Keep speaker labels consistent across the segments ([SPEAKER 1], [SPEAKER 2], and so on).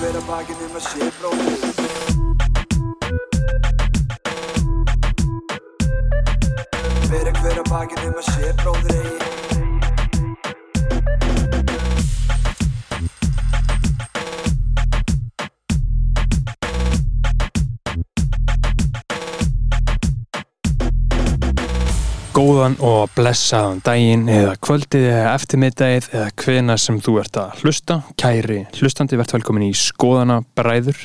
[SPEAKER 1] vera bakið nema sé bróðið Vera hver að bakið nema sé bróðir eigi
[SPEAKER 2] Góðan og blessaðan daginn eða kvöldið eða eftirmiddagið eða hvena sem þú ert að hlusta. Kæri hlustandi, verðt velkomin í Skoðana bræður.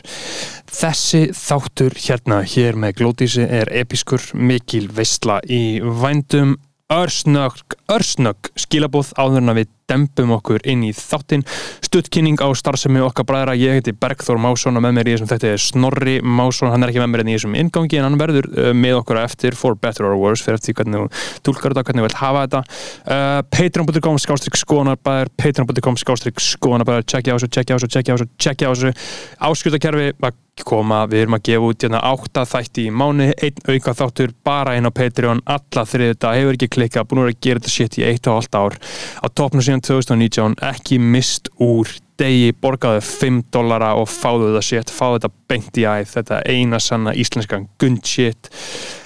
[SPEAKER 2] Þessi þáttur hérna hér með glótísi er episkur mikil veistla í vændum örsnögg, örsnögg skilabóð áður en að við dembum okkur inn í þáttinn. Stuttkynning á starfsemi okkar bræðra, ég heiti Bergþór Másson og með mér í þessum þetta er Snorri Másson, hann er ekki með mér en í þessum ingangi en hann verður uh, með okkur á eftir for better or worse fyrir eftir því hvernig þú tólkar þetta, hvernig þú vilt hafa þetta uh, patreon.com skástrík skoðanabæðar patreon.com skástrík skoðanabæðar tjekkja á þessu, tjekkja á þessu, tjekkja á þessu, tjekkja á þessu áskjöldakerfi að koma, við erum að gefa út hérna átta þætti í mánu, einn auka þáttur bara inn á Patreon, alla þriðið þetta hefur ekki klikkað, búin að vera að gera þetta shit í eitt og halvt ár á topnum síðan 2019 ekki mist úr degi borgaðu 5 dollara og fáðu þetta shit, fáðu þetta beint í æð þetta eina sanna íslenskan gund shit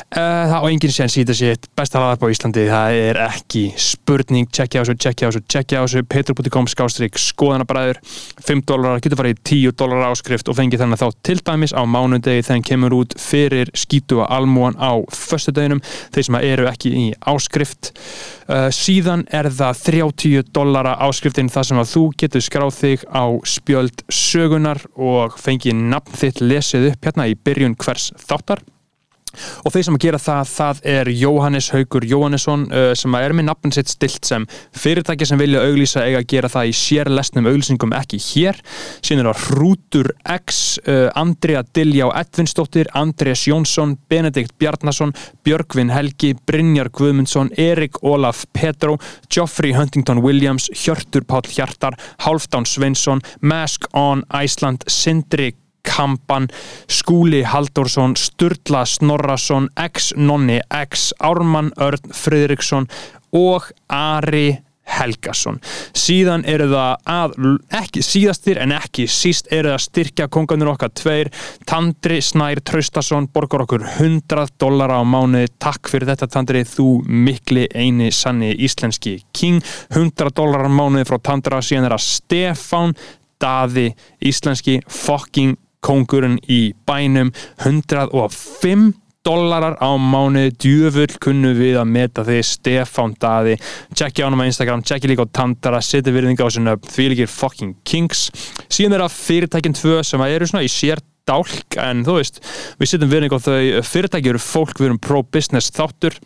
[SPEAKER 2] Uh, það á enginn séns í þetta shit besta hlaðarp á Íslandi, það er ekki spurning, tjekkja á þessu, tjekkja á þessu, tjekkja á þessu petru.com skástrík skoðanabræður 5 dólarar, getur farið í 10 dólarar áskrift og fengið þannig þá til dæmis á mánudegi þegar hann kemur út fyrir skítu að almúan á föstudeginum, þeir sem eru ekki í áskrift Uh, síðan er það 30 dollara áskriftin þar sem að þú getur skráð þig á spjöld sögunar og fengið nafn þitt lesið upp hérna í byrjun hvers þáttar og þeir sem að gera það, það er Jóhannes Haugur Jóhannesson uh, sem að er með nafn sitt stilt sem fyrirtæki sem vilja auglýsa eiga að gera það í sérlesnum auglýsingum ekki hér síðan er það Hrútur X uh, Andrea Diljá Edvinsdóttir Andreas Jónsson, Benedikt Bjarnason Björgvin Helgi, Brynjar Guðmundsson Erik Olaf Petro Geoffrey Huntington Williams, Hjörtur Páll Hjartar, Halfdán Sveinsson Mask on Iceland, Sindri Kampan, Skúli Halldórsson, Sturla Snorrason, X Nonni X, Ármann Örn Friðriksson og Ari Helgason. Síðan eru það að, ekki síðastir en ekki síst eru það styrkja konganur okkar tveir, Tandri Snær Traustason borgar okkur 100 dollara á mánuði, takk fyrir þetta Tandri þú mikli eini sanni íslenski king, 100 dollara á mánuði frá Tandra, síðan er það Stefán Daði, íslenski fucking kongurinn í bænum 105 dollarar á mánuði, djöfull kunnu við að meta þig, Stefán Daði tjekki ánum á Instagram, tjekki líka á Tandara, setja virðinga á sinna því líkir fucking kings, síðan er það fyrirtækin tvö sem að eru svona í sér dálk en þú veist, við setjum virðinga á þau fyrirtæki eru fólk, við erum pro-business þáttur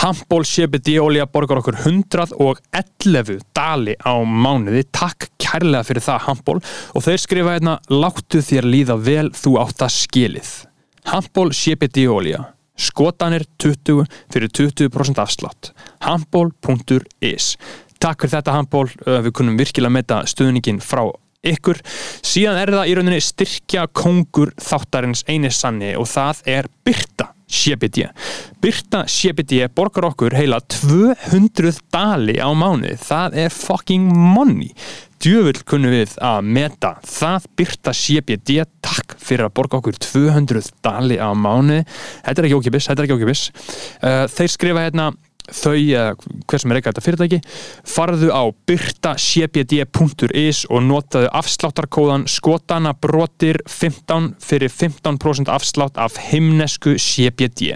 [SPEAKER 2] Hampból CBD olja borgar okkur 111 dali á mánuði takk kærlega fyrir það Hampból og þeir skrifa hérna láttu þér líða vel þú átt að skilið Hampból CBD olja skotanir 20 fyrir 20% afslátt hampból.is Takk fyrir þetta Hampból, Uh, við kunum virkilega metta stuðningin frá ykkur. Síðan er það í rauninni styrkja kongur þáttarins eini sanni og það er Byrta CBD. Byrta CBD borgar okkur heila 200 dali á mánuði. Það er fucking money. Djöfull kunnum við að meta það Byrta CBD takk fyrir að borga okkur 200 dali á mánuði. Þetta er ekki ókipis, þetta er ekki ókipis. Uh, þeir skrifa hérna þau, eða hver sem er eitthvað þetta fyrirtæki farðu á byrtacbd.is og notaðu afsláttarkóðan skotanabrotir 15 fyrir 15% afslátt af himnesku CBD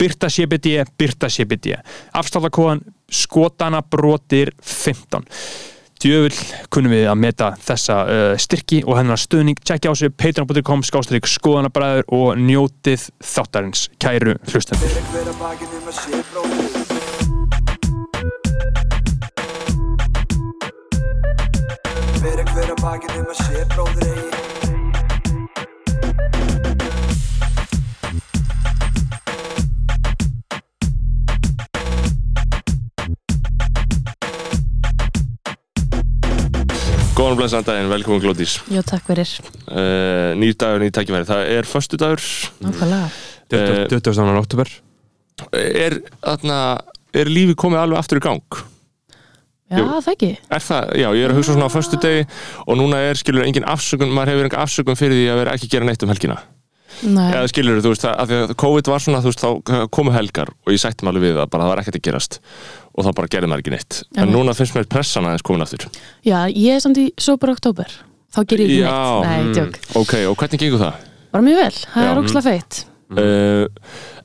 [SPEAKER 2] Byrta CBD, Byrta CBD afsláttarkóðan skotanabrotir 15 Djöfull kunnum við að meta þessa uh, styrki og hennar stuðning tjekkja á sig patreon.com skástrík skoðanabræður og njótið þáttarins kæru hlustendur
[SPEAKER 1] Vera hver að bakið nema sé bróðið Vera hver að bakið nema sé bróðir eigi
[SPEAKER 3] Góðan og blæsaðan daginn, velkomin Glódís
[SPEAKER 4] Jó, takk fyrir,
[SPEAKER 5] Eh,
[SPEAKER 3] uh, Nýr dagur, nýr tækifæri Það er föstu dagur
[SPEAKER 4] nákvæmlega
[SPEAKER 5] Eh,
[SPEAKER 2] 20. 20. oktober
[SPEAKER 3] Er, þarna, er lífi komið alveg aftur í gang?
[SPEAKER 4] Já,
[SPEAKER 5] Jú.
[SPEAKER 4] það ekki
[SPEAKER 5] Er það, já, ég er að hugsa svona á föstu degi og núna er, skilur, engin afsökun, maður hefur engin afsökun fyrir því að vera ekki að gera neitt um helgina.
[SPEAKER 4] Nei,
[SPEAKER 5] Eða skilur, þú veist, það- af því að COVID var svona, þú veist, þá komu helgar og ég sætti mig alveg við það, bara það var ekkert að gerast og þá bara gerði maður ekki neitt. En
[SPEAKER 4] Einmitt.
[SPEAKER 5] núna finnst mér pressan aðeins komin aftur.
[SPEAKER 4] já, ég er samt í sober oktober Þá ger ég ekki neitt Nei,
[SPEAKER 5] mm,
[SPEAKER 4] tjók,
[SPEAKER 5] Ok, og hvernig gengur það?
[SPEAKER 4] bara mjög vel, það
[SPEAKER 5] Já,
[SPEAKER 4] er óksla feitt
[SPEAKER 5] Uh,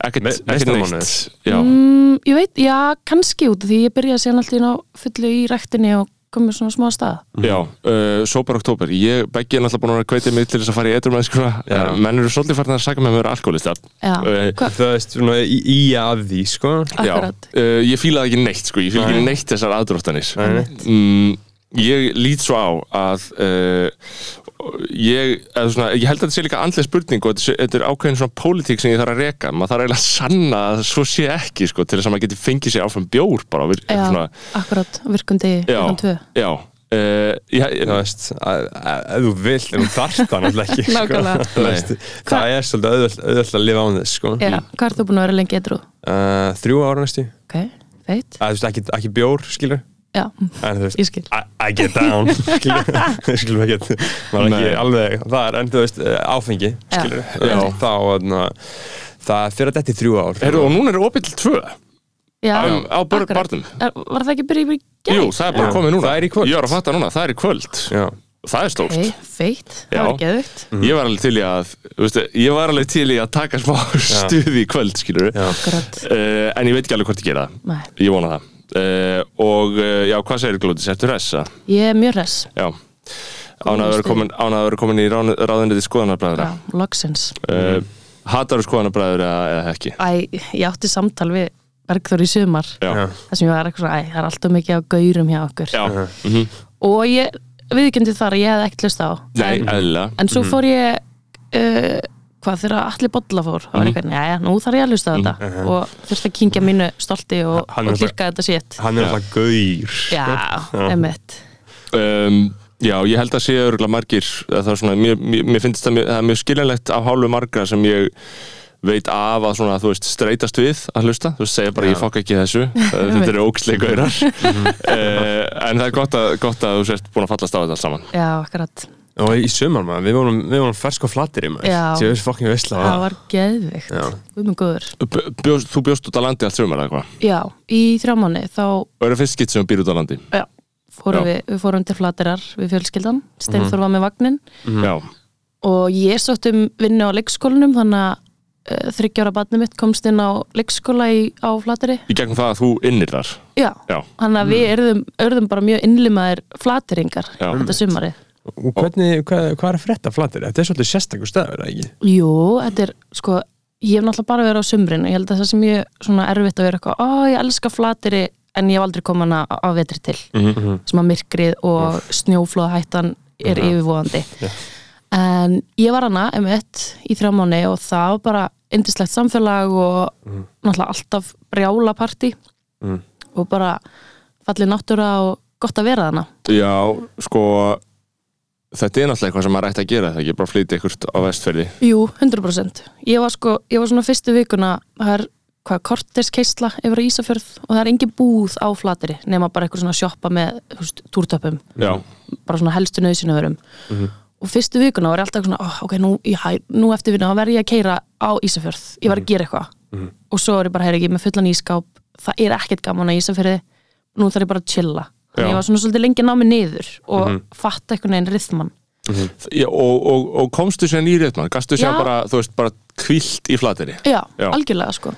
[SPEAKER 5] ekkert,
[SPEAKER 6] Me-
[SPEAKER 5] ekkert neitt.
[SPEAKER 6] meistaramónuður.
[SPEAKER 5] Já,
[SPEAKER 4] mm, Ég veit, já, kannski út af Því ég byrjaði síðan alltaf inn á fullu í rektinni og komið svona smá af stað
[SPEAKER 5] Já, uh, sober oktober Ég beggi er náttúrulega búin að kveitið mig til þess að fara í eitur mennskuna
[SPEAKER 6] Já.
[SPEAKER 5] Menn eru svolítið farin að saka mig um að vera alkoholista
[SPEAKER 4] Já,
[SPEAKER 5] Eh,
[SPEAKER 4] hva,
[SPEAKER 6] Það veist, svona í, í að því, sko
[SPEAKER 4] akkurat
[SPEAKER 5] Já, uh, ég fílaði ekki neitt sko Ég fíla ekki neitt þessar aðdróttanir mm, Ég lít svo á að uh, ég, eða svona, ég held að þetta sé líka andlega spurning og þetta sé- þetta er ákveðin svona pólitík sem ég þarf að reka maður þarf eiginlega að sanna að svo sé ekki sko, til þess að maður geti fengið sér áfram bjór bara, og vir-
[SPEAKER 4] Já,
[SPEAKER 5] svona,
[SPEAKER 4] akkurat, virkum degi,
[SPEAKER 5] Já.
[SPEAKER 4] virkum tvö
[SPEAKER 5] já uh, ég,
[SPEAKER 6] Það veist, að- að- ef þú vilt, en þú þarft það náttúrulega ekki sko.
[SPEAKER 4] Nákvæmlega.
[SPEAKER 6] Þú veist, Það er svolítið auðvöld, auðvöld að lifa án þess, sko
[SPEAKER 4] Já,
[SPEAKER 5] Mm.
[SPEAKER 4] hvað er þú búin að vera lengi edru?
[SPEAKER 6] uh, Þrjú ára næstu
[SPEAKER 4] Ok, feitt,
[SPEAKER 6] að, þú veist, ekki, ekki bjór, skilur
[SPEAKER 4] já,
[SPEAKER 6] En þú veist,
[SPEAKER 4] ég skil
[SPEAKER 6] I, I get down skilur, skilur ekki, maður
[SPEAKER 5] Nei.
[SPEAKER 6] ekki alveg það er en þú veist, eh, áfengi skilur,
[SPEAKER 5] Já.
[SPEAKER 6] þá na, það fyrir að þetta í þrjú ár
[SPEAKER 5] er, og núna er opið til tvö
[SPEAKER 4] Já,
[SPEAKER 5] Á- á börn-
[SPEAKER 4] akkurat.
[SPEAKER 5] barnum.
[SPEAKER 4] Er- Var það ekki byrjað í gæð?
[SPEAKER 5] Jú, það er bara
[SPEAKER 6] Já.
[SPEAKER 5] komið núna
[SPEAKER 6] Það er í kvöld.
[SPEAKER 5] Ég var að fatta núna, það er í kvöld
[SPEAKER 6] já, Mhm.
[SPEAKER 5] Það er stórt
[SPEAKER 4] Ok, feitt,
[SPEAKER 5] Já.
[SPEAKER 4] það var geðugt
[SPEAKER 5] Ég var alveg til í að þú veist, Ég var alveg til í að taka smá stuði í kvöld skilur uh,
[SPEAKER 6] já.
[SPEAKER 4] Akkurat,
[SPEAKER 5] En ég veit ekki alveg hvort ég gera það
[SPEAKER 4] nei,
[SPEAKER 5] Ég vona það uh, Og uh, já, hvað segir Glótis? Ertu ressa?
[SPEAKER 4] ég er mjög res
[SPEAKER 5] Já Án að vera komin, án að vera komin í ráðun- ráðuniti skoðanabræðra
[SPEAKER 4] Já, loksins
[SPEAKER 5] uh, Hatar skoðanabræður eða, eða ekki?
[SPEAKER 4] Æ, ég átti samtal við Bergþór í sumar
[SPEAKER 5] Já, já,
[SPEAKER 6] Já.
[SPEAKER 4] þar sem ég var eitthvað svona, æ, það er alltaf mikið á gaurum hjá okkur
[SPEAKER 5] já.
[SPEAKER 4] og ég viðkjöndi þar að ég hefði ekkert hlust á
[SPEAKER 5] Nei,
[SPEAKER 4] en,
[SPEAKER 5] eðla
[SPEAKER 4] en svo fór ég uh, hvað þegar allir bolla fór það var eitthvað, næja, nú þarf ég að hlusta á þetta og þurfti að kynkja mínu stolti og, og
[SPEAKER 6] Hann er alltaf-
[SPEAKER 4] dyrka þetta sétt
[SPEAKER 6] hann er alltaf gaur sko.
[SPEAKER 4] Já, emitt
[SPEAKER 5] um, Já, ég held að sé örgulega margir að það er svona, mér, mér, mér finnst það mjög, það er mjög skiljanlegt af hálfu margra sem ég veit af að svona, þú veist, streytast við að hlusta, þú veist, segja bara ég fokk ekki í þessu Eh, þetta eru óksleikaurar uh, en það er gott að, gott að þú sért búin að fallast á þetta allt saman
[SPEAKER 4] Já, akkurat,
[SPEAKER 6] og í sumar maður, við vorum, við vorum fersk og flattir í maður
[SPEAKER 4] Já.
[SPEAKER 6] Djöfull fucking veisla
[SPEAKER 4] það var geðvikt
[SPEAKER 6] Ah. Já.
[SPEAKER 4] Guð minn góður
[SPEAKER 5] B- bjóst, Þú bjóst út á landi allt sumar eða hvað
[SPEAKER 4] Já, í þrjá mánu þá
[SPEAKER 5] og eru fyrst skitt sem býr út á landi
[SPEAKER 4] já, fórum
[SPEAKER 5] Já. Mhm.
[SPEAKER 4] við, við fórum til flatirar við fjölskyldan, Steinþór var með vagnin
[SPEAKER 5] Já,
[SPEAKER 4] og ég sótt um vinnu á leikskólanum þannig að uh, þryggjára barnið mitt komst inn á leikskóla í, á flateri
[SPEAKER 5] í gegnum það að þú innir þar
[SPEAKER 4] já,
[SPEAKER 5] Já, Mhm.
[SPEAKER 4] þannig að við erðum, erðum bara mjög innlimaðir flateringar
[SPEAKER 5] Já.
[SPEAKER 4] þetta sumari
[SPEAKER 6] og hvernig, hvað, hvað er að frétta flattir þetta er svolítið sérstakur staður, eða ekki?
[SPEAKER 4] Jú, þetta er sko ég hef náttúrulega bara verið á sumrin og ég held að það sé mjög svona erfitt að vera eitthvað, ó ég elska flateri en ég hef aldrei koma hana á á vetri til sem að myrkrið og snjóflóðahættan er yfirvóðandi en ég var hana um í þrjá mánu og það var bara indislegt samfélag og náttúrulega alltaf brjála partí og bara fallið náttúra og gott að vera hana
[SPEAKER 5] já sko þetta er náttúrulega eitthvað sem maður ætti að gera það ekki, bara flytja ykkur á vestferði
[SPEAKER 4] Jú, 100% Ég var sko, ég var svona fyrstu vikuna það er hvað, kortiskeisla yfir á Ísafjörð og það er engin búð á flateri nema bara eitthvað svona sjoppa með þú veist, túrtöpum,
[SPEAKER 5] Já,
[SPEAKER 4] bara svona helstu nöðsynuverum
[SPEAKER 5] Mhm.
[SPEAKER 4] og fyrstu vikuna var ég alltaf svona oh, ok, nú, já, nú eftir vinna, þá verð ég að keira á Ísafjörð,
[SPEAKER 5] Mhm.
[SPEAKER 4] ég var að gera eitthvað og svo er ég bara, heyr ekki, með fullan ískáp það er ekkert gaman á Ísafjörði nú þarf ég bara að chilla Þannig
[SPEAKER 5] Já. Mhm.
[SPEAKER 4] ég var svona svolítið lengi námi niður og fatta einhvern veginn rithman
[SPEAKER 5] Já, og, og, og komstu sér nýrið mann, gastu sér
[SPEAKER 4] Já.
[SPEAKER 5] bara, þú veist, bara kvilt í flateri
[SPEAKER 4] Já,
[SPEAKER 5] Já.
[SPEAKER 4] algjörlega sko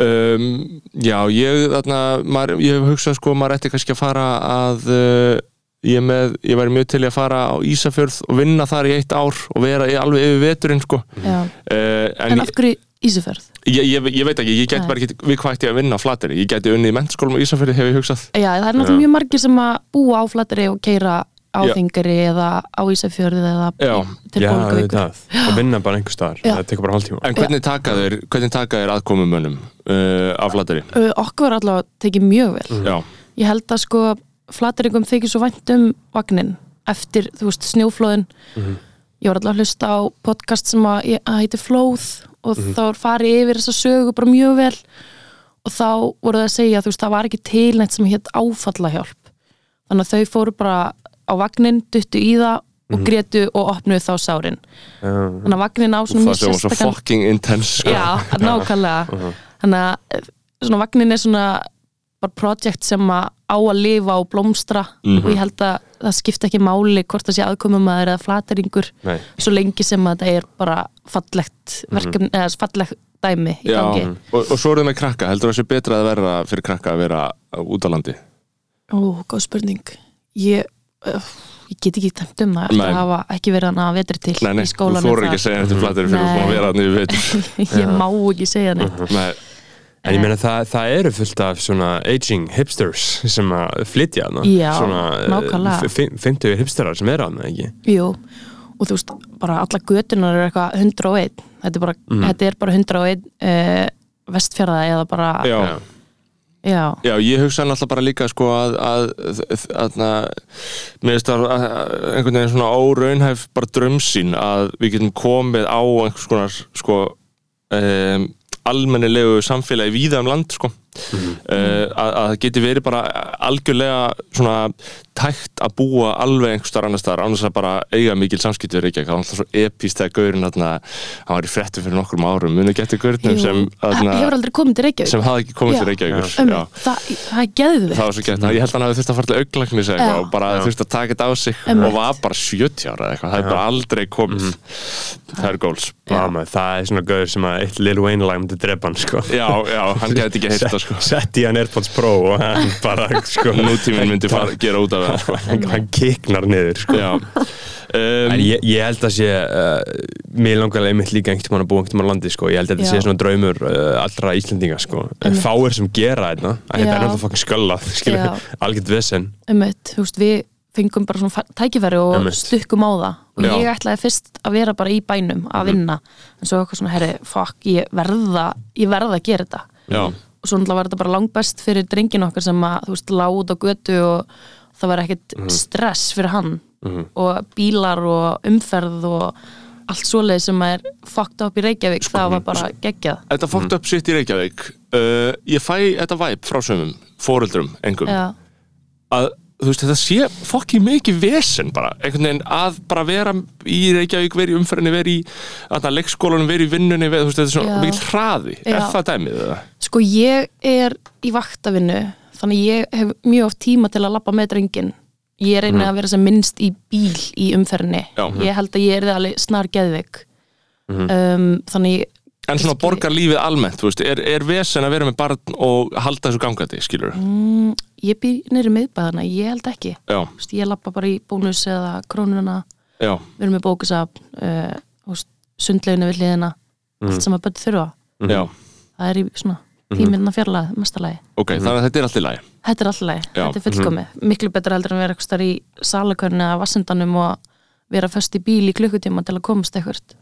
[SPEAKER 5] um, já, ég þarna maður, ég hef hugsað sko, maður ætti kannski að fara að uh, ég með, ég væri mjög til í að fara á Ísafjörð og vinna þar í eitt ár og vera í alveg yfir veturinn sko uh,
[SPEAKER 4] Já.
[SPEAKER 5] en
[SPEAKER 4] En af hverju Ísafjörð?
[SPEAKER 5] ég, ég, ég veit ekki, ég gæti
[SPEAKER 4] Nei.
[SPEAKER 5] bara ekki við hvað ætti ég að vinna á flateri, ég gæti unnið í mennskólum á Ísafjörði hef ég hugsað
[SPEAKER 4] Já, það er náttúrulega mjög margir sem að búa á flateri og keira á
[SPEAKER 5] Já.
[SPEAKER 4] þingari eða á Ísafjörði eða
[SPEAKER 5] Já.
[SPEAKER 4] til
[SPEAKER 6] Já,
[SPEAKER 4] Bólgavíkur.
[SPEAKER 6] auðvitað. og vinna bara einhver staðar,
[SPEAKER 4] Já.
[SPEAKER 6] það tekur bara hálftíma
[SPEAKER 5] en hvernig taka þeir, hvernig taka þeir aðkomumönnum uh, á flateri
[SPEAKER 4] Ö, Okkur var allavega tekið mjög vel.
[SPEAKER 5] já,
[SPEAKER 4] Ég held að sko flateringum þykir svo vænt um vagnin eftir, þú veist, snjóflóðin.
[SPEAKER 5] Mhm.
[SPEAKER 4] Ég var allavega að hlusta á podcast sem að, ég- að heiti Flóð og
[SPEAKER 5] Mhm.
[SPEAKER 4] þá var farið yfir þessa sögu bara mjög vel og þá voru það að segja, þú veist, það var ekki tilnætt sem hétt áfallahjálp. þannig að þau fóru bara á vagnin, duttu í það
[SPEAKER 5] Mhm.
[SPEAKER 4] og grétu og opnuðu þá sárin þannig að vagnin á
[SPEAKER 5] það
[SPEAKER 4] svona mjög
[SPEAKER 5] sem var svo
[SPEAKER 4] sérstakan-
[SPEAKER 5] fucking intense sko.
[SPEAKER 4] Já,
[SPEAKER 5] Uh-huh.
[SPEAKER 4] nákvæmlega Þannig að eh, svona vagnin er svona bara projekt sem að á að lifa og blómstra og
[SPEAKER 5] Mhm.
[SPEAKER 4] ég held að það skipta ekki máli hvort það sé aðkomumæður eða flateringur
[SPEAKER 6] Nei.
[SPEAKER 4] svo lengi sem að þetta er bara fallegt verkefni, eða fallegt dæmi
[SPEAKER 5] Mhm.
[SPEAKER 4] í
[SPEAKER 5] Já, mhm.
[SPEAKER 4] gangi.
[SPEAKER 5] og, og svo eru þau með krakka, heldur það sé betra að vera fyrir krakka að vera út á landi
[SPEAKER 4] Ó, góð spurning Ég, öff, ég get ekki tæmt um það eftir
[SPEAKER 5] Nei.
[SPEAKER 4] að hafa ekki verið hana að vetri til
[SPEAKER 5] Nei, nei,
[SPEAKER 4] í
[SPEAKER 5] þú
[SPEAKER 4] skólanum
[SPEAKER 5] þóru ekki að segja þetta flattir fyrir
[SPEAKER 4] Nei.
[SPEAKER 5] að vera þannig við veitum
[SPEAKER 4] Ég má ekki segja neitt
[SPEAKER 5] Nei,
[SPEAKER 6] En
[SPEAKER 5] Eh.
[SPEAKER 6] ég meina það, það eru fullt af svona aging hipsters sem að flytja hana
[SPEAKER 4] Já,
[SPEAKER 6] svona, eh,
[SPEAKER 4] nákvæmlega.
[SPEAKER 6] fi- 50 hipsterar sem eru hana ekki
[SPEAKER 4] Jú, og þú veist, bara alla götunar eru eitthvað 101 Þetta er bara,
[SPEAKER 5] Mm.
[SPEAKER 4] þetta er bara 101 uh, vestfjörða eða bara
[SPEAKER 5] já,
[SPEAKER 6] Já.
[SPEAKER 4] já,
[SPEAKER 5] já, ég hugsa náttúrulega bara líka sko að, að, að, að, mér finnst það að- að- einhvern veginn svona óraunhæf bara drömsinn að við getum komið á einhvers konar sko um, almennilegu samfélagi víða um land sko. uh, að, að það geti verið bara algjörlega svona tækt að búa alveg einhver starf annar starf annars að bara eiga mikil samskipti við Reykjavík það var alltaf svo epíst þegar gaurinn þarna, hann var í frettu fyrir nokkrum árum muni getið gaurinn
[SPEAKER 4] Jú.
[SPEAKER 5] sem,
[SPEAKER 4] Það hefur
[SPEAKER 5] þarna,
[SPEAKER 4] aldrei komið til Reykjavík
[SPEAKER 5] sem hafði ekki komið til
[SPEAKER 4] Já.
[SPEAKER 5] Reykjavíkur
[SPEAKER 4] um,
[SPEAKER 5] Já.
[SPEAKER 4] það, það er geðu
[SPEAKER 5] það var svo gett, ég held að hann hafi þurft að fara til augnlæknis eða
[SPEAKER 4] Já.
[SPEAKER 5] eitthvað og bara þurft að taka þetta á sig
[SPEAKER 4] Einmitt.
[SPEAKER 5] og var bara 70 ára eða eitthvað, það er bara aldrei komið
[SPEAKER 6] Mhm.
[SPEAKER 5] það er góls
[SPEAKER 6] Vá, maður, Það er svona gauður sem að eitt Lil Wayne lag myndi drepa hann sko
[SPEAKER 5] já, já, hann geti ekki heyrta sko
[SPEAKER 6] Sett í hann Airpods Pro og hann bara sko
[SPEAKER 5] nútíminn myndi fara, gera út af það sko.
[SPEAKER 6] hann, hann kiknar niður sko
[SPEAKER 5] Já
[SPEAKER 6] En
[SPEAKER 5] um,
[SPEAKER 6] ég, ég held að sé, uh, mér langar einmitt líka einhvern tímann að búa einhvern tímann á landi sko. ég held að þetta
[SPEAKER 4] Já.
[SPEAKER 6] sé svona draumur uh, allra Íslendinga sko. en
[SPEAKER 4] Einmitt.
[SPEAKER 6] fáir sem gera þetta að þetta
[SPEAKER 4] Já.
[SPEAKER 6] er náttúrulega fucking sköllað skilur við,
[SPEAKER 4] Já.
[SPEAKER 6] algjört vesen
[SPEAKER 4] Einmitt, um þú veist, við fengum bara svona fa- tækifæri og
[SPEAKER 6] Einmitt.
[SPEAKER 4] stukkum á það og
[SPEAKER 5] Já. Mhm.
[SPEAKER 4] ég ætlaði fyrst að vera bara í bænum að vinna, en svo eitthvað svona herri, fuck, ég verða, ég verða að gera þetta
[SPEAKER 5] Já.
[SPEAKER 4] og svo náttúrulega var þetta bara langbest fyrir drengin okkar sem að, þú veist, lág út á götu og það var ekkert
[SPEAKER 5] Mhm.
[SPEAKER 4] stress fyrir hann og bílar og umferð og allt svoleið sem er fucked up í Reykjavík,
[SPEAKER 5] Sko,
[SPEAKER 4] það var bara geggjað
[SPEAKER 5] Þetta fókt
[SPEAKER 6] Mhm.
[SPEAKER 5] upp sitt í Reykjavík uh, Ég fæ þetta væp frá sömum Fóreldrum, engum
[SPEAKER 4] Já,
[SPEAKER 5] að, Þú veist, þetta sé fokki mikið vesen bara, einhvern veginn að bara vera í Reykjavík, vera í umferðinni, vera í að leikskólanum, vera í vinnunni vera, þú veist, þetta er svona
[SPEAKER 4] Já.
[SPEAKER 5] mikið hraði, er
[SPEAKER 4] Já.
[SPEAKER 5] það dæmið það?
[SPEAKER 4] Sko ég er í vaktavinnu þannig ég hef mjög oft tíma til að labba með drengin ég reyni að vera sem minnst í bíl í umferðinni
[SPEAKER 5] Mhm. Já. mhm.
[SPEAKER 4] ég held að ég er það alveg snar geðvik um, þannig ég-
[SPEAKER 5] En svona
[SPEAKER 4] Skil-
[SPEAKER 5] borgar lífið almennt, þú veist, er, er vesen að vera með barn og halda þessu gangandi, skilur
[SPEAKER 4] mm, ég býr nýri miðbæðana, ég held ekki
[SPEAKER 5] Já,
[SPEAKER 4] Þú veist, ég labba bara í bónus eða krónuna
[SPEAKER 5] já,
[SPEAKER 4] við erum með bókusafn uh, þú veist, sundleginu við hliðina
[SPEAKER 5] Mhm.
[SPEAKER 4] allt sem að börn þurfa
[SPEAKER 6] Mhm.
[SPEAKER 5] já
[SPEAKER 4] það er í svona
[SPEAKER 5] Mhm.
[SPEAKER 4] tíminna fjarlæð mestalagi
[SPEAKER 5] Ok,
[SPEAKER 6] Mhm.
[SPEAKER 5] þannig að þetta er allt í lagi
[SPEAKER 4] Þetta er alltaf leið,
[SPEAKER 5] Já. Mhm.
[SPEAKER 4] þetta er fullkomið miklu betra heldur en að vera eitthvað starf í salakörni eða vassendanum og vera föst í bíl í klukkutíma til að komast eitthvað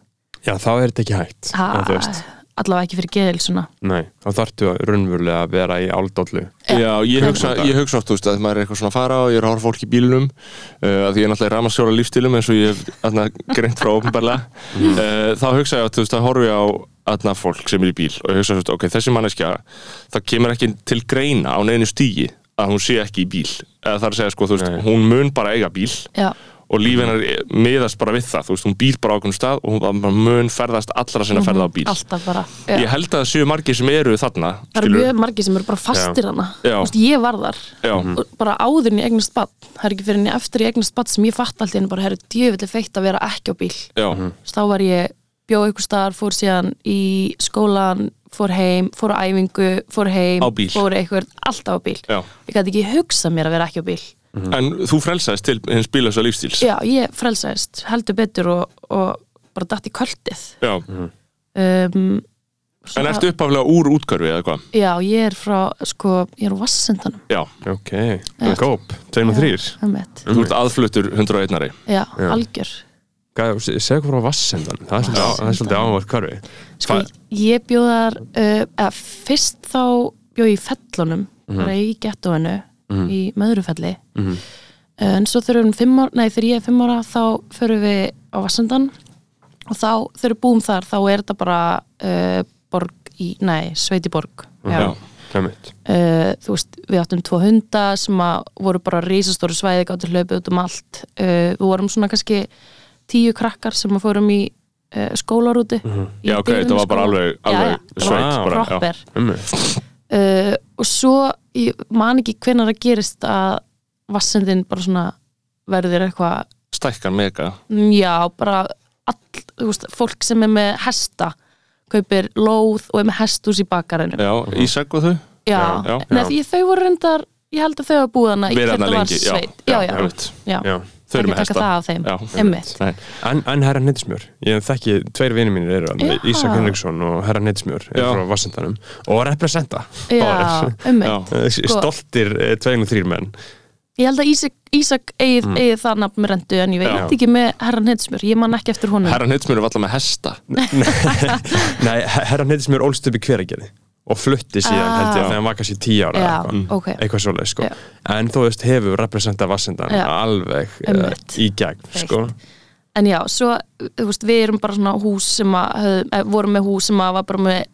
[SPEAKER 6] já þá er þetta ekki hægt en þú veist,
[SPEAKER 4] allavega ekki fyrir geðil svona
[SPEAKER 6] nei, þá þarftu að raunverulega að vera í áldóllu
[SPEAKER 5] Já, ég hugsa, ég hugsa oft, þú veist, að maður er eitthvað svona að fara og ég er að horfa á fólk í bílunum uh, að því ég er náttúrulega ramaskjóra lífstilum eins og ég hef atna, greint frá ofnbarlega uh, þá hugsa ég oft, þú veist, að horfi á atna, fólk sem er í bíl og ég hugsa, þú veist, ok, þessi manneskja það kemur ekki til greina á neinu stígi að hún sé ekki í bíl eða það er að segja, sko, þú veist,
[SPEAKER 6] Nei.
[SPEAKER 5] hún mun bara eiga bíl
[SPEAKER 4] Já,
[SPEAKER 5] og lífinar miðast bara við það, þú veist, hún býr bara á okkur stað og hún bara mun ferðast allra sinna ferða á bíl
[SPEAKER 4] Mhm. alltaf bara Já.
[SPEAKER 5] Ég held að það séu margir sem eru þarna
[SPEAKER 4] Það eru
[SPEAKER 5] skilurðu.
[SPEAKER 4] mjög Mhm. margir sem eru bara fastir hana
[SPEAKER 5] Já. Mhm.
[SPEAKER 4] Vist, Ég var þar
[SPEAKER 5] Já.
[SPEAKER 4] og bara áður en ég eignast bad það er ekki fyrir en ég eftir ég eignast bad sem ég fatt allt í henni bara herri djöfulli feitt að vera ekki á bíl
[SPEAKER 5] Já,
[SPEAKER 4] Vist, þá var ég, bjóð einhver staðar fór síðan í skólan, fór heim fór á æfingu, fór heim
[SPEAKER 5] Á bíl.
[SPEAKER 4] fór eitthvað, alltaf á bíl
[SPEAKER 5] já.
[SPEAKER 4] ég gæti ekki hugsað mér að vera ekki á bíl
[SPEAKER 5] En þú frelsaðist til hins bílösa lífstíls
[SPEAKER 4] Mm. já, ég frelsaðist, heldur betur og, og bara datt í kvöldið
[SPEAKER 5] Já.
[SPEAKER 4] um,
[SPEAKER 5] En ertu uppaflega úr útkörfi eða hvað?
[SPEAKER 4] já, ég er frá, sko, ég er úr vassendanum
[SPEAKER 5] Já,
[SPEAKER 6] ok, góp, 2 og 3
[SPEAKER 4] einmitt.
[SPEAKER 5] þú ert aðfluttur 101-ari
[SPEAKER 4] já, algjör
[SPEAKER 6] segja hvað frá vassendan það er svolítið, á- það er svolítið áhverf karfi
[SPEAKER 4] sko,
[SPEAKER 6] Hvað-
[SPEAKER 4] ég bjóðar uh, eða, fyrst þá bjóð ég í fellunum bara í gettóinu í möðrufelli Uh, en svo þegar, um fimm ára, nei, þegar ég er fimm ára þá förum við á vassendan og þá, þegar við búum þar þá er þetta bara uh, borg í, nei, sveitiborg
[SPEAKER 5] Já.
[SPEAKER 6] Einmitt.
[SPEAKER 4] uh, þú veist, við áttum tvo hunda sem að voru bara risastóru svæði gáttu hlaupið út um allt uh, við vorum svona kannski tíu krakkar sem að fórum í uh, skólarúti í
[SPEAKER 5] Mhm. Já, ok, þetta var bara alveg- alveg sveit bara, já.
[SPEAKER 4] proper
[SPEAKER 6] Einmitt.
[SPEAKER 4] uh, og svo, ég man ekki hvenær að gerist að vassendin bara svona verður eitthvað
[SPEAKER 5] stækkan mega
[SPEAKER 4] mm, já, bara all, þú veist, fólk sem er með hesta kaupir lóð og er með hestus í bakarinu
[SPEAKER 5] Já, Ísak og þau
[SPEAKER 4] já,
[SPEAKER 5] Já, já.
[SPEAKER 4] Nei, því þau voru reyndar ég held að þau hafa búið hana í
[SPEAKER 5] Verið þarna
[SPEAKER 4] hvernig var
[SPEAKER 5] lengi, já,
[SPEAKER 4] sveit já, já, já,
[SPEAKER 5] einmitt.
[SPEAKER 4] já.
[SPEAKER 6] Já.
[SPEAKER 5] Þau eru
[SPEAKER 4] Ekki
[SPEAKER 5] með
[SPEAKER 4] taka
[SPEAKER 5] hesta
[SPEAKER 4] það af þeim.
[SPEAKER 5] Já,
[SPEAKER 4] Einmitt.
[SPEAKER 5] Nei.
[SPEAKER 6] En, en herra Neytismjör, ég þekki, tveir vinir mínir eru hann,
[SPEAKER 4] Já.
[SPEAKER 6] Ísak Henriksson og herra Neytismjör er
[SPEAKER 5] Já.
[SPEAKER 6] frá Vassendanum og representa eh,
[SPEAKER 4] já, einmitt
[SPEAKER 5] Já.
[SPEAKER 4] Sko.
[SPEAKER 6] stoltir tvein og þrýr menn
[SPEAKER 4] ég held að Ísak, Ísak eigið eigi það nafn með rendu en ég veit
[SPEAKER 5] Mm. Já.
[SPEAKER 4] ekki með herran heitsmjör ég man ekki eftir honum
[SPEAKER 5] Herra Neidsmjör er alltaf með hesta
[SPEAKER 6] Nei, herra Neytismjör ólst upp í hveragerði og flutti síðan
[SPEAKER 4] Ah.
[SPEAKER 6] held ég þegar hann var kannski tíu ára
[SPEAKER 4] já,
[SPEAKER 6] eða eitthvað.
[SPEAKER 4] ok,
[SPEAKER 5] Mm.
[SPEAKER 6] eitthvað svoleið sko
[SPEAKER 4] Já.
[SPEAKER 6] en þú veist hefur representa Vassendan
[SPEAKER 4] Já.
[SPEAKER 6] alveg uh,
[SPEAKER 4] Einmitt.
[SPEAKER 6] í gegn sko.
[SPEAKER 4] en já, svo þú veist, við erum bara svona hús sem að höfðum- eh, vorum með hús sem að var bara með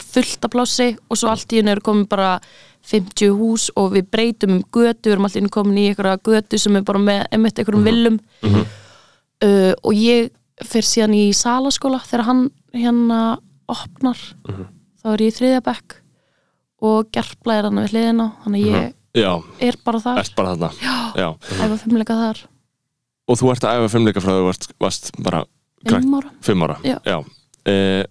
[SPEAKER 4] fullt af plássi og svo allt í henni eru komin bara 50 hús og við breytum um götu, við erum allt í henni komin í einhverja götu sem er bara með einmitt einhverjum villum uh, og ég fer síðan í salaskóla þegar hann hérna opnar þá er ég í þriðja bekk og gerpla er hann við hliðina þannig að ég
[SPEAKER 5] Já,
[SPEAKER 4] er bara þar,
[SPEAKER 5] ert bara þarna Já.
[SPEAKER 4] æfa fimmleika þar
[SPEAKER 5] Og þú ert að æfa fimmleika frá þau varst, varst bara krakk-
[SPEAKER 4] fimm ára
[SPEAKER 5] Fimm ára
[SPEAKER 4] Já.
[SPEAKER 5] Eh,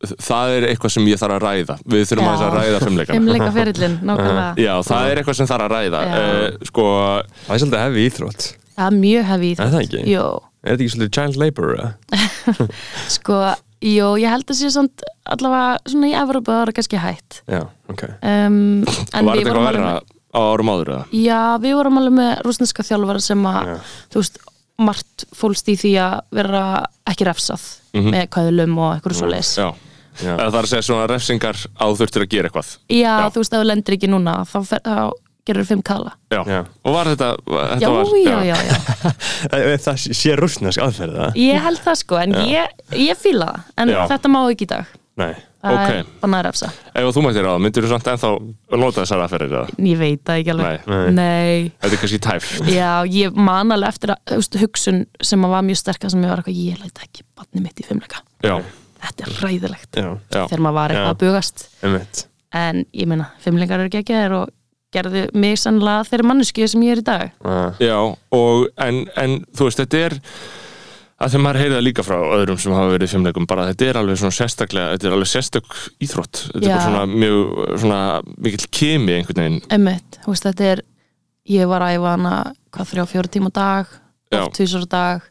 [SPEAKER 5] Það er eitthvað sem ég þarf að ræða Við þurfum
[SPEAKER 4] Já.
[SPEAKER 5] aðeins að ræða fimmleikana
[SPEAKER 4] fimmleika ferillin, nákvæmlega
[SPEAKER 5] Já, það er eitthvað sem þarf að ræða
[SPEAKER 4] Já.
[SPEAKER 5] eh, Sko,
[SPEAKER 6] það er svolítið hefði íþrótt
[SPEAKER 4] Það er mjög hefði í
[SPEAKER 6] Er það ekki?
[SPEAKER 4] Jó,
[SPEAKER 6] er þetta ekki svolítið child labor eða?
[SPEAKER 4] sko, jó, ég held að sé samt allavega svona í Evropa það var kannski hætt
[SPEAKER 6] já, ok
[SPEAKER 4] um, En
[SPEAKER 5] var þetta
[SPEAKER 4] við vorum
[SPEAKER 5] eitthvað
[SPEAKER 4] alveg
[SPEAKER 5] verra
[SPEAKER 4] með,
[SPEAKER 5] á árum áður eða?
[SPEAKER 4] Já, við vorum alveg með rúsneska þjálfara sem að, þú veist, margt fólst í því að vera ekki refsað með kæðlum og eitthvað svo leis
[SPEAKER 5] Mhm. Já,
[SPEAKER 6] Já.
[SPEAKER 5] Eða Það er að segja svona refsingar á þú þurftir að gera eitthvað
[SPEAKER 4] Já,
[SPEAKER 5] Já.
[SPEAKER 4] þú veist, ef þú lendir ekki núna þá, fer, þá gerur fimm kalla
[SPEAKER 5] Já.
[SPEAKER 6] Já.
[SPEAKER 5] Og var þetta, þetta
[SPEAKER 4] Já,
[SPEAKER 5] var,
[SPEAKER 4] já, já, já
[SPEAKER 6] Eh, það sé rúsnesk aðferð það?
[SPEAKER 4] Ég held það sko, en ég, ég fíla það en
[SPEAKER 5] Já.
[SPEAKER 4] þetta má ekki í dag
[SPEAKER 6] nei
[SPEAKER 4] Það
[SPEAKER 5] Ok.
[SPEAKER 4] er bannað að refsa
[SPEAKER 5] Ef þú mættir á það, myndir þú samt ennþá nota þessar aðferðir eða?
[SPEAKER 4] Ég veit það ekki alveg
[SPEAKER 6] Nei.
[SPEAKER 4] Nei.
[SPEAKER 5] Þetta er kannski tæf
[SPEAKER 4] Já, ég man alveg eftir að, þú veist, hugsun sem að var mjög sterkast sem ég var eitthvað, ég læt ekki barni mitt í fimmleika.
[SPEAKER 5] Já,
[SPEAKER 4] Þetta er ræðilegt
[SPEAKER 6] já,
[SPEAKER 5] já,
[SPEAKER 4] þegar maður var eitthvað
[SPEAKER 6] Já.
[SPEAKER 4] að bugast.
[SPEAKER 6] einmitt
[SPEAKER 4] En ég meina, fimmleikar eru geggjaðir og gerðu mig sannlega þeirri mannesku sem ég er í dag.
[SPEAKER 6] Ah.
[SPEAKER 5] já og, en, en þú veist, þetta er að þegar maður heyrði það líka frá öðrum sem hafa verið í fimmleikum, bara þetta er alveg svona sérstaklega þetta er alveg sérstök íþrótt þetta er
[SPEAKER 4] Já.
[SPEAKER 5] bara svona mjög, svona mikill kemi einhvern veginn
[SPEAKER 4] Ömmit, þú veist, þetta er, ég var að æfa hana hvað þrjá, fjóra tíma á dag,
[SPEAKER 5] Já.
[SPEAKER 4] oft tvisar á dag,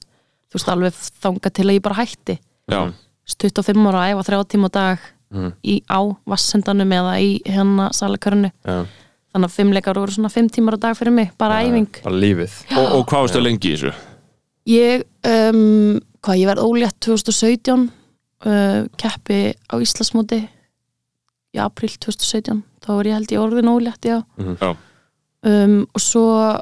[SPEAKER 4] þú veist, alveg þanga til að ég bara hætti.
[SPEAKER 5] Já,
[SPEAKER 6] Mhm.
[SPEAKER 4] Þú veist, 25 ára að æfa þrjá tíma á dag
[SPEAKER 5] Mm.
[SPEAKER 4] í á vassendanum eða í hérna salakörnu.
[SPEAKER 6] Já.
[SPEAKER 4] Þannig að fimmleikar voru svona fimm tímar á dag fyrir mig, bara æfing.
[SPEAKER 6] bara lífið
[SPEAKER 5] og, og hvað varstu lengi í þessu?
[SPEAKER 4] Ég, um, hvað, ég verð ólétt 2017 uh, keppi á Íslandsmóti í april 2017 þá var ég held ég orðin ólétt, já
[SPEAKER 5] Já,
[SPEAKER 4] um, og svo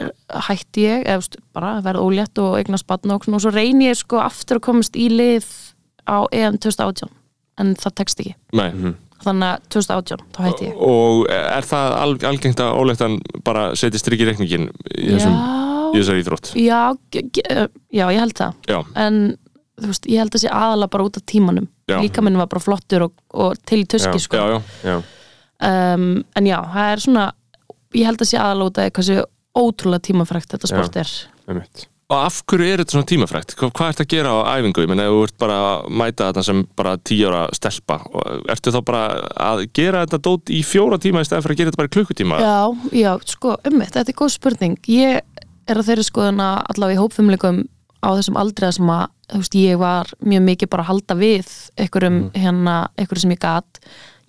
[SPEAKER 4] er- hætti ég, eða þú veist, bara verð ólétt og eignast batna og, svona, og svo reyni ég sko aftur að komast í lið á EM 2018 en það tekst ekki,
[SPEAKER 5] nei
[SPEAKER 6] Mhm.
[SPEAKER 4] þannig að 2018 þá hætti ég
[SPEAKER 5] Og eh, er það al, algengt að ólegtan bara setja strikki í reikningin í þessum, í
[SPEAKER 4] Já,
[SPEAKER 5] þessari íþrótt?
[SPEAKER 4] já, ge- ge- uh, já, ég held það
[SPEAKER 5] Já,
[SPEAKER 4] en þú veist, ég held að sé aðalega bara út af tímanum
[SPEAKER 5] Já.
[SPEAKER 4] líkaminn var bara flottur og, og til í tuski
[SPEAKER 5] já,
[SPEAKER 4] sko.
[SPEAKER 5] já
[SPEAKER 6] já,
[SPEAKER 4] Um, en já, það er svona ég held að sé aðalega út af hversu ótrúlega tímafrækt þetta
[SPEAKER 6] Já.
[SPEAKER 4] sport er
[SPEAKER 6] einmitt
[SPEAKER 5] Og af hverju er þetta svona tímafrækt? Hvað, hvað ert að gera á æfingu? Ég meina, ef þú ert bara að mæta þetta sem bara tíjára stelpa og ertu þá bara að gera þetta dót í fjóra tíma í stæðan fyrir að gera þetta bara í klukkutíma?
[SPEAKER 4] Já, já, sko, ummitt, þetta er góð spurning ég er að þeirri skoðuna allavega í hópfumleikum á þessum aldriða sem að, þú veist, ég var mjög mikið bara að halda við einhverjum
[SPEAKER 5] Mm.
[SPEAKER 4] hérna, einhverjum sem ég gat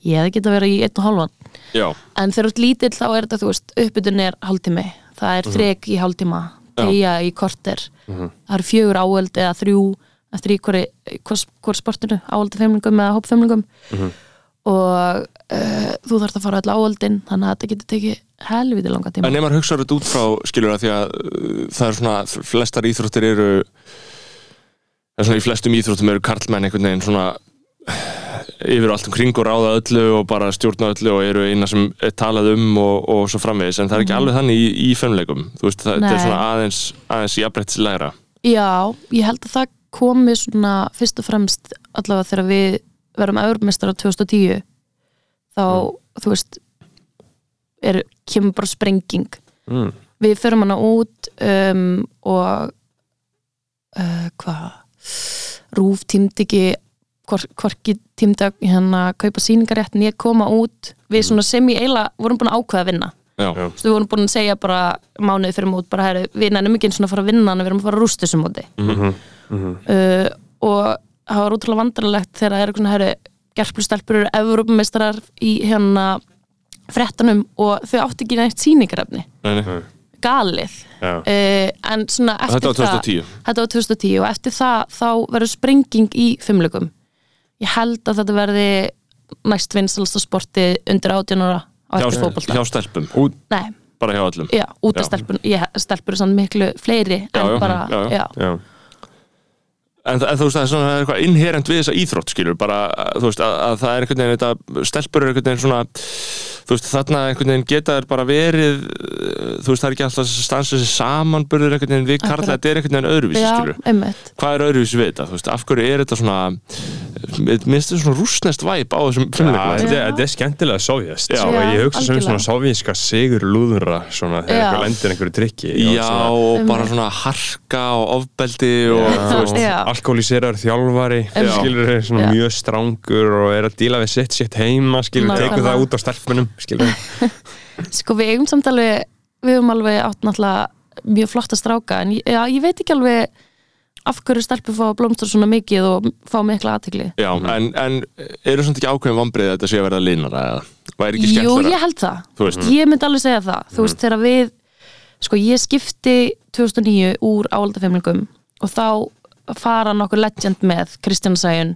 [SPEAKER 4] ég hefði getað verið í einn og hálfan
[SPEAKER 5] Já,
[SPEAKER 4] en þegar þú ert lítill þá er þetta, þú veist, uppbytun er hálftími, það er þrek í hálftíma tegja í korter það eru fjögur áöld eða þrjú eftir í hvori, hvors, hvors sportinu áöldafemlingum eða hópfemlingum og uh, þú þarft að fara öll áöldin þannig að þetta getur tekið helviti langa tíma
[SPEAKER 5] en ef maður hugsaður þetta út frá skilur að því að uh, það er svona flestar íþróttir eru eða svona í flestum íþróttum eru karlmenn einhvern veginn svona yfir allt um kring og ráða öllu og bara stjórna öllu og eru eina sem er talað um og, og svo framvegis en það er
[SPEAKER 6] Mhm.
[SPEAKER 5] ekki alveg þannig í, í femleikum þú veist, það, það er
[SPEAKER 4] Nei.
[SPEAKER 5] svona aðeins, aðeins jafnrættislegra
[SPEAKER 4] Já, ég held að það komi svona fyrst og fremst allavega þegar við verðum öðrumistar á 2010 þá,
[SPEAKER 5] Mm.
[SPEAKER 4] þú veist er, kemur bara sprenging
[SPEAKER 6] Mm.
[SPEAKER 4] við förum hana út um, og uh, hvað Rúf tímdi ekki hvor- hvorki tímdi að hérna, kaupa sýningarétt en ég koma út við
[SPEAKER 5] Mm.
[SPEAKER 4] svona sem ég eiginlega vorum búin að ákveða að vinna
[SPEAKER 5] Já, já,
[SPEAKER 6] Já.
[SPEAKER 4] Þú veist, við vorum búin að segja bara mánuði fyrir mót bara herri, við nefnum ekki eins og að fara að vinna hann við erum að fara að rústa þessu móti uh, og það var útrúlega vandrarlegt þegar það er eitthvað herri, gerplustelpur eru Evrópumeistarar í hérna frettanum og þau átti ekki neitt sýningarefni
[SPEAKER 5] nei, nei.
[SPEAKER 4] galið
[SPEAKER 6] Já.
[SPEAKER 4] uh, en svona eftir
[SPEAKER 5] Þetta var 2010.
[SPEAKER 4] það þetta var 2010 og eftir það þá verður sprenging í fimmlugum ég held að þetta verði næst vinsalasta sporti undir 18 ára á
[SPEAKER 5] Hjá,
[SPEAKER 4] eftir fótbolta
[SPEAKER 5] hjá stelpum,
[SPEAKER 4] Nei,
[SPEAKER 5] bara hjá öllum
[SPEAKER 4] já, út
[SPEAKER 5] Já.
[SPEAKER 4] af stelpun ég, stelpur er samt miklu fleiri
[SPEAKER 5] Já,
[SPEAKER 4] en
[SPEAKER 5] já,
[SPEAKER 4] bara,
[SPEAKER 5] já, já.
[SPEAKER 6] Já.
[SPEAKER 5] en, en þú veist það er svona eitthvað inherent við þessa íþrótt skilur bara að- þú veist að, að það er einhvern veginn þetta, stelpur er einhvern veginn svona þú veist þarna einhvern veginn geta þær bara verið uh, þú veist það er ekki alltaf stans þessi samanburður einhvern veginn við karla
[SPEAKER 4] Akkurat.
[SPEAKER 5] þetta er einhvern veginn öðruvísi
[SPEAKER 4] já,
[SPEAKER 5] skilur
[SPEAKER 4] einmitt
[SPEAKER 5] hvað er öðruvísi við þetta, þú veist, af hverju er þetta svona minnst þetta svona rúsnest væp á þessum
[SPEAKER 6] Já,
[SPEAKER 5] fimmleikum
[SPEAKER 6] þetta er- þetta er skemmtilega sovjast
[SPEAKER 5] Já.
[SPEAKER 6] og ég hugsa sem
[SPEAKER 4] algjörlega.
[SPEAKER 6] svona sovjíska sigur lúðra svona þegar
[SPEAKER 4] Já.
[SPEAKER 6] eitthvað lendir einhverju drikki og
[SPEAKER 5] já,
[SPEAKER 6] svona
[SPEAKER 5] og
[SPEAKER 4] Um.
[SPEAKER 5] bara svona harka og ofbeldi og
[SPEAKER 6] Já,
[SPEAKER 5] þú
[SPEAKER 6] og
[SPEAKER 5] veist,
[SPEAKER 4] Já.
[SPEAKER 6] alkohóliseraður þjálfari
[SPEAKER 4] Einmitt.
[SPEAKER 6] skilur þeir svona
[SPEAKER 4] Já.
[SPEAKER 6] mjög strangur og er að díla við sitt sitt heima skilur
[SPEAKER 4] Nákvæmlega.
[SPEAKER 6] tekur það út á stelpunum skilur
[SPEAKER 4] sko við eigum samt alveg við höfum alveg átt náttúrulega mjög flotta stráka en ég, já, ég veit ekki alveg af hverju stelpur fá blómstur svona mikið og fá mikla aðtegli
[SPEAKER 5] já, en, en eru svona ekki ákveðin vombrið að þetta sé að verða linara eða, væri ekki
[SPEAKER 4] Jú,
[SPEAKER 5] skemmtara
[SPEAKER 4] ég held það,
[SPEAKER 5] Þú veist. Mhm.
[SPEAKER 4] ég myndi alveg segja það þú veist, þegar við, sko ég skipti 2009 úr áaldafemlingum og þá fara nokkur legend með Kristján Sæjun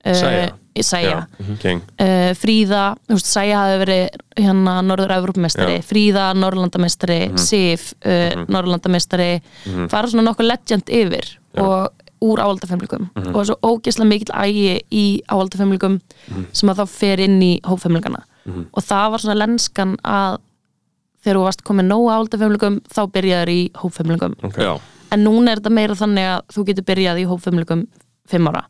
[SPEAKER 6] Sæja.
[SPEAKER 4] uh, Sæja.
[SPEAKER 5] mhm.
[SPEAKER 6] King
[SPEAKER 4] uh, Fríða, þú veist, Sæja hafi verið hérna Norður-Evrópumestari, Fríða Norrlandamestari, Sif uh, Norrlandamestari, fara svona nokkuð legend yfir og úr áaldafemlikum og svo ógeðslega mikill ægi í áaldafemlikum sem að þá fer inn í hóffemlikana og það var svona lenskan að þegar þú varst komið nóg áaldafemlikum þá byrjaður í hóffemlikum
[SPEAKER 5] Já,
[SPEAKER 4] en núna er þetta meira þannig að þú getur byrjað í hóffemlikum fimm ára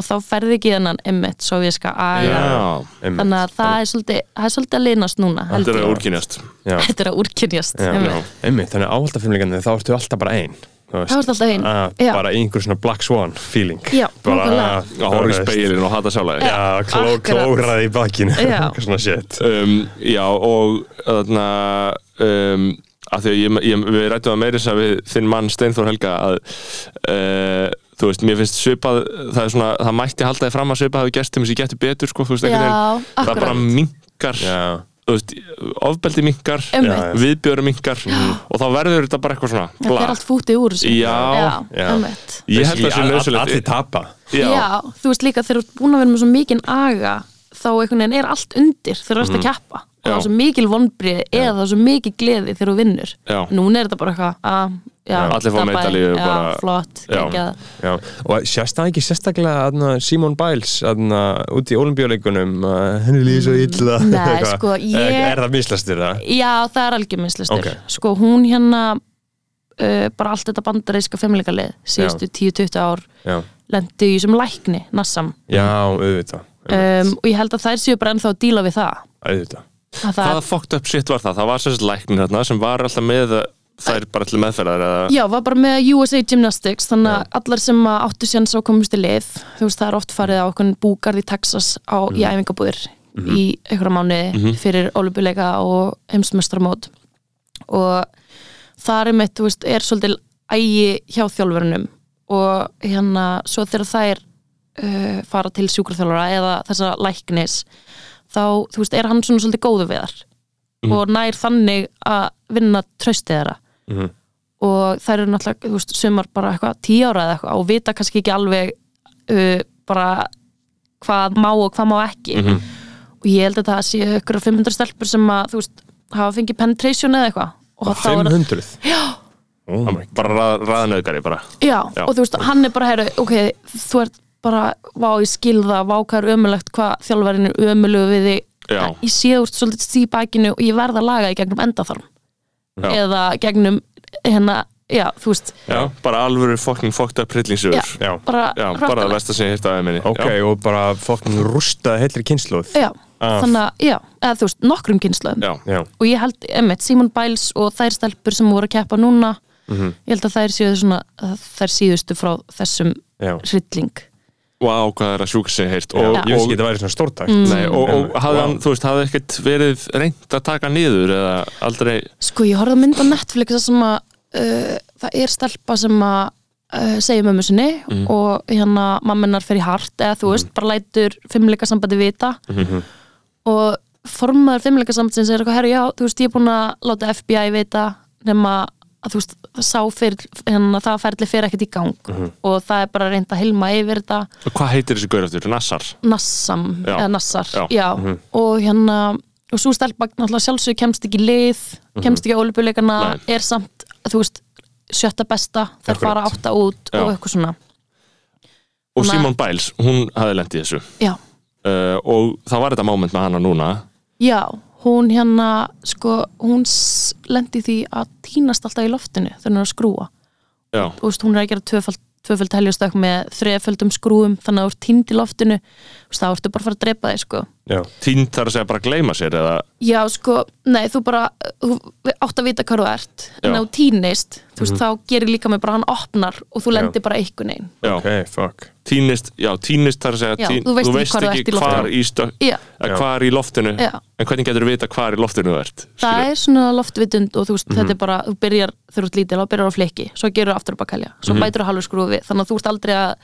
[SPEAKER 4] og þá ferði ekki þennan emmitt sovjíska aga
[SPEAKER 5] já,
[SPEAKER 6] einmitt.
[SPEAKER 4] þannig að það er svolítið, það er svolítið að linast núna
[SPEAKER 5] Mm.
[SPEAKER 4] held
[SPEAKER 5] þetta er
[SPEAKER 4] ég.
[SPEAKER 5] að úrkynjast
[SPEAKER 6] Já.
[SPEAKER 4] þetta er að úrkynjast
[SPEAKER 6] Já.
[SPEAKER 4] einmitt.
[SPEAKER 6] einmitt þannig að áhaldafimleikandi þá ertu alltaf bara einn þú veist.
[SPEAKER 4] Þá ertu alltaf ein,
[SPEAKER 5] Ah,
[SPEAKER 6] Að-
[SPEAKER 4] já.
[SPEAKER 6] bara í einhver svona black swan feeling
[SPEAKER 4] Já, nákvæmlega.
[SPEAKER 6] bara
[SPEAKER 5] að horfa í speilin og hata sjálf
[SPEAKER 6] já, kló,
[SPEAKER 4] akkurat.
[SPEAKER 6] klóraði í bakkinu
[SPEAKER 4] Já.
[SPEAKER 6] eitthvað svona shit
[SPEAKER 5] um, já og þarna um, að því að ég, ég, við rættum að meira þess að við þinn mann Steinþór Helga að uh, þú veist, mér finnst svipað það er svona, það mætti halda þið fram að svipað hafi gerst um þessi getur betur, sko, þú veist,
[SPEAKER 4] Já,
[SPEAKER 5] einhvern veginn það
[SPEAKER 4] akkurat.
[SPEAKER 5] bara minkar
[SPEAKER 6] já,
[SPEAKER 5] þú veist, ofbeldi minkar
[SPEAKER 4] Einmitt.
[SPEAKER 6] Já,
[SPEAKER 5] viðbjörn minkar og þá verður þetta bara eitthvað svona
[SPEAKER 4] það
[SPEAKER 5] bla.
[SPEAKER 4] er allt fútið úr þessu
[SPEAKER 5] Já,
[SPEAKER 6] já.
[SPEAKER 4] einmitt.
[SPEAKER 5] ég held að það sé
[SPEAKER 6] Basically, allir
[SPEAKER 5] nöðsulegt
[SPEAKER 6] tapa
[SPEAKER 4] Já. þú veist líka þegar þú ert búin að vera með svo mikinn aga þá einhvern veginn er allt undir þegar þú ert að keppa og það
[SPEAKER 5] Mm. Já.
[SPEAKER 4] er svo mikil vonbrið eða það er svo mikil gleði þegar þú vinnur
[SPEAKER 5] Já.
[SPEAKER 4] núna er þetta bara eitthvað að já,
[SPEAKER 5] allir fá
[SPEAKER 4] dabbaði,
[SPEAKER 5] medalíu,
[SPEAKER 4] já,
[SPEAKER 5] bara-
[SPEAKER 4] flott,
[SPEAKER 5] Já.
[SPEAKER 4] geggjað.
[SPEAKER 6] Já, og sérst það ekki sérstaklega aðna, Simon Biles aðna, út í olimpíuleikunum að henni líði svo illa
[SPEAKER 4] Nei,
[SPEAKER 6] eitthvað. Eh,
[SPEAKER 4] sko, ég-
[SPEAKER 6] er, er það mislastur það?
[SPEAKER 4] Já, það er algjörminnslestur
[SPEAKER 6] Ok.
[SPEAKER 4] Sko, hún hérna uh, bara allt þetta bandaríska femleikalið síðustu 10-20 ár
[SPEAKER 6] Já,
[SPEAKER 4] lendi í sem lækni, Nassam
[SPEAKER 6] já auðvitað
[SPEAKER 4] um,
[SPEAKER 6] um,
[SPEAKER 4] og ég held að þær séu bara ennþá að díla við það,
[SPEAKER 6] auðvitað
[SPEAKER 4] að það
[SPEAKER 5] hvaða fucked up shit var það? það var sérst læknir þarna sem var alltaf með þær bara til meðferðar eða
[SPEAKER 4] Já, var bara með USA Gymnastics þannig að allar sem að áttu séns á komist í lið þú veist það er oft farið á okkur búgarð í Texas á, í æfingabúðir í einhverja mánuði fyrir olubuleika og heimsmestramót og þar er mitt, þú veist, er svolítil ægi hjá þjálfurinnum og hérna, svo þegar þær uh, fara til sjúkraþjálfara eða þessa læknis þá, þú veist, er hann svona svolítið góðu við þar og nær þannig að vinna tröstið þeirra og þær eru náttúrulega, þú veist, sumar bara eitthvað tíu ára eða eitthvað og vita kannski ekki alveg uh, bara hvað má og hvað má ekki
[SPEAKER 5] Mhm.
[SPEAKER 4] og ég held að það sé ykkur 500 stelpur sem að, þú veist, hafa fengið penetration eða eitthvað og þá er
[SPEAKER 6] 500?
[SPEAKER 4] já,
[SPEAKER 6] Oh my
[SPEAKER 4] Mm.
[SPEAKER 5] bara rað, raðnöðgari bara
[SPEAKER 4] já,
[SPEAKER 5] Já.
[SPEAKER 4] og þú veist, hann er bara, heru, ok, þú ert bara, vá, ég skil það, vá, hvað er ömulegt hvað þjálfarinn er ömulegu við þig
[SPEAKER 5] Já.
[SPEAKER 4] En ég sé úr svolítið stíf bakinu og ég verð að laga í gegnum endaþarm
[SPEAKER 5] Já.
[SPEAKER 4] eða gegnum hérna, já, þú veist
[SPEAKER 5] Já, bara alvöru fucking fucked up hryllingsögur
[SPEAKER 4] Já.
[SPEAKER 6] Já.
[SPEAKER 4] bara
[SPEAKER 5] Já, bara að
[SPEAKER 4] hrættalegt.
[SPEAKER 5] versta sem ég hérta aðeins minni
[SPEAKER 6] Ok,
[SPEAKER 5] Já.
[SPEAKER 6] og bara fokkin rústa heilri kynnslóð.
[SPEAKER 4] já,
[SPEAKER 6] Af.
[SPEAKER 4] þannig að, já, eða þú veist, nokkrum kynnslöðum
[SPEAKER 5] Já.
[SPEAKER 6] Já.
[SPEAKER 4] og ég held, emmitt, Simon Biles og þær stelpur sem voru að keppa núna
[SPEAKER 6] Mhm.
[SPEAKER 4] ég held að þær séu svona þær síðustu frá þessum
[SPEAKER 6] Já.
[SPEAKER 4] hrylling
[SPEAKER 5] Vá, hvað er að sjúka sem ég heyrt
[SPEAKER 6] Og,
[SPEAKER 5] og,
[SPEAKER 6] ég veist
[SPEAKER 5] og,
[SPEAKER 6] ekki að það væri svona stórtakt. Mm.
[SPEAKER 5] nei, og, og
[SPEAKER 6] Já.
[SPEAKER 5] hafði
[SPEAKER 6] Vá.
[SPEAKER 5] hann, þú veist, hafði ekkert verið reynd að taka hann niður eða aldrei
[SPEAKER 4] Sko, ég horfði að mynda Netflix þar sem að uh, það er stelpa sem að uh, segja mömmu sinni og hérna mamminar fer í hart eða þú veist, bara lætur fimmleikasambandi vita og formaður fimmleikasambandsins er eitthvað, herru, já, þú veist, ég er búin að láta FBI vita nema að þú veist, það sá fyrir, hérna það ferli fyrir ekkert í gang og það er bara reynd að hilma yfir þetta
[SPEAKER 5] Og Hvað heitir þessi gaur eftir? Nassar?
[SPEAKER 4] Nassam,
[SPEAKER 5] Já.
[SPEAKER 4] eða Nassar
[SPEAKER 5] Já. Mhm.
[SPEAKER 4] og hérna og svo stelpa náttúrulega sjálfsög kemst ekki í lið kemst ekki á olífbjörleikana,
[SPEAKER 5] Mhm. Nei.
[SPEAKER 4] er samt þú veist, sjötta besta þær
[SPEAKER 6] Akkurat.
[SPEAKER 4] fara átta út
[SPEAKER 5] Já.
[SPEAKER 4] og eitthvað svona
[SPEAKER 5] Og
[SPEAKER 4] Hún að-
[SPEAKER 5] Simon Biles, hún hafði lent í þessu
[SPEAKER 4] já,
[SPEAKER 5] uh, og það var þetta moment með hana núna
[SPEAKER 4] já, hún hérna sko, hún s- lendi því að týnast alltaf í loftinu þegar hún er að skrúa
[SPEAKER 5] Já,
[SPEAKER 4] þú veist, hún er að gera tvöfald tvöföld heljastökk með þreföldum skrúum þannig að þú ert týnd í loftinu þú veist, þá ertu bara að fara að drepa þig sko
[SPEAKER 6] Já.
[SPEAKER 5] tínd þar að segja bara að gleyma sér eða
[SPEAKER 4] Já, sko, nei, þú bara þú átt að vita hvað þú ert en
[SPEAKER 5] Já. Mhm.
[SPEAKER 4] þá týnist, þú veist, þá gerir líka mig bara hann opnar og þú lendir bara einhvern veginn
[SPEAKER 5] Já,
[SPEAKER 6] Ok, fuck.
[SPEAKER 5] tínist, já, tínist þar að segja
[SPEAKER 4] Já,
[SPEAKER 5] tín,
[SPEAKER 4] þú veist ekki hvar þú ert í
[SPEAKER 5] hvar
[SPEAKER 4] loftinu.
[SPEAKER 5] í stök
[SPEAKER 4] Já,
[SPEAKER 6] Já.
[SPEAKER 5] hvar í loftinu
[SPEAKER 4] Já.
[SPEAKER 5] en hvernig getur þú vita hvar í loftinu þú ert
[SPEAKER 4] það
[SPEAKER 5] skilur?
[SPEAKER 4] er svona loftvitund og þú veist,
[SPEAKER 5] Mhm.
[SPEAKER 4] þetta er bara, þú byrjar þegar þú ert lítil og byrjar á fleiki, svo gerur aftur upp að kalja svo
[SPEAKER 5] Mhm.
[SPEAKER 4] bætur þú halvur skrúfi, þannig að þú ert aldrei að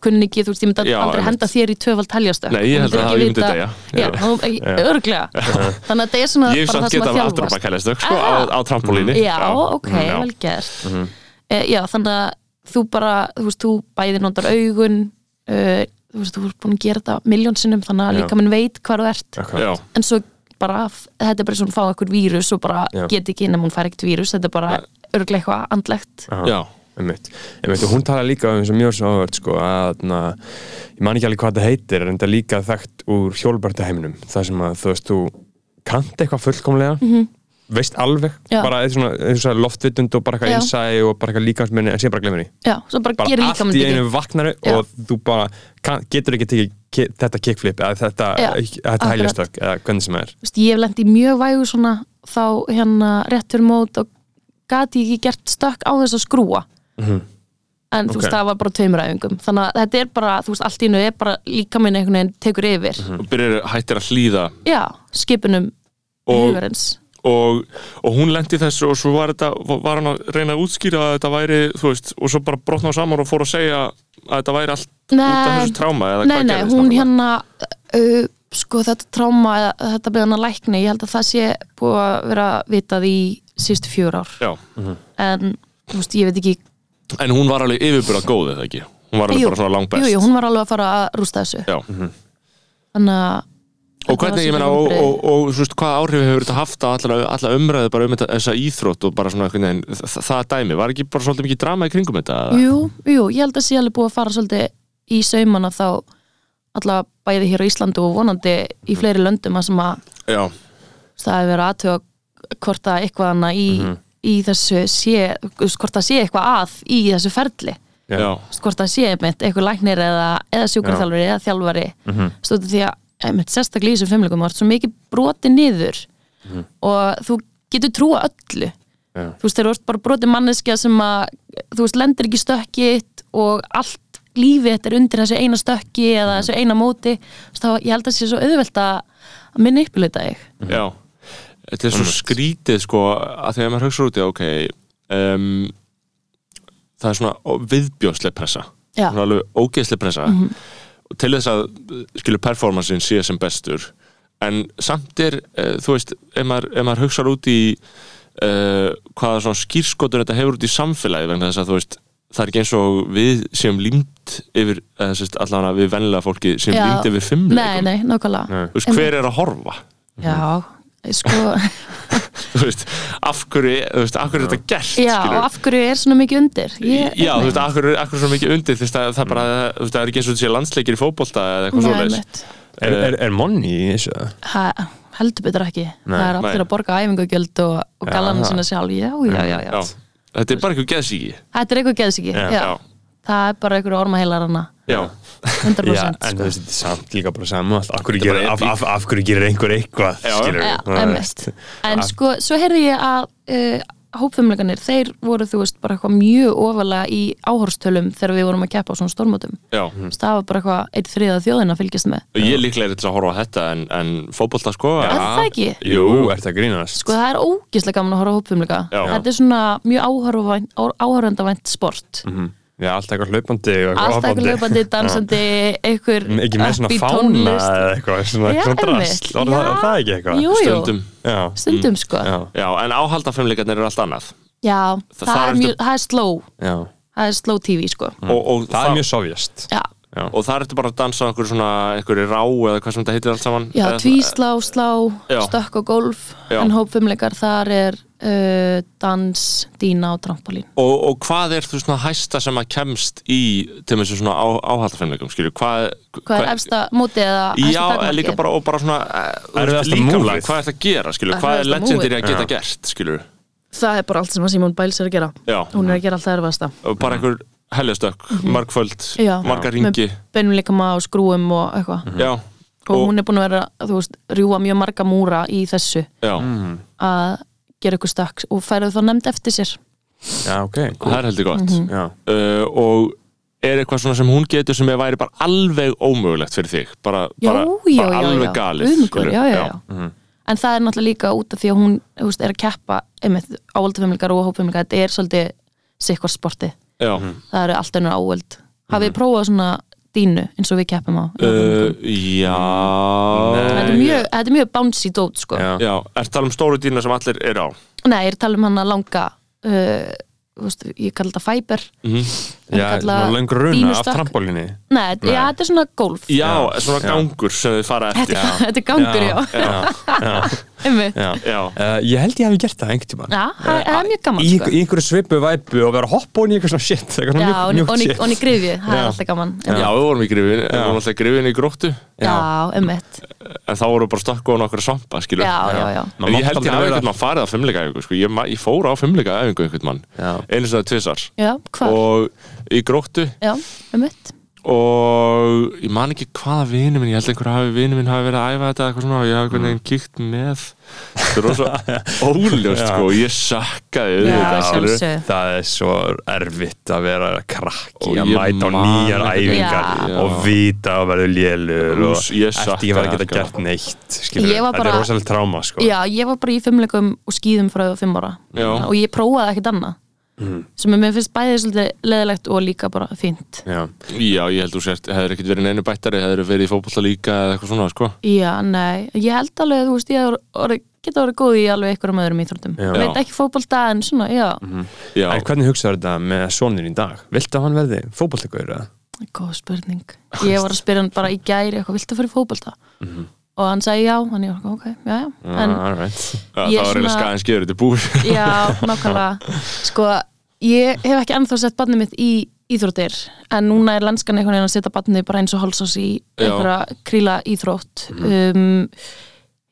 [SPEAKER 4] kunni ekki, þú veist, ég myndi
[SPEAKER 5] Já,
[SPEAKER 4] aldrei
[SPEAKER 5] einmitt.
[SPEAKER 4] henda þér í tvöfald heljastökk
[SPEAKER 5] Nei, ég held að það- ég myndi deyja.
[SPEAKER 4] Já,
[SPEAKER 5] Já.
[SPEAKER 4] þú- ekki- örglega Þannig að þetta er svona
[SPEAKER 5] Ég hef
[SPEAKER 4] bara
[SPEAKER 5] samt
[SPEAKER 4] það sem
[SPEAKER 5] getað
[SPEAKER 4] að
[SPEAKER 5] að aftur
[SPEAKER 4] þjálfast
[SPEAKER 5] að kæla stök sko, á,
[SPEAKER 4] Ah.
[SPEAKER 5] á trampolíni
[SPEAKER 4] já, ok,
[SPEAKER 6] Mm,
[SPEAKER 5] Já.
[SPEAKER 4] vel gert
[SPEAKER 6] Mhm.
[SPEAKER 4] e, já, þannig að þú bara þú veist, þú bæði notar augun uh, þú veist, þú ert búin að gera þetta miljón sinnum, þannig að
[SPEAKER 6] Já.
[SPEAKER 4] líka minn veit hvar þú ert
[SPEAKER 6] Akkurat.
[SPEAKER 5] Já.
[SPEAKER 4] en svo bara, þetta er bara svona að fá eitthvað vírus og bara
[SPEAKER 6] Já.
[SPEAKER 4] get ekki inn ef hún fær ekkert vírus, þetta er bara örglega eitthvað andlegt
[SPEAKER 6] Aha.
[SPEAKER 5] Já.
[SPEAKER 6] Einmitt. Einmitt. og hún tala líka um sem mjög svo áhört sko, að na, ég man ekki alveg hvað það heitir en það er líka þekkt úr hjólbartaheiminum það sem að þú veist þú kannt eitthvað fullkomlega veist alveg,
[SPEAKER 4] Mhm. Já.
[SPEAKER 6] bara eitthvað svona, eitthvað svona loftvitund og bara eitthvað
[SPEAKER 4] Já.
[SPEAKER 6] innsæi og bara eitthvað líkamsminni en síðan bara glemur því
[SPEAKER 4] já, svo bara,
[SPEAKER 6] bara
[SPEAKER 4] gerir
[SPEAKER 6] allt
[SPEAKER 4] líka
[SPEAKER 6] í einu vaknar
[SPEAKER 4] Já.
[SPEAKER 6] og þú bara kann, getur ekki tekið ki þetta kickflip eða þetta,
[SPEAKER 4] Já,
[SPEAKER 6] þetta
[SPEAKER 4] akkurat.
[SPEAKER 6] hæljastök eða hvernig sem það er
[SPEAKER 4] veist, ég hef lent í mjög vægu svona þá hérna rétt fyrir mót og gati ekki gert stökk á þess að skrúa
[SPEAKER 5] Mhm.
[SPEAKER 4] en þú veist
[SPEAKER 6] Ok.
[SPEAKER 4] það var bara tveimur æfingum þannig að þetta er bara, þú veist allt í nú er bara líka minn einhvern veginn tekur yfir
[SPEAKER 5] og byrjar hættir að hlýða
[SPEAKER 4] já, skipunum
[SPEAKER 5] Og-
[SPEAKER 4] hugarins
[SPEAKER 5] og, og hún lendi þessu og svo var, þetta, var hann að reyna að útskýra að þetta væri, þú veist, og svo bara brotna á saman og fór að segja að þetta væri allt út af
[SPEAKER 4] Nei.
[SPEAKER 5] þessu tráma eða
[SPEAKER 4] nei,
[SPEAKER 5] hvað
[SPEAKER 4] nei,
[SPEAKER 5] gerðist
[SPEAKER 4] hún
[SPEAKER 5] nákvæmlega?
[SPEAKER 4] hérna uh, sko þetta tráma eða þetta beðan að lækni, ég held að það sé búið að vera vitað í sístu fjör ár
[SPEAKER 5] Já,
[SPEAKER 4] en þú veist, ég veit ekki
[SPEAKER 5] En hún var alveg yfirbúra góð eða ekki Hún var alveg bara svona langbest
[SPEAKER 4] jú, jú, hún var alveg að fara að rústa þessu
[SPEAKER 5] Já.
[SPEAKER 4] þannig að
[SPEAKER 5] Og hvernig, ég meina, og, og, og, og veist, hvaða áhrif hefur þetta haft á alla, alla umræðu bara um þetta- þessa íþrótt og bara svona einhvern veginn þa- það dæmi, var ekki bara svolítið mikið drama í kringum þetta? eða?
[SPEAKER 4] Jú, jú, ég held að sé alveg búið að fara svolítið í saumana þá allavega bæði hér á Íslandu og vonandi í fleiri löndum að sem að
[SPEAKER 5] Já,
[SPEAKER 4] það hefur verið aðtöga hvort að eitthvað hana í, í þessu sé, þú veist, hvort að sé eitthvað að í þessu ferli
[SPEAKER 5] já, já,
[SPEAKER 4] Þú veist, hvort að sé einmitt eitthvað læknir eða, eða sjúkarþjálfari eða þjálfari mm
[SPEAKER 5] Mhm.
[SPEAKER 4] -hmm. stóttu því að einmitt sérstaklega í þessum fimmleikum þú ert svo mikið broti niður
[SPEAKER 5] Mhm.
[SPEAKER 4] og þú getur trúa öllu
[SPEAKER 6] Já.
[SPEAKER 4] þú veist þegar þú ert bara broti manneskja sem að þú veist lendir ekki í stökkitt og allt lífið þetta er undir þessu eina stökki eða
[SPEAKER 5] Mhm.
[SPEAKER 4] þessu eina móti Þú veist, þá ég held að sé svo auðvelt að að minna uppleita þig
[SPEAKER 5] Þetta er svo skrítið sko að þegar maður högstur út í ok um, það er svona viðbjóðsleg pressa
[SPEAKER 4] Já. Mhm.
[SPEAKER 5] Hún er alveg ógeðsleg pressa og til þess að uh, skilur performancein sé sem bestur en samt er, uh, þú veist ef maður, ef maður hugsar út í uh, hvaða svona skýrskotur þetta hefur út í samfélagi vegna þess að þú veist það er ekki eins og við séum límt yfir, eða sérst allavega við venlega fólki séum
[SPEAKER 4] Já.
[SPEAKER 5] límt yfir
[SPEAKER 4] Nei,
[SPEAKER 5] fimmleikum
[SPEAKER 4] nei,
[SPEAKER 5] Mhm.
[SPEAKER 4] nákvæmlega
[SPEAKER 5] þú veist, hver er að horfa?
[SPEAKER 4] Já, sko
[SPEAKER 5] þú veist, af hverju, þú veist, af hverju er þetta gert
[SPEAKER 4] Já,
[SPEAKER 5] skilurðu?
[SPEAKER 4] og af hverju er svona mikið undir? Ég,
[SPEAKER 5] Já, þú veist, akkur, akkur svo mikið undir þú veist, það, það, bara,
[SPEAKER 6] Mm.
[SPEAKER 5] þú veist, það er ekki eins og þessi landsleikir í fótbolta eða eitthvað
[SPEAKER 4] Nei,
[SPEAKER 5] svoleiðis
[SPEAKER 4] mitt.
[SPEAKER 6] Er, er, er monni í þessu?
[SPEAKER 4] Ha, heldur betur ekki það er allir
[SPEAKER 5] nei.
[SPEAKER 4] að borga æfingugjöld og, og galanum
[SPEAKER 6] það.
[SPEAKER 4] sína sjálf já, já, já, já.
[SPEAKER 5] Já, þetta er bara eitthvað geðsíki
[SPEAKER 4] þetta er eitthvað geðsiki já,
[SPEAKER 5] já.
[SPEAKER 4] það er bara eitthvað ormaheilar hana
[SPEAKER 5] Já,
[SPEAKER 4] 100%
[SPEAKER 6] Já, en
[SPEAKER 4] sko.
[SPEAKER 6] þú veist, þetta er samt líka bara saman allt. Af hverju
[SPEAKER 5] Þetta er
[SPEAKER 6] gerir,
[SPEAKER 5] bara
[SPEAKER 6] af, af, af hverju gerir einhver eitthvað,
[SPEAKER 5] Já.
[SPEAKER 6] skilur
[SPEAKER 4] Já, einmitt. en sko, svo heyrði ég að uh, hópfumleikanir, þeir voru þú veist bara eitthvað mjög ofalega í áhorstölum þegar við vorum að keppa á svona stormótum
[SPEAKER 5] já
[SPEAKER 6] Mhm. Mm.
[SPEAKER 4] Þú veist, það var bara eitthvað eitt þriða þjóðin að fylgjast með
[SPEAKER 5] Og ég líklega er til að horfa á þetta en, en fótbolta sko
[SPEAKER 4] Er það ekki?
[SPEAKER 6] Jú, ert að grínast
[SPEAKER 4] Sko það er ógislega gaman að horfa á hópfumleika
[SPEAKER 5] Já.
[SPEAKER 4] Þetta er svona mjög áhörvendavænt sport
[SPEAKER 6] Mhm. Já, allt eitthvað hlaupandi og eitthvað
[SPEAKER 4] Alltaf eitthvað
[SPEAKER 6] hoppandi.
[SPEAKER 4] löpandi, dansandi, einhver
[SPEAKER 6] Mm, Ekki með svona
[SPEAKER 4] upbeat
[SPEAKER 6] fána
[SPEAKER 4] tónlist.
[SPEAKER 6] eða eitthvað, svona
[SPEAKER 4] Já,
[SPEAKER 6] eitthvað
[SPEAKER 4] einmitt.
[SPEAKER 6] drast Er það
[SPEAKER 4] Já.
[SPEAKER 6] er það ekki eitthvað?
[SPEAKER 4] Jú, jú,
[SPEAKER 5] Stundum Mm,
[SPEAKER 6] Já,
[SPEAKER 4] stundum sko
[SPEAKER 6] já,
[SPEAKER 4] Já,
[SPEAKER 5] Já, en áhaldafimleikarnir eru allt annað
[SPEAKER 4] það,
[SPEAKER 5] þar
[SPEAKER 4] er
[SPEAKER 5] ertu- Mm.
[SPEAKER 4] mjög, það er slow
[SPEAKER 6] já
[SPEAKER 4] Það er slow TV sko
[SPEAKER 5] og, og,
[SPEAKER 6] Mm. Það er mjög sovjast
[SPEAKER 4] Já,
[SPEAKER 5] og það ertu bara að dansa okkur svona einhverju rá eða hvað sem þetta heitir allt saman
[SPEAKER 4] já
[SPEAKER 5] Eða-
[SPEAKER 4] tvíslá, slá,
[SPEAKER 5] eh, Já.
[SPEAKER 4] stökk og golf
[SPEAKER 5] Já.
[SPEAKER 4] En hópfumleikar þar er uh, dans, dýna og trampolín
[SPEAKER 5] og, og hvað er þú svona hæsta sem að kemst í til með þessu svona á, áhaldafimleikum skilur, hvað,
[SPEAKER 4] Hvað er efsta móti eða
[SPEAKER 5] Já,
[SPEAKER 4] hæsta
[SPEAKER 5] en líka
[SPEAKER 4] takmarkið?
[SPEAKER 5] bara, og bara svona eh, þú
[SPEAKER 6] Erfiðasta
[SPEAKER 5] veist, líkamlega,
[SPEAKER 6] múfið.
[SPEAKER 5] hvað er það að gera, skilur, hvað er
[SPEAKER 4] Erfiðasta
[SPEAKER 5] legendir að
[SPEAKER 6] múfið.
[SPEAKER 5] geta
[SPEAKER 6] Já.
[SPEAKER 5] gert, skilur
[SPEAKER 4] Það er bara allt sem að Simon Biles er að gera
[SPEAKER 5] Já,
[SPEAKER 4] Hún er að gera alltaf erfasta
[SPEAKER 5] og bara einhver heljastökk, margföld
[SPEAKER 4] Mhm. Já.
[SPEAKER 5] margar ringi,
[SPEAKER 4] Beinum líkama og skrúum og eitthvað
[SPEAKER 5] já
[SPEAKER 4] og, hún er búin að vera, þú veist, rjúa mjög marga múra í þessu
[SPEAKER 5] já,
[SPEAKER 4] að gera ykkur stakk og færa þá nefnd eftir sér
[SPEAKER 6] Já, ok,
[SPEAKER 5] það er heldur gott
[SPEAKER 4] Mhm.
[SPEAKER 6] Já,
[SPEAKER 5] uh, og er eitthvað svona sem hún getur sem er væri bara alveg ómögulegt fyrir þig, bara,
[SPEAKER 4] já,
[SPEAKER 5] bara,
[SPEAKER 4] já,
[SPEAKER 5] bara
[SPEAKER 4] já,
[SPEAKER 5] alveg
[SPEAKER 4] já.
[SPEAKER 5] galið
[SPEAKER 4] Guð minn
[SPEAKER 5] skilur.
[SPEAKER 4] góður, já, já, já. en það er náttúrulega líka út af því að hún þú veist, er að keppa einmitt, áöldafimleikar og hópfimleikar þetta er svolítið sikkvart sporti
[SPEAKER 5] já.
[SPEAKER 4] það eru allt önnur áöld hafið þið prófað svona dínu eins og við keppum á
[SPEAKER 5] Uh, já
[SPEAKER 4] þetta, er mjög, þetta er mjög bouncy dót sko.
[SPEAKER 6] já,
[SPEAKER 5] já, er tala um stóru dýna sem allir er á
[SPEAKER 4] nei, ég er að tala um hann að langa uh, þú veist, ég kalla þetta fæber
[SPEAKER 6] já, svona löngur runa af trampolíni
[SPEAKER 4] nei, nei, já, þetta er svona golf
[SPEAKER 5] já, svona gangur sem þau fara eftir
[SPEAKER 4] þetta, er- þetta er gangur, já, já. einmitt
[SPEAKER 6] Já,
[SPEAKER 5] já,
[SPEAKER 6] Eh, Ég held ég hefði gert það einhvern tímann
[SPEAKER 4] Já, það það er mjög gaman
[SPEAKER 6] Í
[SPEAKER 4] sko.
[SPEAKER 6] í einhverju svipu væpu og vera að hoppa hún í eitthvað svona shit eitthvað
[SPEAKER 4] Já,
[SPEAKER 6] svona
[SPEAKER 4] og
[SPEAKER 6] mjúkt-
[SPEAKER 4] og
[SPEAKER 6] mjúkt
[SPEAKER 4] í-
[SPEAKER 6] shit.
[SPEAKER 4] og í grifju, það er
[SPEAKER 6] Já.
[SPEAKER 4] alltaf gaman
[SPEAKER 5] Já, við vorum í grifin, við vorum alltaf í grifin í gróttu
[SPEAKER 4] Já, ummitt
[SPEAKER 5] en þá vorum við bara stökku á nokkra svampa, skilur
[SPEAKER 4] Já, já, já
[SPEAKER 5] En ég held ég hafi einhvern mann farið á fimmleikaæfingu sko. ég, ma- ég fór á fimmleikaæfingu einhvern mann
[SPEAKER 6] Já.
[SPEAKER 5] einu sinni eða tvisar
[SPEAKER 4] Já, hvað?
[SPEAKER 5] og í gróttu
[SPEAKER 4] Já, ummitt
[SPEAKER 5] og ég man ekki hvaða vinu minn ég held einhver hafi vinu minn hafi verið að æfa þetta eitthvað svona og ég hafi einhvern veginn kíkt með þetta er rosa óljóst sko og ég sakkaði
[SPEAKER 4] Já,
[SPEAKER 5] auðvitað, skilurðu.
[SPEAKER 4] sjálfsög
[SPEAKER 6] Það er svo erfitt að vera krakki
[SPEAKER 5] Og
[SPEAKER 6] að
[SPEAKER 5] ég
[SPEAKER 6] mæta á
[SPEAKER 5] man
[SPEAKER 6] nýjar
[SPEAKER 5] þetta ekki.
[SPEAKER 6] æfingar
[SPEAKER 5] Já.
[SPEAKER 6] og vita að verður lélur og
[SPEAKER 5] Ús,
[SPEAKER 6] ert
[SPEAKER 5] ég
[SPEAKER 6] ekki að vera
[SPEAKER 5] sakna
[SPEAKER 6] að geta
[SPEAKER 5] þetta, sko.
[SPEAKER 6] gert neitt skilur.
[SPEAKER 4] Ég var
[SPEAKER 6] Þetta er
[SPEAKER 4] bara-
[SPEAKER 6] rosalega tráma sko.
[SPEAKER 4] Já, ég var bara í fimmleikum og skýðum frá fimm ára
[SPEAKER 5] Já.
[SPEAKER 4] og ég prófaði ekkert annað sem er mér finnst bæðið svolítið leðilegt og líka bara fínt
[SPEAKER 6] Já.
[SPEAKER 5] Já, ég held þú sért, hefur ekkert verið neinu bættari hefur verið í fótbolta líka eða eitthvað svona sko
[SPEAKER 4] Já, nei, ég held alveg að þú veist ég hef orðið- geta orðið góð í alveg einhverjum öðrum íþróttum
[SPEAKER 6] Já.
[SPEAKER 4] veit ekki fótbolta en svona, já,
[SPEAKER 5] Já,
[SPEAKER 6] En hvernig hugsaður þetta með sonin í dag? Viltu að hann verði fótbollegur?
[SPEAKER 4] Góð spurning. Ég var að spyrja hann bara í gæri eitthvað, viltu að fara í fótbolta? Og hann sagði já, hann ég var ok, já, já. En
[SPEAKER 6] Right.
[SPEAKER 5] Mhm. Ah, það var
[SPEAKER 4] ég svona-
[SPEAKER 5] eiginlega skæðin skjöður þetta er búið
[SPEAKER 4] já, nákvæmlega. Sko, ég hef ekki ennþá sett barnið mitt í íþróttir, en núna er landskan einhvern veginn að setja barnið bara eins og hálsás í
[SPEAKER 5] Já. Mhm.
[SPEAKER 4] einhverja kríla íþrótt. Um,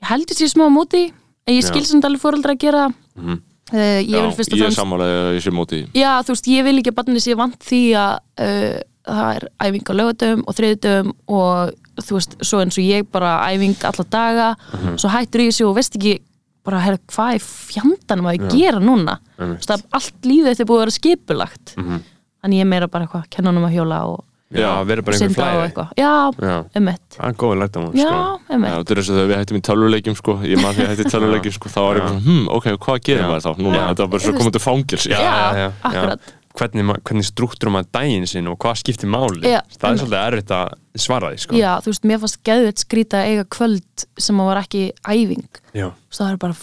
[SPEAKER 4] ég held ég sé smá á móti, en ég skil sem þetta alveg fóreldra að gera. Mm. Uh, ég vil fyrst og
[SPEAKER 5] Mhm. ég er
[SPEAKER 4] fremst
[SPEAKER 5] sammálaðið að ég sé móti í.
[SPEAKER 4] Já, þú veist, ég vil ekki að barnið sé vant því að uh, það er æfing á lögutum og þriðutum og þú veist, svo eins og ég bara æfing alla daga,
[SPEAKER 6] Mhm.
[SPEAKER 4] svo hættur ég þessu og veist ekki bara, herra, hvað er fjandanum að ég gera núna? Þú veist, það er allt lífið þetta er búið að vera skipulagt.
[SPEAKER 6] Mhm.
[SPEAKER 4] Þannig ég er meira bara eitthvað, kennanum að hjóla og
[SPEAKER 6] Já, verður bara einhver Ah,
[SPEAKER 4] synda og
[SPEAKER 6] flæði
[SPEAKER 4] eitthvað. Já,
[SPEAKER 6] Já. Sko.
[SPEAKER 4] emmett.
[SPEAKER 6] Það er góð lært á hann
[SPEAKER 4] Já,
[SPEAKER 5] Já,
[SPEAKER 4] emmett.
[SPEAKER 5] þetta er eins og þegar við hættum í tölvuleikjum sko. ég maður því að hætti í tölvuleikjum sko. þá var ég bara, svona, hm, ok, hvað gerir maður þá núna, þetta var bara svo komandi fangils
[SPEAKER 4] Já,
[SPEAKER 6] já,
[SPEAKER 4] akkurat.
[SPEAKER 6] Hvernig, ma- hvernig strúktur maður daginn sinn og hvað skiptir máli
[SPEAKER 4] Já,
[SPEAKER 6] það er
[SPEAKER 4] einmitt.
[SPEAKER 6] svolítið erfitt að svara því sko.
[SPEAKER 4] Já, þú veist, mér fannst geðveitt skrýta að eiga kvöld sem að var ekki æfing.
[SPEAKER 6] Já.
[SPEAKER 4] Þú veist, það er bara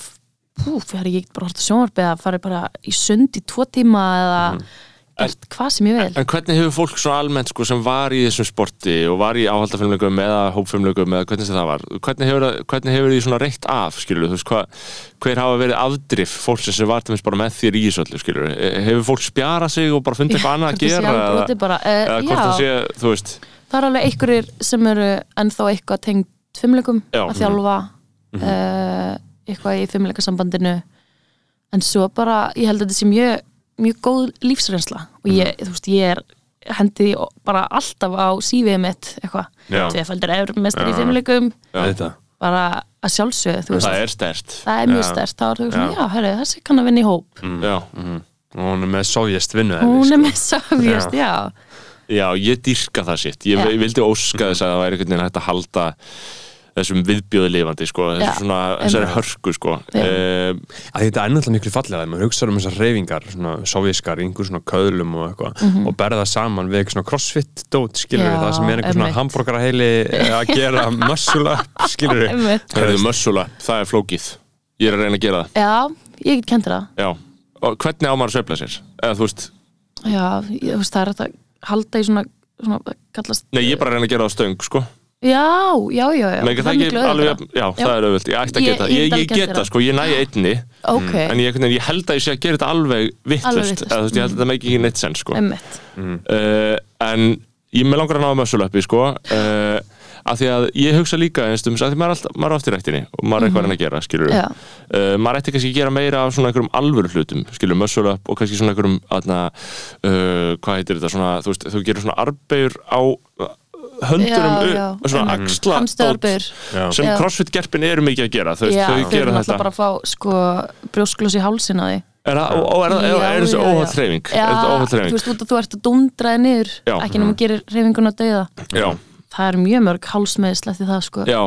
[SPEAKER 4] pú, fyrir ég get bara hort að sjónvarpið að fara bara í sund í tvo tíma eða gert hvað sem ég vil
[SPEAKER 5] Mm. En hvernig hefur fólk svona almennt sko, sem var í þessum sporti og var í áhaldafilmleikum eða hópfilmleikum eða hvernig sem það var hvernig hefur, það- hvernig hefur því svona reitt af skilur, veist, hva, hver hafa verið afdrif fólksins sem var til dæmis bara með þér í þessu öllu skilur. hefur fólk spjara sig og bara fundið eitthvað annað að
[SPEAKER 4] Hvort það sé
[SPEAKER 5] gera
[SPEAKER 4] alveg
[SPEAKER 5] eða,
[SPEAKER 4] brotið bara, eh,
[SPEAKER 5] eða hvort
[SPEAKER 4] já.
[SPEAKER 5] það sé, þú veist
[SPEAKER 4] það er alveg einhverjir sem eru ennþá eitthvað tengd fimmleikum
[SPEAKER 5] Já. mhm.
[SPEAKER 4] að þjálfa mm eitthvað í fimmleikasambandinu en svo bara, ég held að þetta sé mjög mjög góð lífsreynsla og ég,
[SPEAKER 5] Mhm.
[SPEAKER 4] þú veist, ég er hendi því bara alltaf á CV mitt eitthvað,
[SPEAKER 5] Já.
[SPEAKER 4] tveifaldur efrumestar í
[SPEAKER 5] Já.
[SPEAKER 4] fimmleikum
[SPEAKER 7] þetta
[SPEAKER 4] bara að sjálfsögðu, þú veist
[SPEAKER 5] það er stert
[SPEAKER 4] það er mjög stert, þá er þú svona, já, herri, þessi kann að vinna í hóp
[SPEAKER 5] já.
[SPEAKER 6] og hún er með sko. sovjast vinnu
[SPEAKER 4] hún er með sovjast, já
[SPEAKER 5] já, ég dýrka það sitt ég
[SPEAKER 4] Já.
[SPEAKER 5] vildi óska þess að það væri einhvern veginn hægt að halda þessum viðbjóði lifandi sko,
[SPEAKER 4] Já,
[SPEAKER 5] þessu svona, þessari hörku sko.
[SPEAKER 4] Já.
[SPEAKER 5] um,
[SPEAKER 6] að þetta er náttúrulega miklu fallega maður hugsaður um þessar reyfingar, svona sovjískar í einhver svona köðlum og eitthvað og berða saman við eitthvað svona crossfit dót skilur
[SPEAKER 4] Mhm. Já,
[SPEAKER 6] það sem er einhver svona
[SPEAKER 4] einmitt.
[SPEAKER 6] hambúrgaraheili að gera muscle up skilur
[SPEAKER 4] Einmitt.
[SPEAKER 5] Herðu, mössula, það er flókið Ég er að reyna að gera það
[SPEAKER 4] já, ég get kennt þér það
[SPEAKER 5] Já. Og hvernig á maður að sveifla sér? Eða, þú veist,
[SPEAKER 4] Já, ég, þú veist, það er hægt að halda í svona, svona það kallast,
[SPEAKER 5] nei, ég er bara að reyna að gera það á stöng sko.
[SPEAKER 4] já, já, já, já
[SPEAKER 5] Menga,
[SPEAKER 4] er
[SPEAKER 5] það
[SPEAKER 4] miklu
[SPEAKER 5] ekki alveg,
[SPEAKER 4] auðveldara.
[SPEAKER 5] já, það er auðvöld Ég ætti að
[SPEAKER 4] Ég-
[SPEAKER 5] geta, ég,
[SPEAKER 4] ég get
[SPEAKER 5] ég,
[SPEAKER 4] alveg
[SPEAKER 5] ég
[SPEAKER 4] gert
[SPEAKER 5] geta
[SPEAKER 4] það.
[SPEAKER 5] sko, ég næ einni
[SPEAKER 4] Ok,
[SPEAKER 5] Mm, En ég, einhvern veginn- ég held að ég sé að gera þetta alveg
[SPEAKER 4] Alveg
[SPEAKER 5] vittlust
[SPEAKER 4] vitlaust,
[SPEAKER 5] Eða, þú veist, ég held að þetta með ekki neitt sens sko.
[SPEAKER 4] emmitt
[SPEAKER 5] uh, en ég með langar að ná mössulöppi sko uh, af því að ég hugsa líka einstum af því maður er, alltaf, maður er oft í rættinni og maður er eitthvað að reyna að gera skilur
[SPEAKER 4] Já.
[SPEAKER 5] uh, maður ætti kannski að gera meira af svona einhverjum alvöru hlutum skilur mössulöpp og kannski svona einhverjum atna, uh, hvað heitir þetta svona þú, veist, þú gerir svona arbegur á eh, höndunum
[SPEAKER 4] Já,
[SPEAKER 5] upp,
[SPEAKER 4] já,
[SPEAKER 5] svona
[SPEAKER 4] einmitt.
[SPEAKER 5] axla
[SPEAKER 4] Hamstöðarbeyggjur.
[SPEAKER 5] dót sem
[SPEAKER 4] Já.
[SPEAKER 5] crossfit gerpin eru mikið að gera þau,
[SPEAKER 4] Já,
[SPEAKER 5] þau
[SPEAKER 4] þau eru
[SPEAKER 5] gera
[SPEAKER 4] alltaf
[SPEAKER 5] þetta
[SPEAKER 4] bara að fá sko brjósklós í hálsina því
[SPEAKER 5] er, það- og, og er, er, er, er þessi óháð þreifing
[SPEAKER 4] Já,
[SPEAKER 5] er þetta óháð
[SPEAKER 4] þú
[SPEAKER 5] þreifing
[SPEAKER 4] veist, út að þú ert að dundraði niður
[SPEAKER 5] Já. Mm.
[SPEAKER 4] ekki nema að gerir reyfinguna dauða
[SPEAKER 5] já,
[SPEAKER 4] Það er mjög mörg hálsmeðislegt í það sko
[SPEAKER 5] já,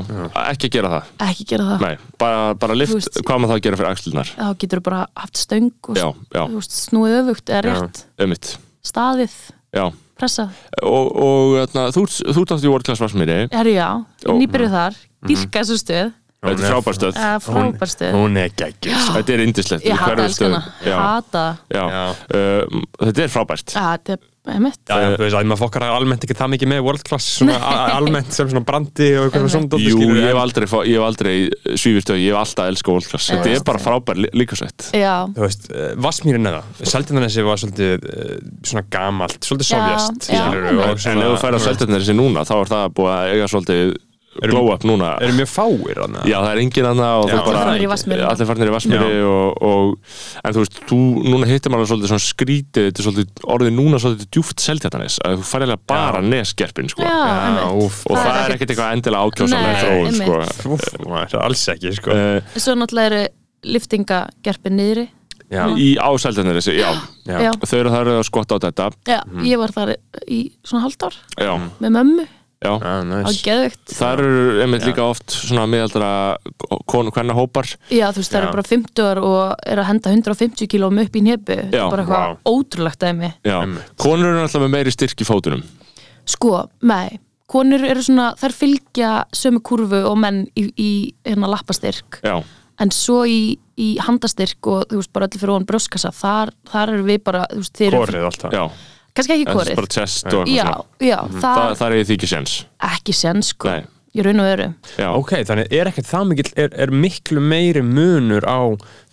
[SPEAKER 5] ekki að gera það
[SPEAKER 4] ekki gera það,
[SPEAKER 5] Nei, bara, bara lift,
[SPEAKER 4] Þú veist-
[SPEAKER 5] hvað maður það að gera fyrir axlunar
[SPEAKER 4] þá getur bara haft stöng og
[SPEAKER 5] Já, já,
[SPEAKER 4] þú veist, snúið öfugt eða rétt,
[SPEAKER 5] ömmitt
[SPEAKER 4] staðið
[SPEAKER 5] Já,
[SPEAKER 4] pressað
[SPEAKER 5] og, og þarna, þú, ert- þú tótt í World Class Vassmýri
[SPEAKER 4] Herri, já,
[SPEAKER 5] Ó.
[SPEAKER 4] nýbyrjuð þar, dýrka þessu stuð
[SPEAKER 5] Þetta er frábær stöð,
[SPEAKER 4] Það er frábær stuð
[SPEAKER 6] hún er geggjus
[SPEAKER 5] þetta er indislegt
[SPEAKER 4] Ég hata elskana,
[SPEAKER 5] Já,
[SPEAKER 4] ég hata
[SPEAKER 5] já,
[SPEAKER 6] Já.
[SPEAKER 5] Uh, þetta er frábært
[SPEAKER 4] það Þetta er mitt
[SPEAKER 6] Já, já, þú veist, að maður fokkar almennt ekki það mikið með world class svona a- almennt sem svona brandi og eitthvað svona dóttir
[SPEAKER 5] Jú,
[SPEAKER 6] skilur
[SPEAKER 5] ég hef aldrei, fá- ég hef aldrei svífistöð, ég hef alltaf elskað World Class Þetta er bara frábær lí- líkasett
[SPEAKER 4] Já,
[SPEAKER 6] Þú veist, eh, Vassmýrin eða Seldindanesi var svolítið eh, svona gamalt svolítið
[SPEAKER 4] Já,
[SPEAKER 6] sovjast
[SPEAKER 4] já.
[SPEAKER 6] skilurðu, og
[SPEAKER 5] En
[SPEAKER 6] svona-
[SPEAKER 5] ef þú færa seldarnir þessi núna, þá er það búið að eiga svolítið glow up núna
[SPEAKER 6] eru mjög fáir þarna.
[SPEAKER 5] Já, það er engin annað og
[SPEAKER 6] Já.
[SPEAKER 5] þú bara
[SPEAKER 4] Allir farnir í Vatnsmýrina.
[SPEAKER 5] Allir farnir í Vassmýri og, og, En þú veist, þú, núna hittir maður svolítið svona skrítið Þetta er svolítið, orðið núna svolítið djúft seldjartanis Að þú færðilega bara nesgerpin, sko
[SPEAKER 4] já, einmitt
[SPEAKER 6] úff,
[SPEAKER 5] Og það,
[SPEAKER 4] það er
[SPEAKER 5] er ekkert eitthvað endilega ákjósanlega
[SPEAKER 4] Nei,
[SPEAKER 5] þróun, sko
[SPEAKER 4] einmitt.
[SPEAKER 6] úff, maður, alls ekki sko.
[SPEAKER 5] uh,
[SPEAKER 4] Svo náttúrulega eru liftingagerpin niðri
[SPEAKER 6] já,
[SPEAKER 5] Í á seldjartanis, já
[SPEAKER 6] já.
[SPEAKER 4] Mm. Já,
[SPEAKER 5] Þau eru þar að skotta á þetta
[SPEAKER 4] já ég var þar í svona haldár
[SPEAKER 5] Já,
[SPEAKER 4] með mömmu
[SPEAKER 5] já
[SPEAKER 6] Ah,
[SPEAKER 4] á
[SPEAKER 6] nice.
[SPEAKER 4] geðvegt
[SPEAKER 5] Þar eru einmitt líka oft svona miðaldra konu hvenna hópar
[SPEAKER 4] Já, þú veist, það
[SPEAKER 6] Já.
[SPEAKER 4] eru bara 50 og eru að henda 150 kílóum upp í nebu Þetta
[SPEAKER 5] Já,
[SPEAKER 4] er bara eitthvað
[SPEAKER 6] vá.
[SPEAKER 4] ótrúlegt að mig
[SPEAKER 5] Já,
[SPEAKER 6] Einmitt.
[SPEAKER 5] konur eru alltaf með meiri styrk í fótunum
[SPEAKER 4] Sko, nei, konur eru svona þær fylgja sömu kurvu og menn í, í hérna lappastyrk
[SPEAKER 5] Já,
[SPEAKER 4] en svo í, í handastyrk og þú veist bara öllu fyrir ofan brjóskassa þar, þar eru við bara, þú veist, þeir eru
[SPEAKER 6] korið alltaf
[SPEAKER 5] já,
[SPEAKER 4] kannski ekki
[SPEAKER 5] en það er bara
[SPEAKER 4] korið
[SPEAKER 5] test og eitthvað
[SPEAKER 4] já,
[SPEAKER 5] svona Mhm.
[SPEAKER 4] já,
[SPEAKER 5] Það,
[SPEAKER 4] það,
[SPEAKER 5] það er ég því ekki sens
[SPEAKER 4] ekki sen sko
[SPEAKER 5] Nei.
[SPEAKER 4] í raun og veru
[SPEAKER 5] Já,
[SPEAKER 6] ok, þannig er ekkert það mikill er, er miklu meiri munur á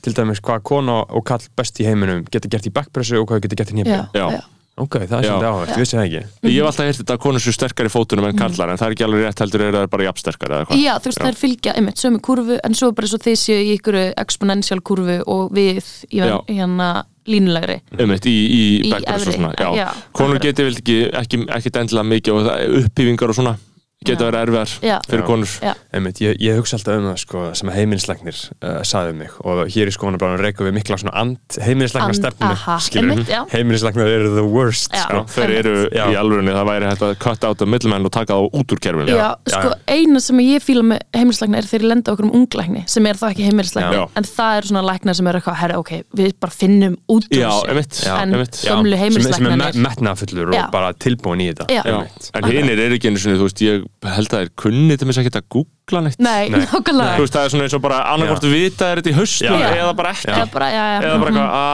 [SPEAKER 6] til dæmis hvað kona og kall best í heiminum geta gert í backpressu og hvað geta gert í nefni
[SPEAKER 4] já,
[SPEAKER 5] Já.
[SPEAKER 4] já.
[SPEAKER 6] ok, það er
[SPEAKER 5] Já.
[SPEAKER 6] svolítið áhægt, ég vissi það ekki
[SPEAKER 5] Ég hef alltaf heyrt þetta að konur séu sterkar í fótunum en karlar en það er ekki alveg rétt heldur eru það bara jafnsterkar eða hvað
[SPEAKER 4] Mhm. já, þú veist, þær fylgja einmitt sömu kurvu en svo bara svo þeir séu í ykkur exponential kurvu og við í
[SPEAKER 5] Já.
[SPEAKER 4] hérna línulegri
[SPEAKER 5] Einmitt, Um í, í,
[SPEAKER 4] Í
[SPEAKER 5] backpress og
[SPEAKER 4] efri,
[SPEAKER 5] svona já.
[SPEAKER 4] já,
[SPEAKER 5] Konur
[SPEAKER 4] akkurat.
[SPEAKER 5] geti vel ekki, ekki, ekki endilega mikið og það- upphýfingar og svona geta
[SPEAKER 4] Já.
[SPEAKER 5] verið erfiðar
[SPEAKER 4] Já.
[SPEAKER 5] fyrir
[SPEAKER 6] Já.
[SPEAKER 5] konur
[SPEAKER 4] já,
[SPEAKER 6] Einmitt, ég, ég hugsa alltaf um það sko, sem að heimilislegnir uh, sagði um mig og hér í skoðanum bara reykum við mikla svona and heimilislegnar
[SPEAKER 4] And- aha, einmitt,
[SPEAKER 6] stefnu
[SPEAKER 4] já.
[SPEAKER 6] heimilislegnar eru the worst
[SPEAKER 4] Já.
[SPEAKER 6] sko.
[SPEAKER 5] Þeir eru
[SPEAKER 6] Já.
[SPEAKER 5] í alvörunni, það væri hægt að cut out of middlemen og taka þá út úr kerfinu
[SPEAKER 4] Já,
[SPEAKER 6] já,
[SPEAKER 4] sko, eina sem ég fíla með heimilislækna er þeir lenda okkur um unglækni sem er þá ekki
[SPEAKER 5] Já.
[SPEAKER 4] heimilislækni, en það er svona læknar sem er eitthvað, herra, ok, við bara finnum út úr
[SPEAKER 5] Já,
[SPEAKER 4] þessu."
[SPEAKER 5] einmitt, já,
[SPEAKER 4] en
[SPEAKER 5] einmitt.
[SPEAKER 6] Já,
[SPEAKER 4] gömlu
[SPEAKER 6] sem, sem er
[SPEAKER 4] heimilislæknarnir
[SPEAKER 6] me- metnaðarfullur
[SPEAKER 4] Já.
[SPEAKER 6] og bara tilbúin í þetta
[SPEAKER 4] Já.
[SPEAKER 5] Já,
[SPEAKER 6] Einmitt.
[SPEAKER 5] en hinnir er ekki einu sinni, þú veist, ég held að þeir kunni til mér sækert að googla ruggla neitt
[SPEAKER 4] Nei,
[SPEAKER 6] Nei.
[SPEAKER 4] nákvæmlega
[SPEAKER 5] Þú veist, það er svona eins og bara annarkvort vita er þetta í haustum
[SPEAKER 4] Já.
[SPEAKER 5] eða bara ekki
[SPEAKER 4] Eða bara, já, Mhm. já,
[SPEAKER 5] eða bara eitthvað, á,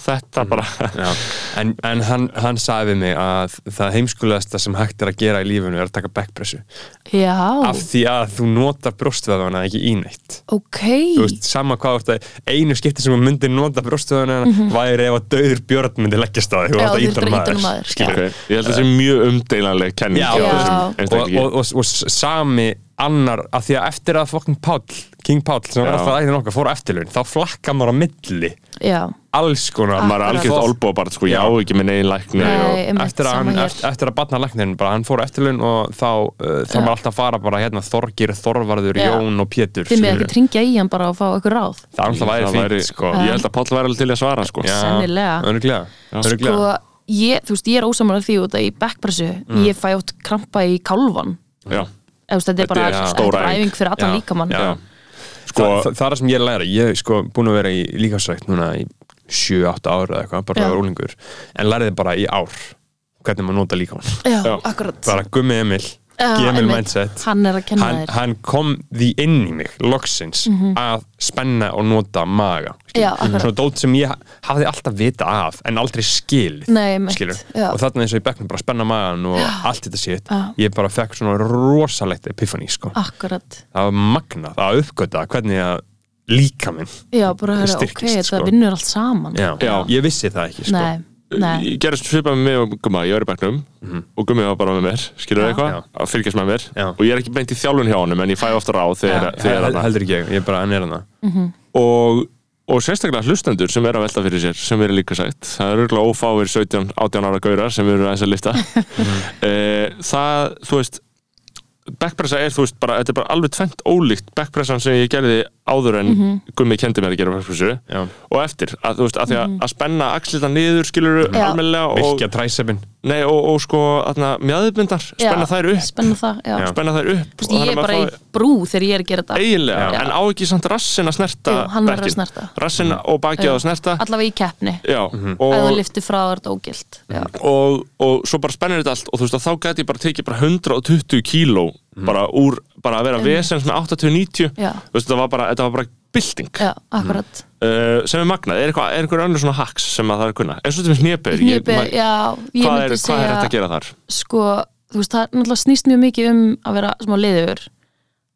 [SPEAKER 5] þetta bara
[SPEAKER 6] Já, en, en hann, hann sagði við mig að það heimskulegasta sem hægt er að gera í lífinu er að taka backpressu
[SPEAKER 4] Já,
[SPEAKER 6] af því að þú notar brjóstvöðvana ekki í neitt
[SPEAKER 4] ok
[SPEAKER 6] þú veist, sama hvað þú ert að einu skipti sem þú myndir nota brjóstvöðvana væri ef að dauður björn myndi leggjast á því og
[SPEAKER 4] Mhm. Já,
[SPEAKER 6] það
[SPEAKER 4] þú ert
[SPEAKER 6] ítar
[SPEAKER 4] að ýta honum
[SPEAKER 6] maður
[SPEAKER 4] maður,
[SPEAKER 5] Ok, Ég held að það sé mjög umdeilanleg kenning
[SPEAKER 6] Já.
[SPEAKER 5] á þessum
[SPEAKER 4] Já.
[SPEAKER 6] og,
[SPEAKER 5] einstaklingi.
[SPEAKER 6] og, og, og sami annar af því að eftir að fokkin Páll King Páll sem
[SPEAKER 5] Já.
[SPEAKER 6] var alltaf æðin okkar fór á eftirlaun þá flakkar maður á milli
[SPEAKER 4] Já,
[SPEAKER 6] alls konar
[SPEAKER 5] maður er algjörð olbóbart sko, já, ekki minn eigin lækni
[SPEAKER 4] Nei,
[SPEAKER 5] og,
[SPEAKER 4] einmitt,
[SPEAKER 6] eftir að,
[SPEAKER 4] sama
[SPEAKER 6] hann,
[SPEAKER 4] hér.
[SPEAKER 6] eftir, eftir að batna læknirinn bara, hann fór á eftirlaun og þá uh, þá
[SPEAKER 4] Já.
[SPEAKER 6] maður alltaf að fara bara hérna Þorgir, Þorvarður,
[SPEAKER 4] Já.
[SPEAKER 6] Jón og Pétur
[SPEAKER 4] þið með
[SPEAKER 6] skilurðu.
[SPEAKER 4] ekki tringja í hann bara og fá eitthvað ráð
[SPEAKER 6] það er alltaf væri fínt sko.
[SPEAKER 5] ég held að Páll væri alveg til í að svara sko.
[SPEAKER 6] Já,
[SPEAKER 4] Sennilega.
[SPEAKER 6] örugglega,
[SPEAKER 4] Sko,
[SPEAKER 6] örugglega.
[SPEAKER 4] ég, þú veist, ég er ósamanlega því út að í backpressu, ég fæ átt krampa í kálvan
[SPEAKER 5] Já.
[SPEAKER 4] Eða, þú veist, Þetta er
[SPEAKER 5] Þetta
[SPEAKER 4] bara
[SPEAKER 5] er
[SPEAKER 4] þetta
[SPEAKER 5] stór
[SPEAKER 4] er bara
[SPEAKER 5] æfing.
[SPEAKER 4] æfing fyrir allan
[SPEAKER 6] Já,
[SPEAKER 4] líkamann
[SPEAKER 6] já.
[SPEAKER 5] Sko,
[SPEAKER 6] það, það, það er það sem ég læra ég hef sko búin að vera í líkasrækt núna í 7-8 ára eða eitthvað bara
[SPEAKER 4] Já.
[SPEAKER 6] að vera úlingur en læriði bara í ár hvernig maður nota líkamann
[SPEAKER 4] Já,
[SPEAKER 5] Já.
[SPEAKER 4] akkurat
[SPEAKER 6] bara gummi Emil,
[SPEAKER 4] Já,
[SPEAKER 6] gemil
[SPEAKER 4] einmitt.
[SPEAKER 6] mindset
[SPEAKER 4] Hann er að kenna
[SPEAKER 6] hann,
[SPEAKER 4] þér
[SPEAKER 6] hann kom því inn í mig loksins að spenna og nota maga skilur.
[SPEAKER 4] Já, akkurat.
[SPEAKER 6] svona dót sem ég ha- hafði alltaf vita af en aldrei skil
[SPEAKER 4] Nei, einmitt, já.
[SPEAKER 6] og þarna eins og í bekknum bara spenna magan og allt þetta sétt
[SPEAKER 4] Já.
[SPEAKER 6] ég bara fekk svona rosalegt epifaní sko.
[SPEAKER 4] Akkurat
[SPEAKER 6] það var magnað að uppgöta hvernig að líka minn
[SPEAKER 4] Já, bara höra, ok,
[SPEAKER 6] Styrkist,
[SPEAKER 4] þetta
[SPEAKER 6] sko.
[SPEAKER 4] vinnur allt saman
[SPEAKER 6] Já.
[SPEAKER 5] Já.
[SPEAKER 6] Ég vissi það ekki sko.
[SPEAKER 4] Nei, nei,
[SPEAKER 5] ég gerist svipað með mig og Gumma, ég var í bekknum og Gummi var bara með mér, skilur
[SPEAKER 4] Já.
[SPEAKER 5] eitthvað
[SPEAKER 6] Mhm. Já.
[SPEAKER 5] að fylgjast með mér,
[SPEAKER 6] Já.
[SPEAKER 5] og ég er ekki beint í þjálfun hjá honum, en ég fæ ofta ráð þegar
[SPEAKER 6] Ég
[SPEAKER 5] þegar
[SPEAKER 6] hel-
[SPEAKER 5] þarna.
[SPEAKER 6] heldur ekki ég, ég bara enn er hana
[SPEAKER 5] og, og sérstaklega hlustendur sem er að velta fyrir sér, sem er líka sætt það eru örgulega ófáir 17, 18 ára gaurar sem eru aðeins að lifta Eh, það, þú veist backpressa er, þú veist, bara, þetta er bara alveg tvennt ólíkt backpressan sem ég gerði áður en
[SPEAKER 4] Mhm.
[SPEAKER 5] gummi kendi mér að gera backpressu
[SPEAKER 6] Já.
[SPEAKER 5] og eftir, að, þú veist, að því að, að spenna axlita niður, skilur
[SPEAKER 4] Mhm. Já.
[SPEAKER 5] almennilega og,
[SPEAKER 6] virkja træsefin
[SPEAKER 5] nei, og, og sko, aðna, mjöðbindar, spenna
[SPEAKER 4] Já.
[SPEAKER 5] þær upp
[SPEAKER 4] spenna það já. Þú
[SPEAKER 5] spenna þær upp
[SPEAKER 4] veist, Ég er bara í
[SPEAKER 5] fái-
[SPEAKER 4] brú þegar ég er að gera þetta
[SPEAKER 5] eiginlega,
[SPEAKER 4] Já.
[SPEAKER 5] en á ekki samt rassin að snerta
[SPEAKER 4] Jú, hann verður að
[SPEAKER 5] bekkinn.
[SPEAKER 4] snerta.
[SPEAKER 5] rassin og bakið
[SPEAKER 4] Já.
[SPEAKER 5] að snerta
[SPEAKER 4] Allavega í keppni
[SPEAKER 5] já,
[SPEAKER 4] Ef þú
[SPEAKER 5] og,
[SPEAKER 4] liftir frá það er þetta ógilt Já,
[SPEAKER 5] og, og svo bara spennir þetta allt og þú veist að þá gæti ég bara tekið bara 120 kíló bara úr, bara að vera vesens með 80-90
[SPEAKER 4] Já.
[SPEAKER 5] Þú veist, þetta var bara, þetta var bara bylting
[SPEAKER 4] já akkurat
[SPEAKER 5] uh, sem er magnað, er eitthvað, er eitthvað önnur svona hacks sem að það er að kunna, eins og þetta finnst nýjabir
[SPEAKER 4] Hnipi, já, ég
[SPEAKER 5] hvað er,
[SPEAKER 4] myndi
[SPEAKER 5] hvað er þetta að
[SPEAKER 4] segja
[SPEAKER 5] gera þar
[SPEAKER 4] sko, þú veist, það er náttúrulega snýst mjög mikið um að vera smá leiður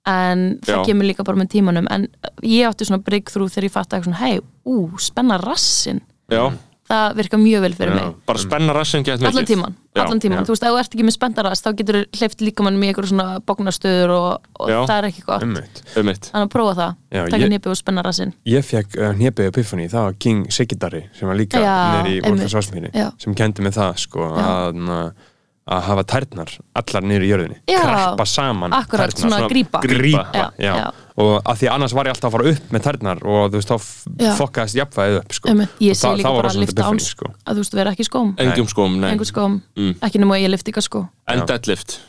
[SPEAKER 4] en það
[SPEAKER 5] Já.
[SPEAKER 4] kemur líka bara með tímanum en ég átti svona breakthrough þegar ég fatt að svona, hei, ú, spenna rassin
[SPEAKER 5] já,
[SPEAKER 4] það virka mjög vel fyrir
[SPEAKER 6] Já.
[SPEAKER 4] mig
[SPEAKER 5] bara spenna rassin gett mikið
[SPEAKER 4] allan tíman,
[SPEAKER 5] Já.
[SPEAKER 4] allan tíman,
[SPEAKER 6] já.
[SPEAKER 4] þú veist, ef þú ert ekki með spenndarast þá getur þú hleyft líkamannum í einhverjum svona bóknastöður og, og
[SPEAKER 5] Já.
[SPEAKER 4] það er ekki gott
[SPEAKER 6] Einmitt.
[SPEAKER 5] um eitt
[SPEAKER 4] þannig að prófa það,
[SPEAKER 6] Já,
[SPEAKER 4] taka
[SPEAKER 6] ég-
[SPEAKER 4] ég... og spenna rassinn
[SPEAKER 6] ég fekk uh, hnébið epifani það var King Sigidari sem var líka
[SPEAKER 4] Já,
[SPEAKER 6] nýri í
[SPEAKER 4] einmitt.
[SPEAKER 6] Volkarsvarsmýri
[SPEAKER 4] Já.
[SPEAKER 6] sem kendi mig það sko, að, na, að hafa tærnar allar nýri í jörðinni
[SPEAKER 4] Já.
[SPEAKER 6] krappa saman
[SPEAKER 4] Akkurat, svona grípa.
[SPEAKER 6] grípa.
[SPEAKER 4] Já,
[SPEAKER 6] Já.
[SPEAKER 4] já.
[SPEAKER 6] og að því annars var ég alltaf að fara upp með tærnar og þú veist þá
[SPEAKER 4] Já.
[SPEAKER 6] f- fokkaðist jafnvæðið upp sko.
[SPEAKER 4] Einmitt, ég
[SPEAKER 6] Og
[SPEAKER 4] segi
[SPEAKER 6] það-
[SPEAKER 4] líka
[SPEAKER 6] það
[SPEAKER 4] bara
[SPEAKER 6] var
[SPEAKER 4] að
[SPEAKER 6] rosalegt
[SPEAKER 4] lifta
[SPEAKER 6] epiphany,
[SPEAKER 4] áns
[SPEAKER 6] sko. Mm.
[SPEAKER 4] að þú veist, vera ekki í skóm
[SPEAKER 5] engum skóm, nei,
[SPEAKER 4] einhver skóm, ekki nema að ég lift ykkar skó
[SPEAKER 5] en deadlift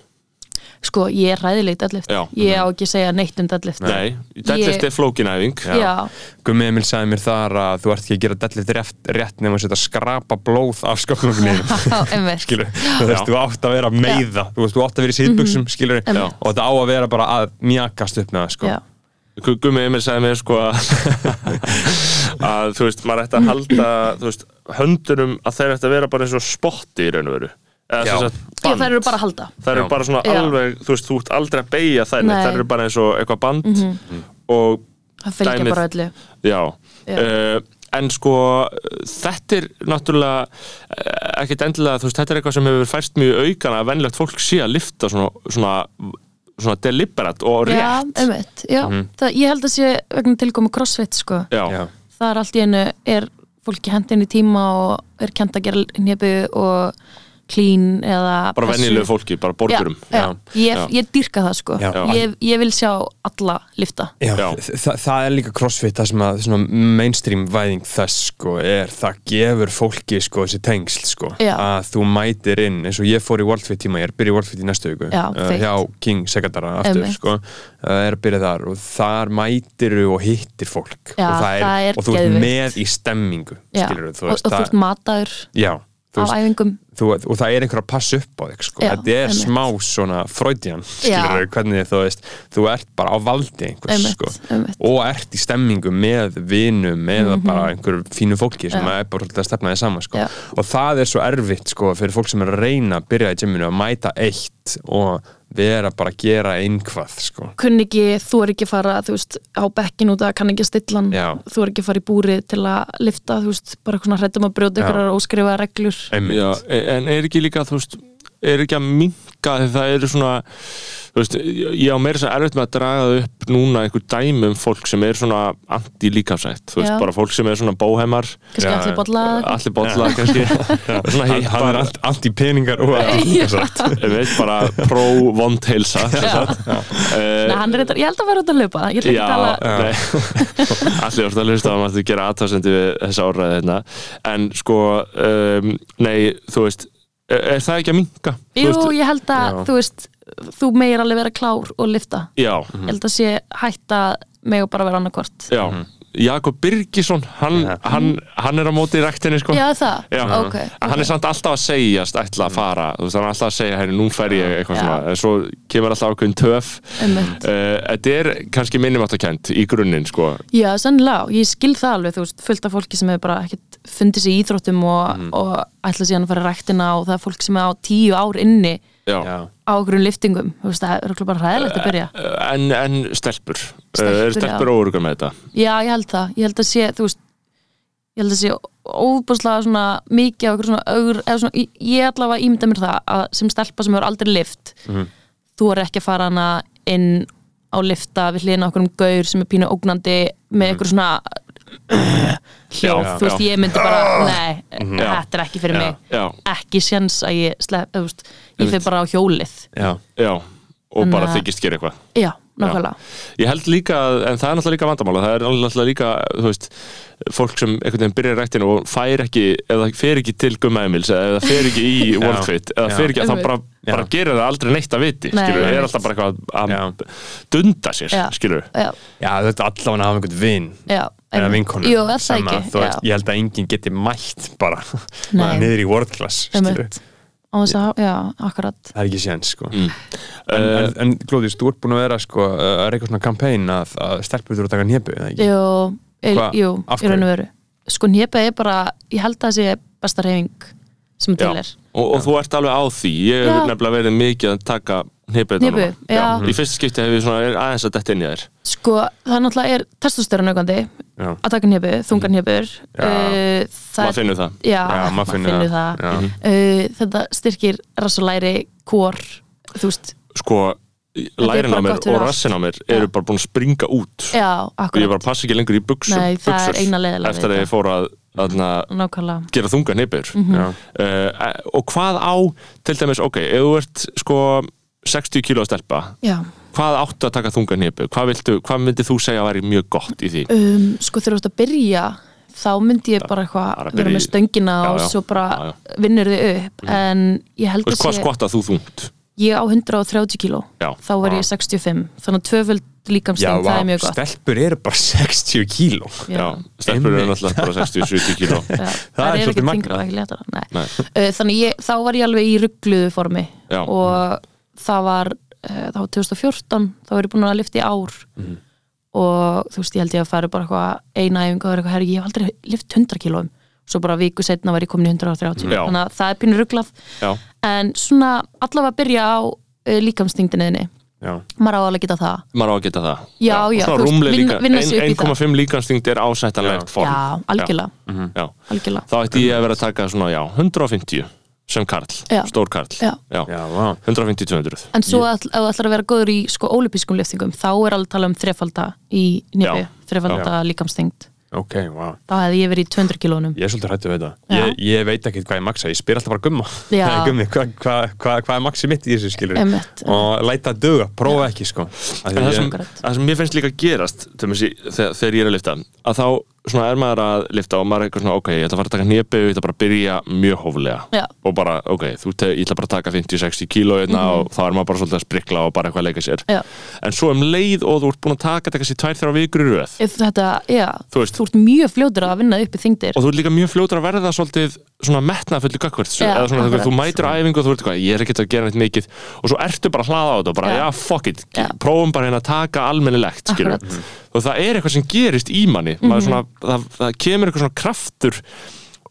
[SPEAKER 4] sko, ég er ræðileg deadlift
[SPEAKER 5] Já.
[SPEAKER 4] ég á ekki að segja neitt um deadlift
[SPEAKER 5] Nei, deadlift
[SPEAKER 4] Ég-
[SPEAKER 5] er flókinæfing
[SPEAKER 4] já, já,
[SPEAKER 6] Gummi Emil sagði mér þar að þú ert ekki að gera deadlift rétt, rétt nema að setja skrapa blóð af skokkunum
[SPEAKER 4] einmitt
[SPEAKER 6] skilur, sko, þú veist, þú átt að vera að meiða þú veist, þú átt að vera í síðbuksum, mm skilur
[SPEAKER 4] Mhm. Einmitt.
[SPEAKER 6] og þetta á að vera bara að mjakast upp með það, sko
[SPEAKER 4] já,
[SPEAKER 5] Gu- Gummi Emil sagði mér sko að, að þú veist, maður ætti að halda þú veist, höndunum að þeir ætti að vera bara eins og spotti í raun og veru eða
[SPEAKER 6] Já.
[SPEAKER 5] þess að
[SPEAKER 4] ég
[SPEAKER 5] band
[SPEAKER 4] þær eru bara að halda
[SPEAKER 5] þær eru
[SPEAKER 6] Já.
[SPEAKER 5] bara svona
[SPEAKER 4] Já.
[SPEAKER 5] alveg, þú veist, þú ert aldrei að beigja þær neitt,
[SPEAKER 4] Nei. Mhm.
[SPEAKER 5] þær eru bara eins og eitthvað band Mm. og
[SPEAKER 4] það fylgja
[SPEAKER 5] Dæmið-
[SPEAKER 4] bara öllu
[SPEAKER 5] já,
[SPEAKER 4] Já.
[SPEAKER 5] Uh, en sko þetta er náttúrulega uh, ekkit endilega, þú veist, þetta er eitthvað sem hefur fært mjög í aukana að venlegt fólk sé að lifta svona, svona, svona deliberat og rétt
[SPEAKER 4] já, um- einmitt, já, það, ég held að sé vegna tilkomi crossfit, sko
[SPEAKER 5] Já.
[SPEAKER 6] Já.
[SPEAKER 4] það er allt í einu, er fólki hendin í tíma og er kent að gera nýjöpu og clean eða
[SPEAKER 5] bara
[SPEAKER 4] pressu.
[SPEAKER 5] venjulegu fólki, bara
[SPEAKER 4] já,
[SPEAKER 5] borgurum
[SPEAKER 4] já, ég,
[SPEAKER 5] Já.
[SPEAKER 4] ég dyrka það sko
[SPEAKER 6] Já.
[SPEAKER 4] ég, ég vil sjá alla lifta
[SPEAKER 6] Já,
[SPEAKER 5] Já.
[SPEAKER 6] Þa, það er líka crossfit það sem að svona mainstream væðing þess sko, er það gefur fólki sko, þessi tengsl sko,
[SPEAKER 4] Já.
[SPEAKER 6] að þú mætir inn eins og ég fór í Worldfit tíma ég er að byrja í Worldfit í næstu viku
[SPEAKER 4] Já,
[SPEAKER 6] uh,
[SPEAKER 4] feitt.
[SPEAKER 6] hjá King Sekadara aftur
[SPEAKER 4] Einmitt.
[SPEAKER 6] sko, uh, er að byrja þar og þar mætir og hittir fólk
[SPEAKER 4] Já,
[SPEAKER 6] og,
[SPEAKER 4] það er
[SPEAKER 6] og þú ert
[SPEAKER 4] geðveikt.
[SPEAKER 6] með í stemmingu
[SPEAKER 4] Já.
[SPEAKER 6] skilurðu, þú
[SPEAKER 4] og, og
[SPEAKER 6] veist,
[SPEAKER 4] þú ert
[SPEAKER 6] það-
[SPEAKER 4] mataður
[SPEAKER 6] Já, þú
[SPEAKER 4] af æfingum
[SPEAKER 6] þú, og það er einhver að passa upp á þig sko.
[SPEAKER 4] Já,
[SPEAKER 6] þetta er
[SPEAKER 4] einmitt.
[SPEAKER 6] smá svona freudian skilur, hvernig þú veist, þú ert bara á valdi einhvers
[SPEAKER 4] Einmitt,
[SPEAKER 6] sko.
[SPEAKER 4] einmitt.
[SPEAKER 6] og ert í stemmingu með vinum eða bara einhverju fínu fólki sem
[SPEAKER 4] Mhm. Já.
[SPEAKER 6] er bara svolítið að stefna þig saman sko.
[SPEAKER 4] Já.
[SPEAKER 6] og það er svo erfitt sko, fyrir fólk sem er að reyna að byrja í gyminu að mæta eitt og vera bara að gera einhvað sko.
[SPEAKER 4] kunni ekki, þú er ekki að fara þú veist, á bekkin út að kann ekki að stilla
[SPEAKER 6] Já.
[SPEAKER 4] hann þú er ekki að fara í búrið til að lifta þú veist, bara svona hrættum að brjóta
[SPEAKER 6] Já.
[SPEAKER 4] ykkur óskrifaða reglur
[SPEAKER 6] Einmitt.
[SPEAKER 5] Já, e- en er ekki líka, þú veist er ekki að minka þegar það eru svona þú veist, ég ég á meira svo erfitt með að draga það upp núna einhver dæmi um fólk sem er svona anti-líkafsætt þú veist,
[SPEAKER 4] Já.
[SPEAKER 5] bara fólk sem er svona bóhemar
[SPEAKER 4] kannski
[SPEAKER 6] Já,
[SPEAKER 4] allir bolla
[SPEAKER 5] allir bolla kannski svona
[SPEAKER 6] hann, hann er
[SPEAKER 5] hippar,
[SPEAKER 6] allt, allt í peningar og
[SPEAKER 4] Já.
[SPEAKER 5] ég veit, bara pro-vondheilsa sem sagt. Eh,
[SPEAKER 4] Nei, hann reyndar, ég held að vera út að löpa ég ætla ekki
[SPEAKER 5] Já,
[SPEAKER 4] að tala
[SPEAKER 5] nei Allir orðið að hlusta á maður að gera aðtásandi við þessa orðræði hérna En sko, um, nei, þú veist Er er það ekki að minka?
[SPEAKER 4] jú, ég held að,
[SPEAKER 6] Já.
[SPEAKER 4] þú veist þú meir alveg vera klár og lifta
[SPEAKER 5] Já,
[SPEAKER 6] Mm.
[SPEAKER 4] ég held að sé hætta mig og bara vera annarkvort
[SPEAKER 5] já Jakob Birgisson, hann, hann, hann er á móti í rektinni sko
[SPEAKER 4] já, það,
[SPEAKER 5] Já.
[SPEAKER 4] ok,
[SPEAKER 5] En hann er samt alltaf að segjast ætla að fara Þú veist, hann er alltaf að segja, henni, nú fer ég eitthvað
[SPEAKER 4] Já.
[SPEAKER 5] svona En svo kemur alltaf ákveðin töf
[SPEAKER 4] einmitt
[SPEAKER 5] Eh, Þetta er kannski minnumáttakent í grunninn sko
[SPEAKER 4] Já, sennilega, og ég skil það alveg, þú veist, fullt af fólki sem hefur bara ekkert fundið sér í íþróttum og, og ætla síðan að fara í ræktina og það er fólk sem er á tíu ár inni
[SPEAKER 5] Já,
[SPEAKER 6] Já.
[SPEAKER 4] á okkur liftingum, þú veist, það er örugglega bara hræðilegt að byrja.
[SPEAKER 5] Eh, En, en stelpur
[SPEAKER 4] Stelpur,
[SPEAKER 5] Stelpur, stelpur
[SPEAKER 4] já.
[SPEAKER 5] óurugar með þetta
[SPEAKER 4] Já, ég held það, ég held að sé, þú veist, ég held að sé óbúslega svona mikið af okkur svona augur, eða svona, ég- ég allavega ímynda mér það að sem stelpa sem hefur aldrei lift, þú er ekki að fara hana inn á lifta við hliðina á okkur um gaur sem er pínu ógnandi með einhver svona hljóð,
[SPEAKER 5] Já,
[SPEAKER 4] þú veist,
[SPEAKER 5] já.
[SPEAKER 4] ég myndi bara nei, þetta er ekki fyrir mig
[SPEAKER 5] Já,
[SPEAKER 4] ekki séns að ég slepp, þú veist, ég fyrir bara á hjólið
[SPEAKER 6] Já.
[SPEAKER 5] já Og bara
[SPEAKER 4] að-
[SPEAKER 5] þykist gera eitthvað
[SPEAKER 4] já, nákvæmlega
[SPEAKER 5] Ég held líka, að- en það er náttúrulega líka vandamála Það er náttúrulega líka, þú veist Fólk sem einhvern veginn byrjar rættinu og fær ekki Eða fer ekki til Gumma Emils Eða fer ekki í World Fit Eða
[SPEAKER 6] já.
[SPEAKER 5] fer ekki, það
[SPEAKER 4] Einmitt.
[SPEAKER 5] bara, bara
[SPEAKER 6] Já.
[SPEAKER 5] gerir það aldrei neitt að viti
[SPEAKER 4] Nei,
[SPEAKER 5] Skilur, það
[SPEAKER 4] einmitt.
[SPEAKER 5] er alltaf bara eitthvað
[SPEAKER 6] Já.
[SPEAKER 5] að dunda sér
[SPEAKER 4] Já.
[SPEAKER 5] Skilur,
[SPEAKER 4] já,
[SPEAKER 6] Já, þetta er allavega að hafa einhvern vinn
[SPEAKER 4] já,
[SPEAKER 6] eða
[SPEAKER 4] einmitt.
[SPEAKER 6] vinkonu
[SPEAKER 4] Jú, er það
[SPEAKER 6] sem að,
[SPEAKER 4] ekki,
[SPEAKER 6] þú
[SPEAKER 4] já,
[SPEAKER 6] veist, ég held að enginn geti mætt bara
[SPEAKER 4] Nei.
[SPEAKER 6] niður í world class skilur.
[SPEAKER 4] einmitt á þess að, já, akkurat
[SPEAKER 6] það er ekki séns sko. en, en, en Glóðis, þú ert búin að vera sko, að reyka svona kampæn að, að stelpur þurfa að taka nýjöpu
[SPEAKER 4] jú, er,
[SPEAKER 6] Hva-
[SPEAKER 4] jú,
[SPEAKER 6] af
[SPEAKER 4] í raun og
[SPEAKER 6] hverju?
[SPEAKER 4] veru sko nýpa er bara, ég held að það sé besta reyfing sem til
[SPEAKER 5] Já.
[SPEAKER 4] er
[SPEAKER 5] Og, og þú ert alveg á því Ég hef
[SPEAKER 4] Já.
[SPEAKER 5] nefnilega verið mikið að taka Hnipu,
[SPEAKER 4] Hnipu, já.
[SPEAKER 5] Í fyrsta skipti hef ég svona er aðeins að detta inn í þær
[SPEAKER 4] sko, það náttúrulega er testosterun aukandi
[SPEAKER 6] Já.
[SPEAKER 4] að taka nýpu, þungar nýpur uh, það
[SPEAKER 5] Maður finnur það
[SPEAKER 4] já,
[SPEAKER 6] Já, maður finnur það.
[SPEAKER 4] það, Uh, þetta styrkir rassulæri, kór þú veist,
[SPEAKER 5] Sko,
[SPEAKER 4] er
[SPEAKER 5] lærin á
[SPEAKER 4] bara
[SPEAKER 5] mér
[SPEAKER 4] gott
[SPEAKER 5] og
[SPEAKER 4] fyrir allt.
[SPEAKER 5] rassin á mér Eru
[SPEAKER 4] Já.
[SPEAKER 5] bara búin að springa út
[SPEAKER 4] já,
[SPEAKER 5] og ég
[SPEAKER 4] akkurat
[SPEAKER 5] bara passa ekki lengur í buksum,
[SPEAKER 4] Nei, það er eina leiðin að
[SPEAKER 5] eftir að
[SPEAKER 4] vita.
[SPEAKER 5] ég fór að aðna,
[SPEAKER 4] nákvæmlega
[SPEAKER 5] gera þunga hneipur
[SPEAKER 4] Mhm.
[SPEAKER 5] uh, og hvað á til dæmis, ok, ef þú ert sko 60 kíló að stelpa
[SPEAKER 4] Já,
[SPEAKER 5] hvað áttu að taka þunga hneipur hvað, viltu, hvað myndir þú segja að væri mjög gott í því
[SPEAKER 4] um, sko þegar þú ert að byrja þá myndi ég bara
[SPEAKER 5] Bara
[SPEAKER 4] eitthvað
[SPEAKER 5] byrja
[SPEAKER 4] vera
[SPEAKER 5] í-
[SPEAKER 4] með stöngina
[SPEAKER 5] Já,
[SPEAKER 4] og
[SPEAKER 5] já.
[SPEAKER 4] svo bara
[SPEAKER 5] Já, Mhm.
[SPEAKER 4] vinnur þið upp en ég
[SPEAKER 5] Þú
[SPEAKER 4] held
[SPEAKER 5] veist,
[SPEAKER 4] að
[SPEAKER 5] hvað
[SPEAKER 4] sé,
[SPEAKER 5] skvatta þú þungt
[SPEAKER 4] ég á 130 kíló
[SPEAKER 5] Já.
[SPEAKER 4] þá var ég 65, þannig að tvöföld líkamstinn, það er mjög gott
[SPEAKER 6] stelpur eru bara 60 kíló
[SPEAKER 4] Já.
[SPEAKER 5] já, stelpur eru
[SPEAKER 6] Einmitt.
[SPEAKER 5] náttúrulega bara 60-70 kíló
[SPEAKER 4] Já,
[SPEAKER 6] Það er
[SPEAKER 4] það er
[SPEAKER 6] svolítið
[SPEAKER 4] ekkert
[SPEAKER 6] magnað.
[SPEAKER 4] þingra og ekki letara Nei.
[SPEAKER 5] Nei.
[SPEAKER 4] Uh, þannig ég, þá var ég alveg í ruggluðu formi
[SPEAKER 5] Já.
[SPEAKER 4] og það var uh, þá var 2014, þá var ég búin að lifta í ár og þú veist ég held ég að fara bara eitthvað eina æfingu og vera eitthvað herri, ég hef aldrei lift 100 kílóum svo bara viku setna var ég komin í 130
[SPEAKER 5] Já.
[SPEAKER 4] þannig að það er pínu rugglað
[SPEAKER 5] já,
[SPEAKER 4] en svona allavega að byrja á uh, líkamstingdinniðinni
[SPEAKER 6] já,
[SPEAKER 4] maður á alveg að geta það
[SPEAKER 5] maður á að geta það
[SPEAKER 4] Já,
[SPEAKER 5] og
[SPEAKER 4] já,
[SPEAKER 5] svona
[SPEAKER 4] þú veist,
[SPEAKER 5] rúmlega
[SPEAKER 4] vinna-
[SPEAKER 5] líka-
[SPEAKER 4] vinna sig upp í
[SPEAKER 5] ein- 1,5 líkansþyngd er ásættanlegt form
[SPEAKER 4] já, algjörlega,
[SPEAKER 5] já.
[SPEAKER 4] algjörlega.
[SPEAKER 5] þá ætti ég að vera að taka svona, já, 150 sem karl,
[SPEAKER 4] Já.
[SPEAKER 5] stór karl
[SPEAKER 4] Já.
[SPEAKER 6] já, vá
[SPEAKER 5] 150-200
[SPEAKER 4] En svo að, ef þú ætlar að vera góður í sko ólipískum liftingum, þá er alveg tala um þrefalda í nýfi,
[SPEAKER 5] Já.
[SPEAKER 4] þrefalda líkamstengt.
[SPEAKER 6] ok, vá
[SPEAKER 4] Þá hefði ég verið í 200 kilónum.
[SPEAKER 6] Ég er svolítið hættu við þetta
[SPEAKER 4] Já.
[SPEAKER 6] ég, ég veit ekki hvað ég maksa, ég spyr alltaf bara gumma
[SPEAKER 4] Já.
[SPEAKER 6] gummi, hvað hva, hva, hva er maksið mitt í þessu skilur
[SPEAKER 4] Einmitt.
[SPEAKER 6] og læta að duga, prófa ekki sko Af því
[SPEAKER 5] En það
[SPEAKER 6] ég-
[SPEAKER 5] sem,
[SPEAKER 4] Akkurat.
[SPEAKER 5] það sem mér finnst líka gerast tjömsi, þegar, þegar ég er að lifta að þá svona er maður að lifta og maður er eitthvað svona, ok, ég ætla að fara að taka nýjabegu, ég ætla bara að byrja mjög hóflega
[SPEAKER 4] Já.
[SPEAKER 5] og bara, ok, þú te, ég ætla bara að taka 50-60 kíló hérna og þá er maður bara svolítið að sprikla og bara eitthvað að leika sér
[SPEAKER 4] Mhm. Já.
[SPEAKER 5] en svo um leið og þú ert búin að taka þetta kannski tvær þrjá vikur í röð
[SPEAKER 4] Ef þetta, já,
[SPEAKER 5] Þú veist.
[SPEAKER 4] ert mjög fljótur að vinna upp í þingdir
[SPEAKER 5] og þú ert líka mjög fljótur að verða svolítið svona metnafullu gagvert
[SPEAKER 4] Já,
[SPEAKER 5] eða svona þegar
[SPEAKER 4] akkurat.
[SPEAKER 5] þú mætir á æfingu og þú ert eitthvað, ég er ekkert að gera neitt mikið og svo ertu bara að hlaða á þetta og bara,
[SPEAKER 4] Já.
[SPEAKER 5] já, fuck it
[SPEAKER 4] Já.
[SPEAKER 5] prófum bara hérna að taka almennilegt skilur
[SPEAKER 4] Akkurat. Mhm.
[SPEAKER 5] og það er eitthvað sem gerist í manni maður svona, það, það kemur eitthvað svona kraftur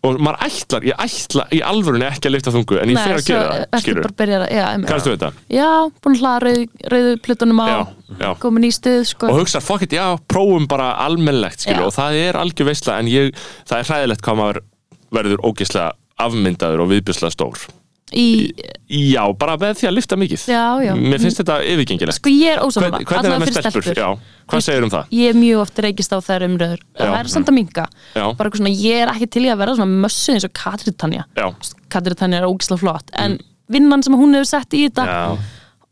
[SPEAKER 5] og maður ætlar, ég ætla í alvörunni ekki að lifta þungu en ég fer að gera það,
[SPEAKER 4] ertu
[SPEAKER 5] skilur
[SPEAKER 4] bara að byrja að, já, einmitt.
[SPEAKER 5] kannstu þetta?
[SPEAKER 4] já, búin að hlaða rauð, rauðu plötunum á,
[SPEAKER 5] Já, já.
[SPEAKER 4] komin í stuð, sko
[SPEAKER 5] og hugsa, fuck it, já, prófum bara almennlegt skilur,
[SPEAKER 4] Já.
[SPEAKER 5] og það er algjör veistla en ég, það er hræðilegt hvað maður verður ógislega afmyndaður og viðbjörslega stór
[SPEAKER 4] í,
[SPEAKER 5] Já, bara með því að lifta mikið
[SPEAKER 4] já, já,
[SPEAKER 5] Mér finnst þetta yfirgengilegt
[SPEAKER 4] sko ég er ósáma,
[SPEAKER 5] Hvern, Hvernig er það með stelpur? Já, hvað segir um það?
[SPEAKER 4] ég er mjög oft reykist á þær umröður
[SPEAKER 5] Já.
[SPEAKER 4] það er samt að minga
[SPEAKER 5] Já.
[SPEAKER 4] bara eitthvað svona, ég er ekki til í að vera svona mössu eins og Katrín Tanja
[SPEAKER 5] Já. Mm.
[SPEAKER 4] Katrín Tanja er ógislega flott en vinnan sem hún hefur sett í þetta
[SPEAKER 5] Já.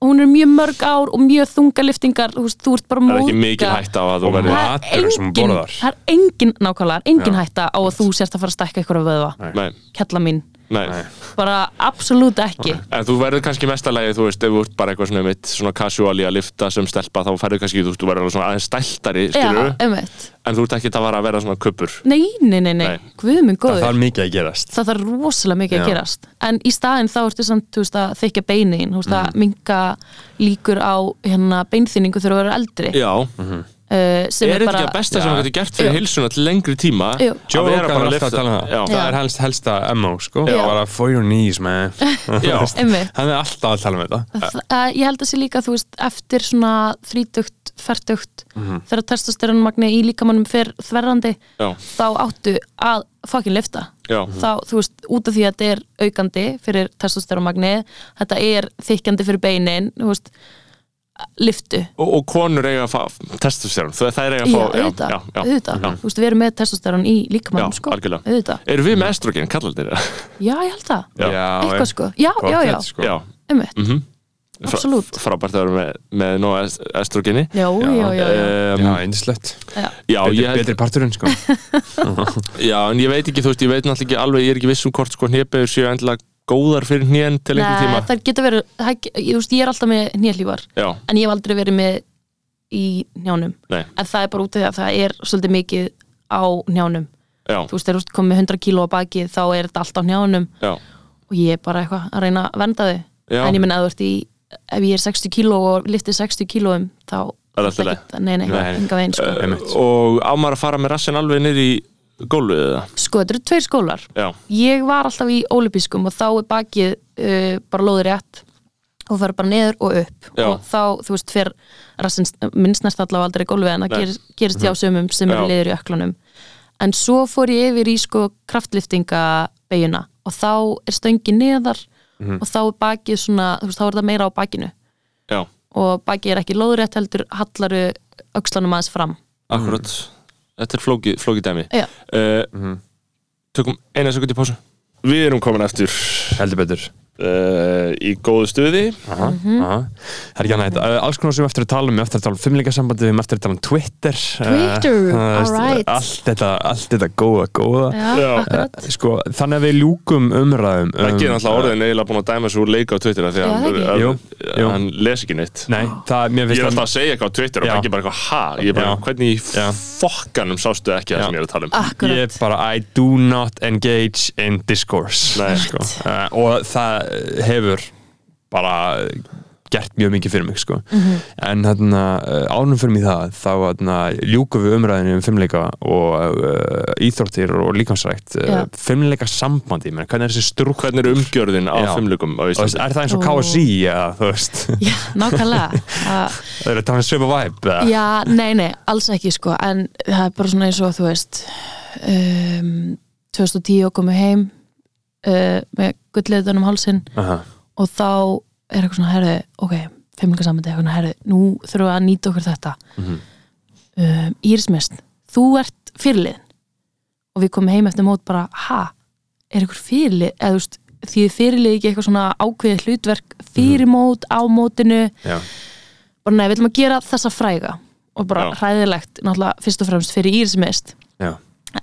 [SPEAKER 4] hún er mjög mörg ár og mjög þungaliftingar þú, veist, þú ert bara
[SPEAKER 5] Það er ekki mikil
[SPEAKER 4] móðga.
[SPEAKER 5] hægt á að þú
[SPEAKER 6] Og
[SPEAKER 5] verður
[SPEAKER 4] það
[SPEAKER 6] maður-
[SPEAKER 4] er
[SPEAKER 6] Matur sem hún
[SPEAKER 4] engin,
[SPEAKER 6] borðar.
[SPEAKER 4] það er engin nákvæmlega, engin
[SPEAKER 6] Já.
[SPEAKER 4] hætta á að þú sért að fara að stækka ykkur að vöðva,
[SPEAKER 5] Nei,
[SPEAKER 4] kella mín
[SPEAKER 5] nei
[SPEAKER 4] bara absolutt ekki
[SPEAKER 5] En þú verður kannski mestalegi, þú veist, ef þú ert bara eitthvað svona mitt svona casuali að lifta sem stelpa þá ferður kannski, þú veist, þú verður alveg svona aðeins stæltari skilur,
[SPEAKER 4] Já, einmitt.
[SPEAKER 5] en þú ert ekki að vera að vera svona kuppur
[SPEAKER 4] nei, nei, nei, nei,
[SPEAKER 5] Nei.
[SPEAKER 4] guð minn
[SPEAKER 6] það
[SPEAKER 4] góður
[SPEAKER 6] þarf mikið að gerast
[SPEAKER 4] það þarf rosalega mikið að
[SPEAKER 6] Já.
[SPEAKER 4] gerast en í staðinn þá ertu samt þú veist, að þykja beinin, þú veist, að
[SPEAKER 5] Mm.
[SPEAKER 4] minka líkur á hérna, beinþýningu þegar þú verður eldri
[SPEAKER 5] Já,
[SPEAKER 4] uh, sem
[SPEAKER 5] er
[SPEAKER 4] er,
[SPEAKER 5] þetta
[SPEAKER 4] bara
[SPEAKER 5] ekki að besta sem
[SPEAKER 6] Já.
[SPEAKER 5] þú getur gert fyrir
[SPEAKER 4] Jú.
[SPEAKER 5] heilsuna til lengri tíma
[SPEAKER 4] Jú.
[SPEAKER 6] Joe
[SPEAKER 5] að vera
[SPEAKER 6] Rogan
[SPEAKER 5] bara að
[SPEAKER 6] er alltaf að
[SPEAKER 5] lifta
[SPEAKER 6] tala um það
[SPEAKER 5] Já,
[SPEAKER 6] það er helst, helsta MO sko
[SPEAKER 4] Já.
[SPEAKER 6] bara for your knees man
[SPEAKER 5] Já.
[SPEAKER 6] hann
[SPEAKER 4] Einmitt.
[SPEAKER 6] er alltaf að tala um þetta
[SPEAKER 4] uh, ég held að sé líka þú veist eftir svona þrítugt, fertugt þegar testosteronmagni í líkamannum fer þverrandi
[SPEAKER 5] Mhm. Já. Mhm.
[SPEAKER 4] þá áttu að fucking lifta
[SPEAKER 5] Já.
[SPEAKER 4] þá þú veist út af því að þetta er aukandi fyrir testosteronmagni þetta er þykjandi fyrir beinin þú veist liftu
[SPEAKER 5] og, og konur eiga að fá testosterón, það, það er eiga að
[SPEAKER 4] Já,
[SPEAKER 5] fá
[SPEAKER 4] auðvitað,
[SPEAKER 5] já, já,
[SPEAKER 4] auðvitað Þú veist, við erum með testosterón í líkamannum
[SPEAKER 5] Já,
[SPEAKER 4] sko
[SPEAKER 5] algjörlega.
[SPEAKER 4] Auðvitað,
[SPEAKER 5] Eru við með estrogen, kallar þeirra?
[SPEAKER 4] já, ég held það
[SPEAKER 5] Já.
[SPEAKER 4] Eitthvað sko, já, já, já,
[SPEAKER 6] Gott, sko.
[SPEAKER 5] Já,
[SPEAKER 4] einmitt
[SPEAKER 5] mhm Fra-
[SPEAKER 4] Absolutt.
[SPEAKER 5] Frábært að vera með, með nóg est- estrogeni
[SPEAKER 4] Já, já, já, já,
[SPEAKER 5] um,
[SPEAKER 6] já, eindislegt
[SPEAKER 5] já,
[SPEAKER 6] betri,
[SPEAKER 5] ég, held-
[SPEAKER 6] betri parturinn sko
[SPEAKER 5] já, en ég veit ekki, þú veist, ég veit náttúrulega ekki alveg, ég er ekki viss um hvort sko hnepegur séu endilega góðar fyrir hnén til lengri
[SPEAKER 4] Nei,
[SPEAKER 5] tíma
[SPEAKER 4] það geta verið, það, ge- ég, þú veist, ég er alltaf með nýjarlífar
[SPEAKER 5] Já,
[SPEAKER 4] En ég hef aldrei verið með í njánum
[SPEAKER 5] nei,
[SPEAKER 4] En það er bara út af því að það er svolítið mikið á njánum
[SPEAKER 5] já,
[SPEAKER 4] Þú veist, þegar þú ert komið 100 kíló á baki þá er þetta allt á njánum
[SPEAKER 5] já,
[SPEAKER 4] Og ég er bara eitthvað að reyna að vernda þau
[SPEAKER 5] Já.
[SPEAKER 4] En ég minna að þú ert í, ef ég er 60 kíló og lifti 60 kílóum þá
[SPEAKER 5] Það er allt í lagi.
[SPEAKER 4] ekkert- Nei, nei,
[SPEAKER 6] Nei.
[SPEAKER 4] enga veginn sko
[SPEAKER 6] Einmitt.
[SPEAKER 5] Og á maður að fara með rassin alveg niður í gólfið eða?
[SPEAKER 4] sko, þetta eru tveir skólar
[SPEAKER 5] Já,
[SPEAKER 4] ég var alltaf í ólipískum og þá er bakið uh, bara lóður rétt og fer bara neður og upp
[SPEAKER 5] Já.
[SPEAKER 4] og þá, þú veist, fer rassin minnsnæst allavega aldrei gólfið en það
[SPEAKER 5] Nei. Mhm.
[SPEAKER 4] ger, gerist hjá sömum sem
[SPEAKER 5] Já.
[SPEAKER 4] eru liður í öklunum en svo fór ég yfir í sko kraftliftinga beiguna og þá er stöngin neðar
[SPEAKER 5] Mhm.
[SPEAKER 4] og þá er bakið svona, þú veist, þá er það meira á bakinu
[SPEAKER 5] já,
[SPEAKER 4] og bakið er ekki lóður rétt heldur hallaru öxlanum aðeins fram
[SPEAKER 5] akkurat Þetta er flókið flóki dæmi
[SPEAKER 4] Já.
[SPEAKER 5] uh, Tökum eina sekundi pásu Við erum komin eftir
[SPEAKER 6] heldur betur
[SPEAKER 5] uh, í góðu stuði
[SPEAKER 6] Aha,
[SPEAKER 4] Mhm.
[SPEAKER 6] aha. Það er ekki annað þetta. Alls konar sem við eftir að tala um, við eftir að tala um fimmleikasambandi, við erum eftir að tala um Twitter.
[SPEAKER 4] Twitter, Eh.
[SPEAKER 6] Eh, það er-
[SPEAKER 4] alright.
[SPEAKER 6] Allt þetta, allt þetta góða, góða.
[SPEAKER 4] Já,
[SPEAKER 5] Já.
[SPEAKER 4] akkurat
[SPEAKER 6] Sko, þannig að við ljúkum umræðum. Um,
[SPEAKER 5] Það gerir alltaf orðin eiginlega búin að dæma svo leika á Twitter af því að
[SPEAKER 4] Já, það
[SPEAKER 5] hann,
[SPEAKER 4] ekki.
[SPEAKER 5] að-
[SPEAKER 6] Jú, jú.
[SPEAKER 5] hann les ekki neitt
[SPEAKER 6] Nei, það, mér
[SPEAKER 5] Ég
[SPEAKER 6] finnst
[SPEAKER 5] er alltaf að segja eitthvað á Twitter og
[SPEAKER 6] Já.
[SPEAKER 5] það ekki bara eitthvað ha Ég er bara,
[SPEAKER 6] Já.
[SPEAKER 5] hvernig í
[SPEAKER 6] Já.
[SPEAKER 5] fokkanum sástu ekki það
[SPEAKER 6] Já.
[SPEAKER 5] sem ég er að tala um
[SPEAKER 4] Akkurat.
[SPEAKER 6] Ég bara, I do not engage in discourse.
[SPEAKER 5] Nei.
[SPEAKER 6] Sko. Eh, og það hefur bara gert mjög mikið fyrir mig, sko.
[SPEAKER 4] Mhm.
[SPEAKER 6] En þarna, eh, ánum fyrir mig það, þá þarna, ljúkum við umræðinu um fimmleika og uh, íþróttir og líkansrækt.
[SPEAKER 4] Já.
[SPEAKER 6] Uh, fimmleika sambandi, menn, hvernig er þessi strúk?
[SPEAKER 5] Hvernig er umgjörðin á
[SPEAKER 6] Já.
[SPEAKER 5] fimmlugum á
[SPEAKER 6] Þú veist,
[SPEAKER 5] Íslandi?
[SPEAKER 6] Er það eins
[SPEAKER 4] Ó.
[SPEAKER 6] og KSI, eða, þú veist,
[SPEAKER 4] Já, nákvæmlega Það-
[SPEAKER 6] það eru þannig sömu væp, eða?
[SPEAKER 4] Já, nei, nei, alls ekki sko en það er bara svona eins og þú veist um, 2010 komu heim uh, með gullleitunum hálsinn
[SPEAKER 6] Aha.
[SPEAKER 4] og þá er eitthvað svona herðu, ok, fimmlingasamöndi eitthvað svona herðu, nú þurfum við að nýta okkur þetta um, Írismest þú ert fyrirliðin og við komum heim eftir mót bara ha, er ykkur fyrirlið eða þú veist, því þið fyrirlið ekki eitthvað svona ákveðið hlutverk fyrir mót, á mótinu
[SPEAKER 6] Já.
[SPEAKER 4] bara nei, við ætlum að gera þessa fræga og bara
[SPEAKER 5] Já.
[SPEAKER 4] hræðilegt, náttúrulega fyrst og fremst fyrir Írismest
[SPEAKER 6] Já.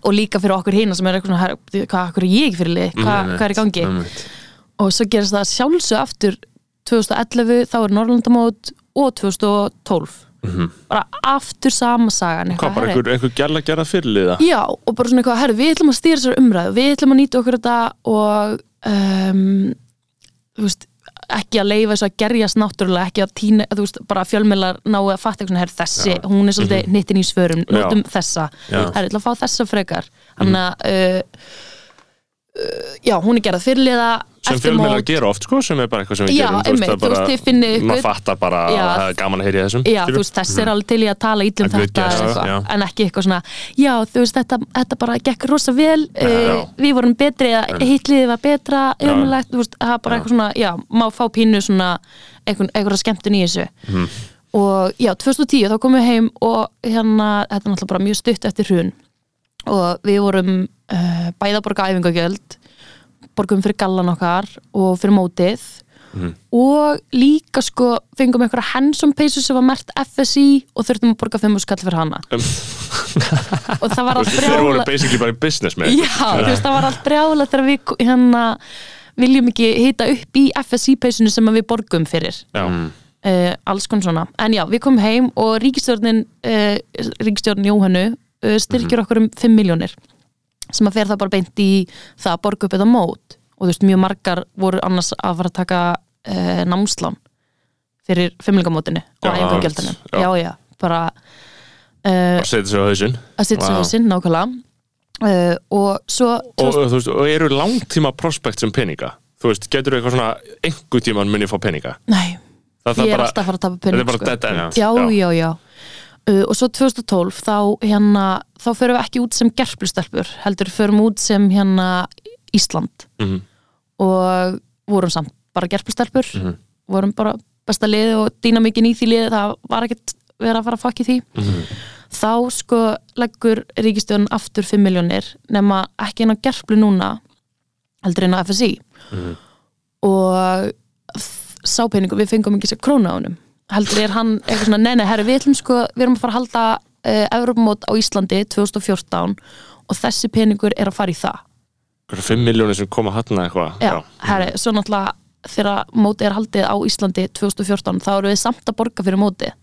[SPEAKER 4] og líka fyrir okkur hina sem er eitthvað svona "Herra, bíddu, hvað, hvað er ég ekki fyrir lið, hvað, hvað er í gangi
[SPEAKER 6] Einmitt.
[SPEAKER 4] og svo gerist það sjálfsög aftur 2011, þá er Norrlandamót og 2012 bara aftur sama sagan eitthvað,
[SPEAKER 3] Hvað, bara
[SPEAKER 4] herri.
[SPEAKER 3] einhver, einhver gæla gerða fyrirliða?
[SPEAKER 4] Já, og bara svona eitthvað, herru, við ætlum að stýra sér umræðu, við ætlum að nýta okkur þetta og um, þú veist, ekki að leifa þessu að gerjast náttúrulega, ekki að týna þú veist, bara fjölmiðlar náu að fatta eitthvað svona, herru, þessi, hún er svolítið
[SPEAKER 3] Mhm.
[SPEAKER 4] mm í svörum notum þessa, herru, ætlum að fá þessa
[SPEAKER 3] Mhm.
[SPEAKER 4] frekar þannig að uh, uh, já, hún er gerð fyrirliða
[SPEAKER 3] Sem
[SPEAKER 4] eftir
[SPEAKER 3] fjölmiðlar
[SPEAKER 4] mót-
[SPEAKER 3] gera oft, sko, sem er bara eitthvað sem við
[SPEAKER 4] Já,
[SPEAKER 3] gerum
[SPEAKER 4] einmitt,
[SPEAKER 3] það
[SPEAKER 4] þú veist,
[SPEAKER 3] bara-
[SPEAKER 4] þið finnið ykkur.
[SPEAKER 3] Maður fattar bara
[SPEAKER 4] Já.
[SPEAKER 3] að það er gaman að heyri þessum
[SPEAKER 4] Já,
[SPEAKER 3] skilur.
[SPEAKER 4] þú veist, þessi er alveg til í að tala ítlum
[SPEAKER 6] Að good
[SPEAKER 4] þetta
[SPEAKER 6] guess,
[SPEAKER 4] eða
[SPEAKER 6] já.
[SPEAKER 4] eitthvað, en ekki eitthvað svona já, þú veist, þetta, þetta bara gekk rosa vel uh,
[SPEAKER 3] já.
[SPEAKER 4] við vorum betri eða hitliðið var betra, umlegt þú veist, það er bara eitthvað svona, já, má fá pínu svona einhvern, einhverja skemmtun í þessu og já, 2010 þá komum við heim og hérna þetta er náttúrulega bara mjög stutt eftir hrun og við vorum uh, bæða að borga æfingagjöld borgum fyrir gallan okkar og fyrir mótið
[SPEAKER 3] Mhm.
[SPEAKER 4] og líka sko fengum einhverja handsome peysu sem var mert FSI og þurftum að borga 5 skall fyrir hana og það var allt
[SPEAKER 3] Um. Þeir voru
[SPEAKER 4] brjála
[SPEAKER 3] basically bara í business með
[SPEAKER 4] já, þú veist, það var allt brjála þegar við ko- hérna viljum ekki hita upp í FSI peysinu sem að við borgum fyrir
[SPEAKER 3] Já,
[SPEAKER 4] uh, alls konn svona en já, við komum heim og ríkistjórnin uh, ríkistjórnin Jóhannu uh,
[SPEAKER 3] Mhm.
[SPEAKER 4] styrkjur okkur um 5 miljónir sem að fer það bara beint í það að borga upp eða mót og þú veist, mjög margar voru annars að fara að taka uh, námslán fyrir fimmlingamótinu og
[SPEAKER 3] Já,
[SPEAKER 4] æfingargjöldunum
[SPEAKER 3] já.
[SPEAKER 4] já. já, bara uh,
[SPEAKER 3] og setja sig á hausinn
[SPEAKER 4] að sitja wow.
[SPEAKER 3] Vá.
[SPEAKER 4] svo sinn nákvæmlega uh, og svo
[SPEAKER 3] og, þú veist, og eru langtíma prospekt sem peninga Þú veist, getur eitthvað svona einhver tíman mun ég fá peninga
[SPEAKER 4] nei,
[SPEAKER 3] Það,
[SPEAKER 4] ég er alltaf að fara að tapa
[SPEAKER 3] Þetta
[SPEAKER 4] pening
[SPEAKER 3] er bara
[SPEAKER 4] sko.
[SPEAKER 3] dead end
[SPEAKER 4] já, já, já uh, og svo 2012 þá hérna þá förum við ekki út sem gerplustelpur heldur förum út sem hérna Ísland
[SPEAKER 3] Mhm.
[SPEAKER 4] og vorum samt bara gerplustelpur
[SPEAKER 3] Mhm.
[SPEAKER 4] vorum bara besta liði og dýna mikið í því liði það var ekkert verið að fara að fokki því
[SPEAKER 3] Mhm.
[SPEAKER 4] þá sko leggur ríkistjóðan aftur 5 miljónir nema ekki inn á gerplu núna heldur inn á FSI
[SPEAKER 3] Mhm.
[SPEAKER 4] og sá peningur, við fengum ekki sér krónu á honum heldur er hann eitthvað svona, nei nei, herri við ætlum sko, við erum að fara að halda uh, Evropamót á Íslandi 2014 og þessi peningur er að fara í það
[SPEAKER 3] Hversu 5 miljónir sem koma hann eitthvað
[SPEAKER 4] já, herri, svo náttúrulega þegar mótið er haldið á Íslandi 2014 þá eru við samt að borga fyrir mótið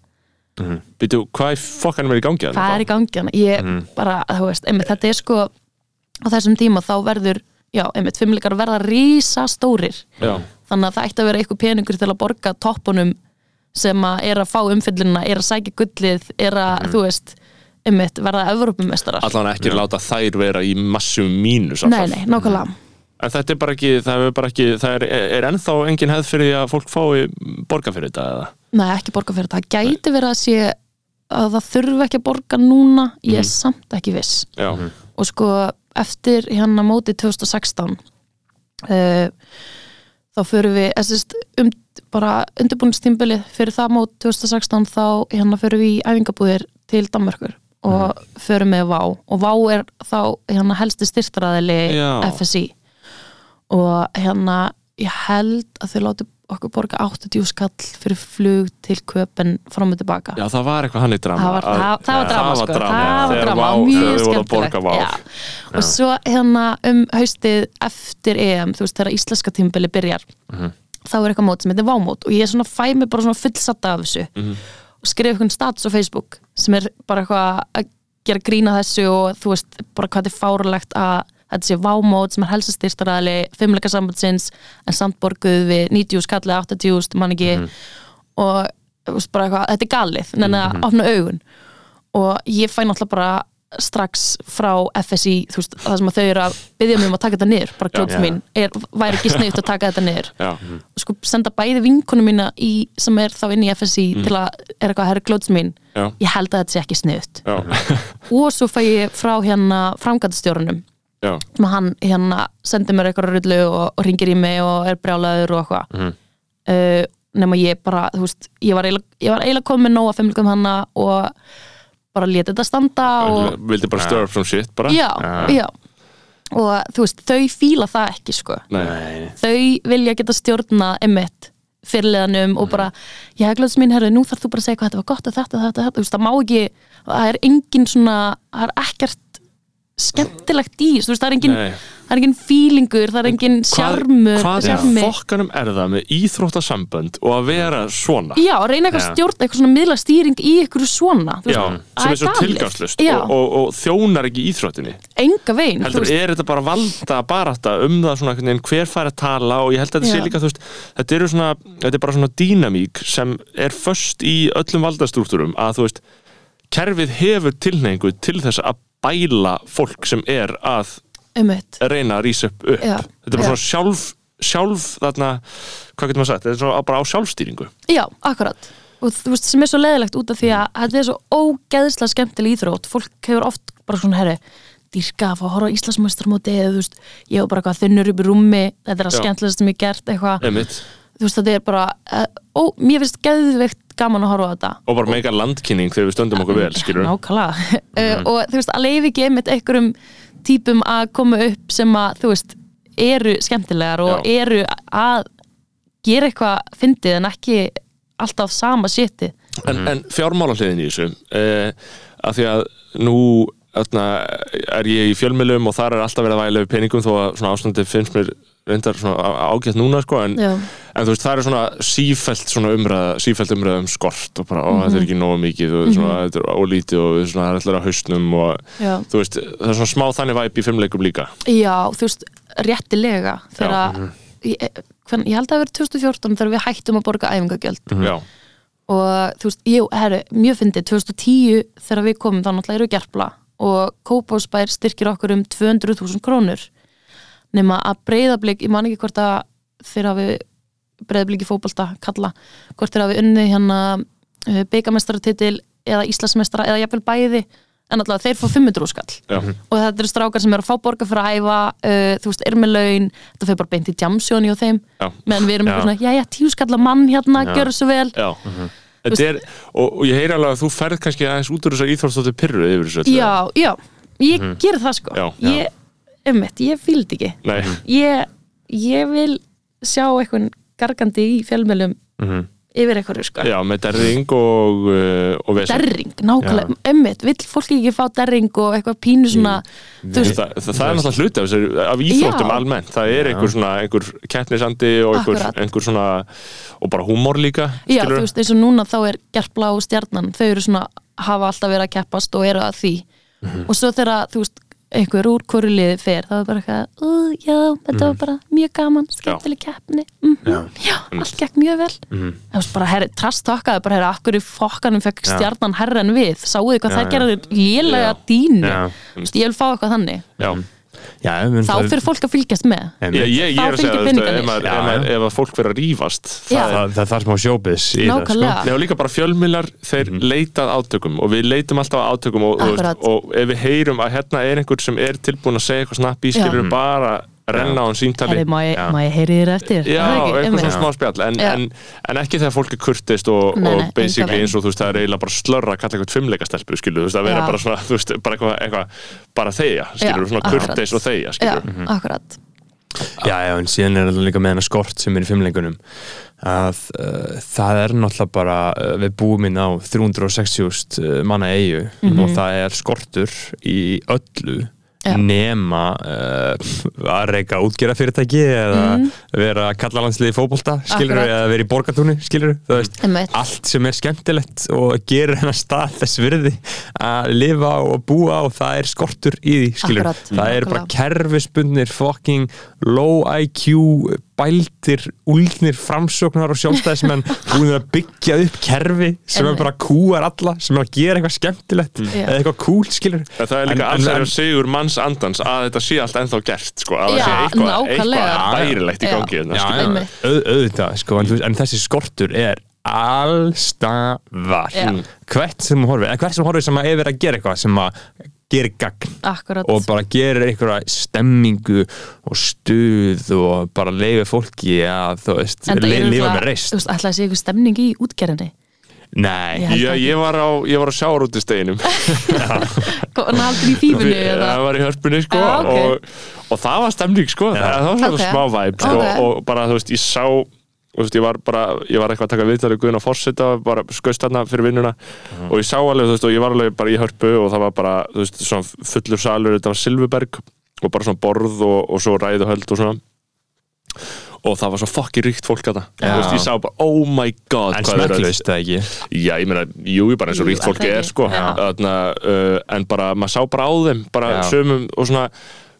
[SPEAKER 3] Býtu, hvað í fokkanum er í gangi þarna
[SPEAKER 4] hvað
[SPEAKER 3] þá?
[SPEAKER 4] er í gangi hann, ég bara, þú veist einmitt, þetta er sko á þessum tíma þá verður, já, einmitt, fimmleikar verða rísa stórir
[SPEAKER 3] Já,
[SPEAKER 4] þannig að það ætti að vera eitthvað peningur til að borga toppunum sem að er að fá umfyllunina, er að sækja gullið er að, þú veist, einmitt verða Evrópumestrar.
[SPEAKER 3] allan ekki láta þær vera í massum mínus alltaf.
[SPEAKER 4] Nei, nei, nákvæmlega
[SPEAKER 3] En þetta er bara ekki, það er bara ekki, það er, er ennþá engin hefð fyrir því að fólk fái borga fyrir þetta eða?
[SPEAKER 4] Nei, ekki borga fyrir það. Gæti verið að sé að það þurfi ekki að borga núna ég er samt ekki viss
[SPEAKER 3] Já,
[SPEAKER 4] og sko eftir hérna móti 2016 uh, þá fyrir við essist, um, bara undirbúinstímbili fyrir það mót 2016 þá hérna fyrir við í æfingabúðir til Danmörkur og mm. fyrir með VÁ og VÁ er þá hérna helsti styrtaraðili
[SPEAKER 3] Já.
[SPEAKER 4] FSI og hérna ég held að þau láti okkur borga 80 skall fyrir flug til köpen fram og tilbaka
[SPEAKER 3] já, það var eitthvað hann í drama
[SPEAKER 4] það var, það, það var
[SPEAKER 3] Já,
[SPEAKER 4] drama sko, það var
[SPEAKER 3] Þegar
[SPEAKER 4] drama,
[SPEAKER 3] Vá- þegar þau
[SPEAKER 4] mjög
[SPEAKER 3] voru að
[SPEAKER 4] skemmtilegt
[SPEAKER 3] borga vá.
[SPEAKER 4] Já. og svo hérna um haustið eftir EM, þú veist þegar íslenska tímabili byrjar
[SPEAKER 3] Mhm.
[SPEAKER 4] þá er eitthvað mót sem heitir vámót og ég svona fæ mig bara svona fullsatta af þessu
[SPEAKER 3] Mhm.
[SPEAKER 4] og skrifa eitthvað stats á Facebook sem er bara eitthvað að gera grína þessu og þú veist bara hvað þetta er fárlegt að þetta sé vámót sem er helsastyrstaræðali fimmleikasambandsins en samt borguð við 90 skallið 80 skall, mann ekki
[SPEAKER 3] Mhm.
[SPEAKER 4] og þú veist, bara eitthvað, þetta er galið en
[SPEAKER 3] Mhm.
[SPEAKER 4] að opna augun og ég fæ náttúrulega bara strax frá FSI, þú veist, það sem að þau eru að byggja mig um að taka þetta niður, bara klóta
[SPEAKER 3] já.
[SPEAKER 4] mín er, væri ekki sniðut að taka þetta niður
[SPEAKER 3] Já,
[SPEAKER 4] og sko senda bæði vinkonu mína í, sem er þá inn í FSI til að er eitthvað, herri klóts mín,
[SPEAKER 3] já,
[SPEAKER 4] ég held að þetta sé ekki sniðut
[SPEAKER 3] já,
[SPEAKER 4] og svo fæ ég frá hérna framgættastjórunum
[SPEAKER 3] já,
[SPEAKER 4] sem að hann hérna sendir mér eitthvað rullu og, og ringir í mig og er brjálaður og eitthvað uh, nema ég bara, þú veist ég var eiginlega, ég var eiginlega komin með nóg að fimmlugum hanna og bara lét þetta standa og
[SPEAKER 3] Vildi bara stir up some shit bara
[SPEAKER 4] já, já og þú veist, þau fíla það ekki sko
[SPEAKER 3] Nei,
[SPEAKER 4] þau vilja geta stjórna emitt fyrirliðanum og bara ég hef glöðs mín herri, nú þarf þú bara að segja hvað þetta var gott og þetta, þetta, þetta, þú veist, það má ekki það er engin svona, það er ekkert skemmtilegt í þessu, þú veist, það er engin,
[SPEAKER 5] Nei.
[SPEAKER 4] það er engin feelingur, það er engin sjarmur
[SPEAKER 5] Hvað er
[SPEAKER 4] sjarmi.
[SPEAKER 5] fokkanum er það með íþróttasambönd og að vera svona?
[SPEAKER 4] Já, að reyna eitthvað
[SPEAKER 5] Já.
[SPEAKER 4] að stjórna, eitthvað svona miðla stýring í eitthvað svona þú
[SPEAKER 5] Já,
[SPEAKER 4] veist, það
[SPEAKER 5] sem er svo
[SPEAKER 4] galið.
[SPEAKER 5] tilgangslust
[SPEAKER 4] Já,
[SPEAKER 5] og, og, og þjónar ekki íþróttinni
[SPEAKER 4] enga veginn þú
[SPEAKER 5] heldur
[SPEAKER 4] veist.
[SPEAKER 5] er þetta bara valda barata um það svona einhvern veginn hver fær að tala og ég held að þetta sé
[SPEAKER 4] Já.
[SPEAKER 5] líka þú veist þetta, eru svona, þetta er bara svona dýnamík sem er först í öllum valdastrúktúrum að þú veist kerfið hefur tilneingu til þess að bæla fólk sem er að
[SPEAKER 4] Einmitt.
[SPEAKER 5] reyna að rýsa upp, upp.
[SPEAKER 4] Já.
[SPEAKER 5] þetta er bara
[SPEAKER 4] Já.
[SPEAKER 5] svona sjálf sjálf þarna, hvað getur maður sagt þetta er svona bara á sjálfstýringu
[SPEAKER 4] Já, akkurat og þú veist, sem er svo leðilegt út af því að þetta er svo ógeðslega skemmtileg íþrótt fólk hefur oft bara svona, herri dýrka að fá að horfa á Íslandsmeistaramóti eða þú veist, ég var bara eitthvað þunnur upp í rúmi þetta er að
[SPEAKER 5] Já.
[SPEAKER 4] skemmtilegast sem ég hef gert eitthvað
[SPEAKER 5] Einmitt.
[SPEAKER 4] þú veist, þetta er bara, eh, ó, mér finnst geðveikt gaman að horfa á þetta
[SPEAKER 5] og bara mega landkynning þegar við stöndum okkur vel Mhm. skilur
[SPEAKER 4] Nákvæmlega mm. og þú veist, að leiði ekki einmitt einhverjum típum að koma upp sem að, þú veist, eru skemmtilegar og
[SPEAKER 5] Já.
[SPEAKER 4] eru að gera eitthvað fyndið en ekki alltaf sama sétti
[SPEAKER 5] en, en fjármálahliðin í þessu uh, af því að nú öðna, er ég í fjölmiðlum og þar er alltaf verið að væla við peningum þó að svona ástandi finnst mér reyndar svona á- ágætt núna sko, en,
[SPEAKER 4] Já.
[SPEAKER 5] en þú veist það er svona sífælt svona umræða, sífælt umræða um skort og bara, ó, þetta
[SPEAKER 4] Mhm.
[SPEAKER 5] er ekki nógu mikið og svona, þetta er ólítið og svona, það er allir á hausnum og
[SPEAKER 4] Já.
[SPEAKER 5] þú veist, það er svona smá þannig væp í fimmleikum líka
[SPEAKER 4] Já, þú veist, réttilega þegar
[SPEAKER 5] Já.
[SPEAKER 4] að ég, eh, hvern, ég held að það hafi verið 2014 þegar við hættum að borga æfingagjöld
[SPEAKER 5] já,
[SPEAKER 4] og þú veist, ég, herru, mjög fyndið 2010 þegar við komum þá náttúrulega eru gerpla og Kópásbær styrkir okkur um 200.000 krónur nema að breyðablík, ég man ekki hvort að þegar við breyðablík í fótbolta kalla, hvort þegar við unni hérna eh, bikarmeistaratitil eða Íslandsmeistara eða jafnvel bæði en allavega þeir fá 500 skall
[SPEAKER 5] já,
[SPEAKER 4] og þetta eru strákar sem eru að fá borga fyrir að æfa uh, þú veist, er með laun þetta fyrir bara beint í jamsjóni og þeim
[SPEAKER 5] Já.
[SPEAKER 4] meðan við
[SPEAKER 5] Já.
[SPEAKER 4] erum eitthvað svona, já, já, tíu skalla mann hérna, gjör svo vel
[SPEAKER 5] já. Þetta er, og, og ég heyri alveg að þú ferð kannski aðeins út úr þessar íþórnstóttir pyrru yfir þessu öllu.
[SPEAKER 4] já, já, ég mm það sko
[SPEAKER 5] Mhm. Já.
[SPEAKER 4] ég, ummitt, ég fylgd ekki
[SPEAKER 5] Nei,
[SPEAKER 4] ég, ég vil sjá eitthvað gargandi í fjölmjölum yfir eitthvað sko
[SPEAKER 5] Mhm. já, með derring og, uh, og vesen.
[SPEAKER 4] derring, nákvæmlega, ummitt, vill fólk ekki fá derring og eitthvað pínu svona þú
[SPEAKER 5] Þa,
[SPEAKER 4] veist,
[SPEAKER 5] það, það er náttúrulega hluti af, þessu- af íþróttum
[SPEAKER 4] Já.
[SPEAKER 5] almennt, það er einhver svona einhver keppnisandi og einhver,
[SPEAKER 4] Akkurat.
[SPEAKER 5] einhver svona og bara húmor líka
[SPEAKER 4] já,
[SPEAKER 5] skilurðu?
[SPEAKER 4] þú veist, eins og núna þá er gerpla og stjarnan, þau eru svona hafa alltaf verið að keppast og eru að því
[SPEAKER 5] Mhm.
[SPEAKER 4] og svo þegar, þú veist einhver úr hverju liði fer, það er bara eitthvað "Ú, já, þetta
[SPEAKER 5] Mhm.
[SPEAKER 4] var bara mjög gaman skemmtileg keppni, mhm já, allt gekk mjög vel
[SPEAKER 5] Mhm.
[SPEAKER 4] það var bara, herri, trast takkaði bara, herri, akkur í fokkanum fekk stjarnan herra en við sáuðu hvað það gerði lélega
[SPEAKER 5] Já.
[SPEAKER 4] dýnu
[SPEAKER 6] Já.
[SPEAKER 4] Þú veist, ég vil fá eitthvað þannig
[SPEAKER 5] Já,
[SPEAKER 6] Já, við erum
[SPEAKER 4] þá
[SPEAKER 6] það-
[SPEAKER 4] fyrir fólk að fylgjast með
[SPEAKER 6] mm. Einmitt.
[SPEAKER 5] ég, ég, ég
[SPEAKER 4] Þá
[SPEAKER 5] er að segja
[SPEAKER 4] fylgja
[SPEAKER 5] þú veist,
[SPEAKER 4] peningarnir.
[SPEAKER 5] ef, maður,
[SPEAKER 6] Já,
[SPEAKER 5] ef, maður, ef að fólk vera að rífast
[SPEAKER 4] Já.
[SPEAKER 6] það, það, það, það er smá sjóbis í það sko.
[SPEAKER 4] nákvæmlega,
[SPEAKER 5] Nei, og líka bara fjölmiðlar, þeir
[SPEAKER 6] Mhm.
[SPEAKER 5] leitað átökum og við leitum alltaf að átökum og, þú
[SPEAKER 4] Akkurat.
[SPEAKER 5] og ef við heyrum að hérna er einhver sem er tilbúin að segja eitthvað snapp í
[SPEAKER 4] Já.
[SPEAKER 5] skilur bara renna á hann símtali
[SPEAKER 4] herri, má ég, má ég heyri þér eftir
[SPEAKER 5] Já,
[SPEAKER 4] Er það ekki?
[SPEAKER 5] eitthvað
[SPEAKER 4] Einmitt.
[SPEAKER 5] svona smá spjall en,
[SPEAKER 4] Já.
[SPEAKER 5] en, en ekki þegar fólk er kurtist og,
[SPEAKER 4] Nei, nei,
[SPEAKER 5] og basically
[SPEAKER 4] engan
[SPEAKER 5] eins og þú veist það er eiginlega bara slörra að kalla eitthvað tvimmleikastelpu skilur, þú veist að vera
[SPEAKER 4] Já.
[SPEAKER 5] bara svona, þú veist, bara eitthvað, eitthvað bara þeia, skilur,
[SPEAKER 4] Já,
[SPEAKER 5] svona
[SPEAKER 4] akkurat.
[SPEAKER 5] kurtist og þeia
[SPEAKER 4] já,
[SPEAKER 5] skilur, Mhm.
[SPEAKER 4] akkurat
[SPEAKER 6] Já, já, en síðan er það líka með hennar skort sem er í fimmleikunum að uh, það er náttúrulega bara uh, við búum inn á 360 uh, manna eigu og það er skortur í öllu
[SPEAKER 4] Mhm. Já.
[SPEAKER 6] nema uh, að reyka útgera fyrirtæki eða vera kallalandsliði fótbolta skilur
[SPEAKER 4] Mhm. Akkurat.
[SPEAKER 6] eða vera í borgatúni skilur þú veist
[SPEAKER 4] Einmitt.
[SPEAKER 6] allt sem er skemmtilegt og gerir hennar stað þess virði að lifa og búa og það er skortur í því skilur
[SPEAKER 4] Akkurat.
[SPEAKER 6] það er bara
[SPEAKER 4] Nákvæmlega.
[SPEAKER 6] kerfisbundnir fucking low IQ bæltir, úlnir framsóknar og sjálfstæðismenn búinir að byggja upp kerfi sem er
[SPEAKER 4] Einmitt.
[SPEAKER 6] bara kúar alla sem er að gera eitthvað skemmtilegt
[SPEAKER 4] Já.
[SPEAKER 6] eða eitthvað cool skilur
[SPEAKER 5] en það er líka
[SPEAKER 6] En-
[SPEAKER 5] alls
[SPEAKER 6] en-
[SPEAKER 5] er sigur manns andans að þetta sé allt ennþá gert sko, að
[SPEAKER 4] Já,
[SPEAKER 5] það sé eitthvað,
[SPEAKER 4] nákvæmlega.
[SPEAKER 5] eitthvað bærilegt í
[SPEAKER 4] Já.
[SPEAKER 5] gangi
[SPEAKER 6] Já,
[SPEAKER 5] hérna,
[SPEAKER 6] já,
[SPEAKER 5] skilur.
[SPEAKER 4] Einmitt.
[SPEAKER 6] auð- auðvitað sko, en, þú veist, en þessi skortur er allstaðar
[SPEAKER 4] Já.
[SPEAKER 6] Hmm. hvert sem hún horfir, en hvert sem hún horfir sem að er verið að gera eitthvað sem að gera gagn
[SPEAKER 4] akkurat,
[SPEAKER 6] og bara gerir einhverja stemmingu og stuð og bara leiði fólki að þú veist,
[SPEAKER 4] Enda
[SPEAKER 6] li,
[SPEAKER 4] eru
[SPEAKER 6] lifa
[SPEAKER 4] það-
[SPEAKER 6] með reist
[SPEAKER 4] þú veist, ætlaði að sé eitthvað stemning í útgerðinni
[SPEAKER 6] Nei,
[SPEAKER 4] Já.
[SPEAKER 5] Já, ég var á, ég var á sjárútisteginum
[SPEAKER 4] hann haldur í fífinu
[SPEAKER 5] Við-
[SPEAKER 4] eða
[SPEAKER 5] það var í hörpunni sko
[SPEAKER 4] Já, ok.
[SPEAKER 5] og, og það var stemning sko það, það var svona
[SPEAKER 4] Ok.
[SPEAKER 5] smá væp sko,
[SPEAKER 4] Ok.
[SPEAKER 5] og bara þú veist ég sá og þú veist, ég var bara, ég var eitthvað að taka viðtalið Guðun á Forseta, bara skauðst þarna fyrir vinnuna
[SPEAKER 4] Mhm.
[SPEAKER 5] og ég sá alveg, þú veist, og ég var alveg bara í hörpu og það var bara, þú veist, svona fullur salur, þetta var Silfurberg og bara svona borð og, og svo ræðuhöld og svona og það var svo fokki ríkt fólk að það, þú veist, ég sá bara, oh my god
[SPEAKER 6] En
[SPEAKER 5] hvað er öll-
[SPEAKER 6] smekklaust það ekki
[SPEAKER 5] Já, ég meina, jú, ég bara eins og
[SPEAKER 4] Jú,
[SPEAKER 5] ríkt fólki
[SPEAKER 4] er það
[SPEAKER 5] er
[SPEAKER 4] ekki?
[SPEAKER 5] sko,
[SPEAKER 4] Já.
[SPEAKER 5] Þarna, uh, en bara maður sá bara á þeim bara
[SPEAKER 6] Já.
[SPEAKER 5] sömum og svona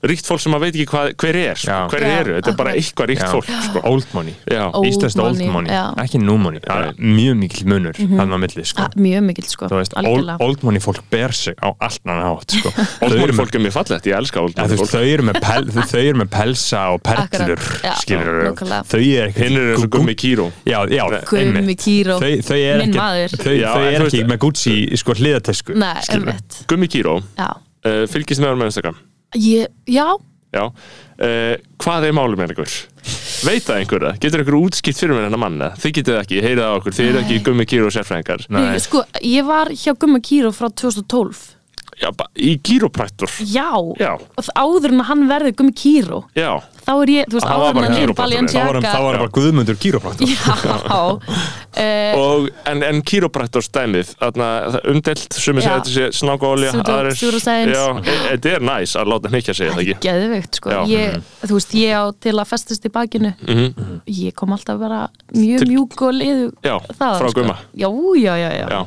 [SPEAKER 5] ríkt fólk sem maður veit ekki hvað, hver er sko,
[SPEAKER 6] Já.
[SPEAKER 5] hver
[SPEAKER 4] Já,
[SPEAKER 5] eru, þetta er bara
[SPEAKER 4] akkurat.
[SPEAKER 5] eitthvað ríkt
[SPEAKER 6] Já.
[SPEAKER 5] fólk sko.
[SPEAKER 6] Old money
[SPEAKER 5] Já,
[SPEAKER 4] Old
[SPEAKER 6] Íslands old
[SPEAKER 4] money,
[SPEAKER 6] money,
[SPEAKER 4] já.
[SPEAKER 6] ekki new money Það er mjög mikill munur þannig að milli sko.
[SPEAKER 4] Ah, mjög mikill sko,
[SPEAKER 6] Þú veist, old,
[SPEAKER 4] algjörlega
[SPEAKER 6] old money fólk ber sig á allt annan hátt sko. Þau
[SPEAKER 5] old
[SPEAKER 6] eru
[SPEAKER 5] money
[SPEAKER 6] með-
[SPEAKER 5] fólk er mér fallegt, ég elska old
[SPEAKER 6] Já, þú
[SPEAKER 5] money
[SPEAKER 6] veist,
[SPEAKER 5] fólk
[SPEAKER 6] þau eru með, pel, þau- þau eru með pelsa og perlur
[SPEAKER 4] Akkurat, já,
[SPEAKER 6] skilur
[SPEAKER 4] nákvæmlega.
[SPEAKER 6] þau eru
[SPEAKER 5] hinn er eins og gummi kýró
[SPEAKER 6] já, já,
[SPEAKER 4] Gummi
[SPEAKER 6] einmitt.
[SPEAKER 4] Kíró,
[SPEAKER 6] þau, þau eru
[SPEAKER 4] minn
[SPEAKER 6] ekki,
[SPEAKER 4] maður.
[SPEAKER 6] þau,
[SPEAKER 5] Já,
[SPEAKER 6] þau
[SPEAKER 5] en
[SPEAKER 6] eru
[SPEAKER 5] þú
[SPEAKER 6] ekki
[SPEAKER 5] veist-
[SPEAKER 6] með Gucci í sko hliðatösku
[SPEAKER 4] Nei, einmitt
[SPEAKER 5] gummi kýró,
[SPEAKER 4] Já,
[SPEAKER 5] uh, fylgist með hann með Instagram
[SPEAKER 4] ég, já
[SPEAKER 5] Já, uh, hvað er málum með einhver? Veit það einhver það? Getur einhver útskipt fyrir mér hennar manna? Þið getið það ekki, heyrið það á okkur, þið eru ekki gummi kýró sérfræðingar
[SPEAKER 4] Nei. Sko, ég var hjá Gumma Kíró frá 2012
[SPEAKER 5] Já, bara í kýróprættur
[SPEAKER 4] Já,
[SPEAKER 5] Já.
[SPEAKER 4] Og þ- áður en að hann verði Gummi Kíró
[SPEAKER 5] Já,
[SPEAKER 4] Þá er ég, þú veist,
[SPEAKER 5] Hann var
[SPEAKER 4] áður en
[SPEAKER 5] bara
[SPEAKER 4] hann er
[SPEAKER 5] kýrópraktor,
[SPEAKER 6] þá var
[SPEAKER 4] Balenciaga
[SPEAKER 6] það var bara guðmundur kýrófraktur
[SPEAKER 4] Já, Eh,
[SPEAKER 5] og, en, en kýróprættur stæmið þarna, það er umdelt, sumi segja
[SPEAKER 4] Já.
[SPEAKER 5] þetta sé snákóli
[SPEAKER 4] Pseudo- pseudoscience.
[SPEAKER 5] e, þetta er næs að láta hann ekki að segja það ekki
[SPEAKER 4] geðveikt sko
[SPEAKER 5] Já.
[SPEAKER 4] ég, Þú veist, ég á til að festast í bakinu Ég kom alltaf bara mjög
[SPEAKER 5] Mhm. Til-
[SPEAKER 4] mjúk og liðu
[SPEAKER 5] Já, frá Gumma.
[SPEAKER 4] Já, já, já, já,
[SPEAKER 5] já,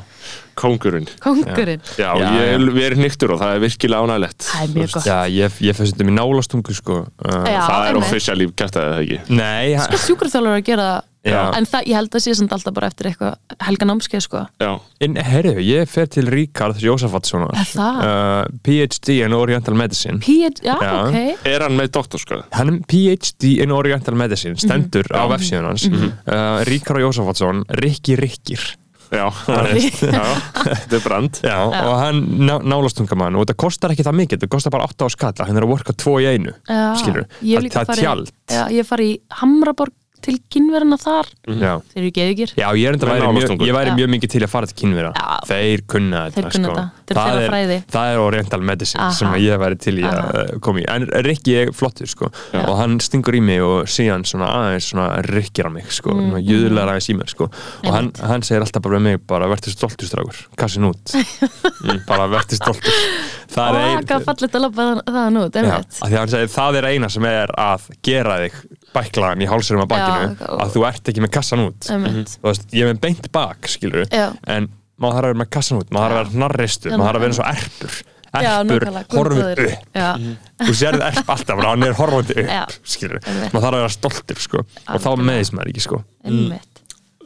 [SPEAKER 5] kóngurinn
[SPEAKER 4] Kóngurinn,
[SPEAKER 5] já,
[SPEAKER 6] Já,
[SPEAKER 5] ég
[SPEAKER 6] já.
[SPEAKER 5] hef verið nýttur og það er virkilega ánægilegt
[SPEAKER 4] það er mjög gott
[SPEAKER 6] já, ég, ég fæst þetta með nálastungu sko. uh,
[SPEAKER 4] Já,
[SPEAKER 5] það er
[SPEAKER 4] einmitt.
[SPEAKER 5] official líf kæftæðið það ekki
[SPEAKER 6] nei,
[SPEAKER 4] Sko-
[SPEAKER 6] ha-
[SPEAKER 4] Sjúkraþjálfur að gera það
[SPEAKER 6] Já.
[SPEAKER 4] En það, ég held að sé samt alltaf bara eftir eitthvað Helga námskeið sko
[SPEAKER 5] já,
[SPEAKER 6] en herru, ég fer til Ríkard Jósafatssonar
[SPEAKER 4] Er það?
[SPEAKER 6] uh, PhD in Oriental Medicine
[SPEAKER 4] Pét, já,
[SPEAKER 6] Já.
[SPEAKER 4] ok
[SPEAKER 5] er hann með doktorskráð?
[SPEAKER 6] hann er PhD in Oriental Medicine stendur á vefsíðun hans
[SPEAKER 4] Mm-hmm.
[SPEAKER 6] mm uh, Ríkar Jósafatsson, Rikki Rikkir
[SPEAKER 5] já, það er- já, þetta er brand
[SPEAKER 6] Já, og hann ná, nálastungamann og þetta kostar ekki það mikið, þetta kostar bara 8 á skalla hann er að worka 2 í einu,
[SPEAKER 4] Já,
[SPEAKER 6] skilur
[SPEAKER 4] ég hef
[SPEAKER 6] það,
[SPEAKER 4] líka
[SPEAKER 6] það er
[SPEAKER 4] farið-
[SPEAKER 6] tjald
[SPEAKER 4] Já, ég fari í Hamraborg til kynverina þar
[SPEAKER 5] Mhm.
[SPEAKER 6] Já.
[SPEAKER 4] Þeir eru geðugir
[SPEAKER 6] Já, ég er enda
[SPEAKER 5] Með
[SPEAKER 6] væri mjög,
[SPEAKER 5] nálastungu.
[SPEAKER 6] ég væri
[SPEAKER 4] Já.
[SPEAKER 6] mjög mikið til að fara til kynvera
[SPEAKER 4] Já.
[SPEAKER 6] Þeir kunna þetta
[SPEAKER 4] Þeir kunna
[SPEAKER 6] sko.
[SPEAKER 4] þetta. Þetta er þeirra fræði.
[SPEAKER 6] Það er Oriental Medicine
[SPEAKER 4] Aha.
[SPEAKER 6] sem ég væri til í að
[SPEAKER 4] Aha.
[SPEAKER 6] uh, koma í En Rikki er flottur sko Og hann stingur í mig og síðan svona aðeins svona rikkir á mig sko mm. Jöðulegar aðeins í mér sko Og hann, hann segir alltaf bara við mig bara verður stoltur strákur Kassin út Bara verður stoltur
[SPEAKER 4] Og
[SPEAKER 6] Það
[SPEAKER 4] það gaf fallit að labba það- þaðan út,
[SPEAKER 6] Já,
[SPEAKER 4] einmitt
[SPEAKER 6] af því að hann segir, það er eina sem er að gera þig bæklaðan í hálsurum að bakinu
[SPEAKER 4] Já, og-
[SPEAKER 6] að þú ert ekki með kassan út
[SPEAKER 5] Mhm.
[SPEAKER 4] Einmitt,
[SPEAKER 6] þú veist, ég er með beint bak, skilur
[SPEAKER 4] Já.
[SPEAKER 6] en maður þarf að vera með kassan út maður þarf að vera hnarristu,
[SPEAKER 4] Já,
[SPEAKER 6] maður þarf að vera
[SPEAKER 4] nákvæmlega.
[SPEAKER 6] eins og erpur
[SPEAKER 4] Já,
[SPEAKER 6] erpur,
[SPEAKER 4] nákvæmlega,
[SPEAKER 6] horfir
[SPEAKER 4] guðbróðir.
[SPEAKER 6] upp
[SPEAKER 4] Já,
[SPEAKER 5] Mhm.
[SPEAKER 6] þú sérð erp alltaf, bara hann er horfandi upp
[SPEAKER 4] Já.
[SPEAKER 6] skilur,
[SPEAKER 4] Einmitt.
[SPEAKER 6] maður þarf að vera stoltur sko. og þá
[SPEAKER 4] Algjörlega.
[SPEAKER 6] meðist maður ekki sko.
[SPEAKER 4] einmitt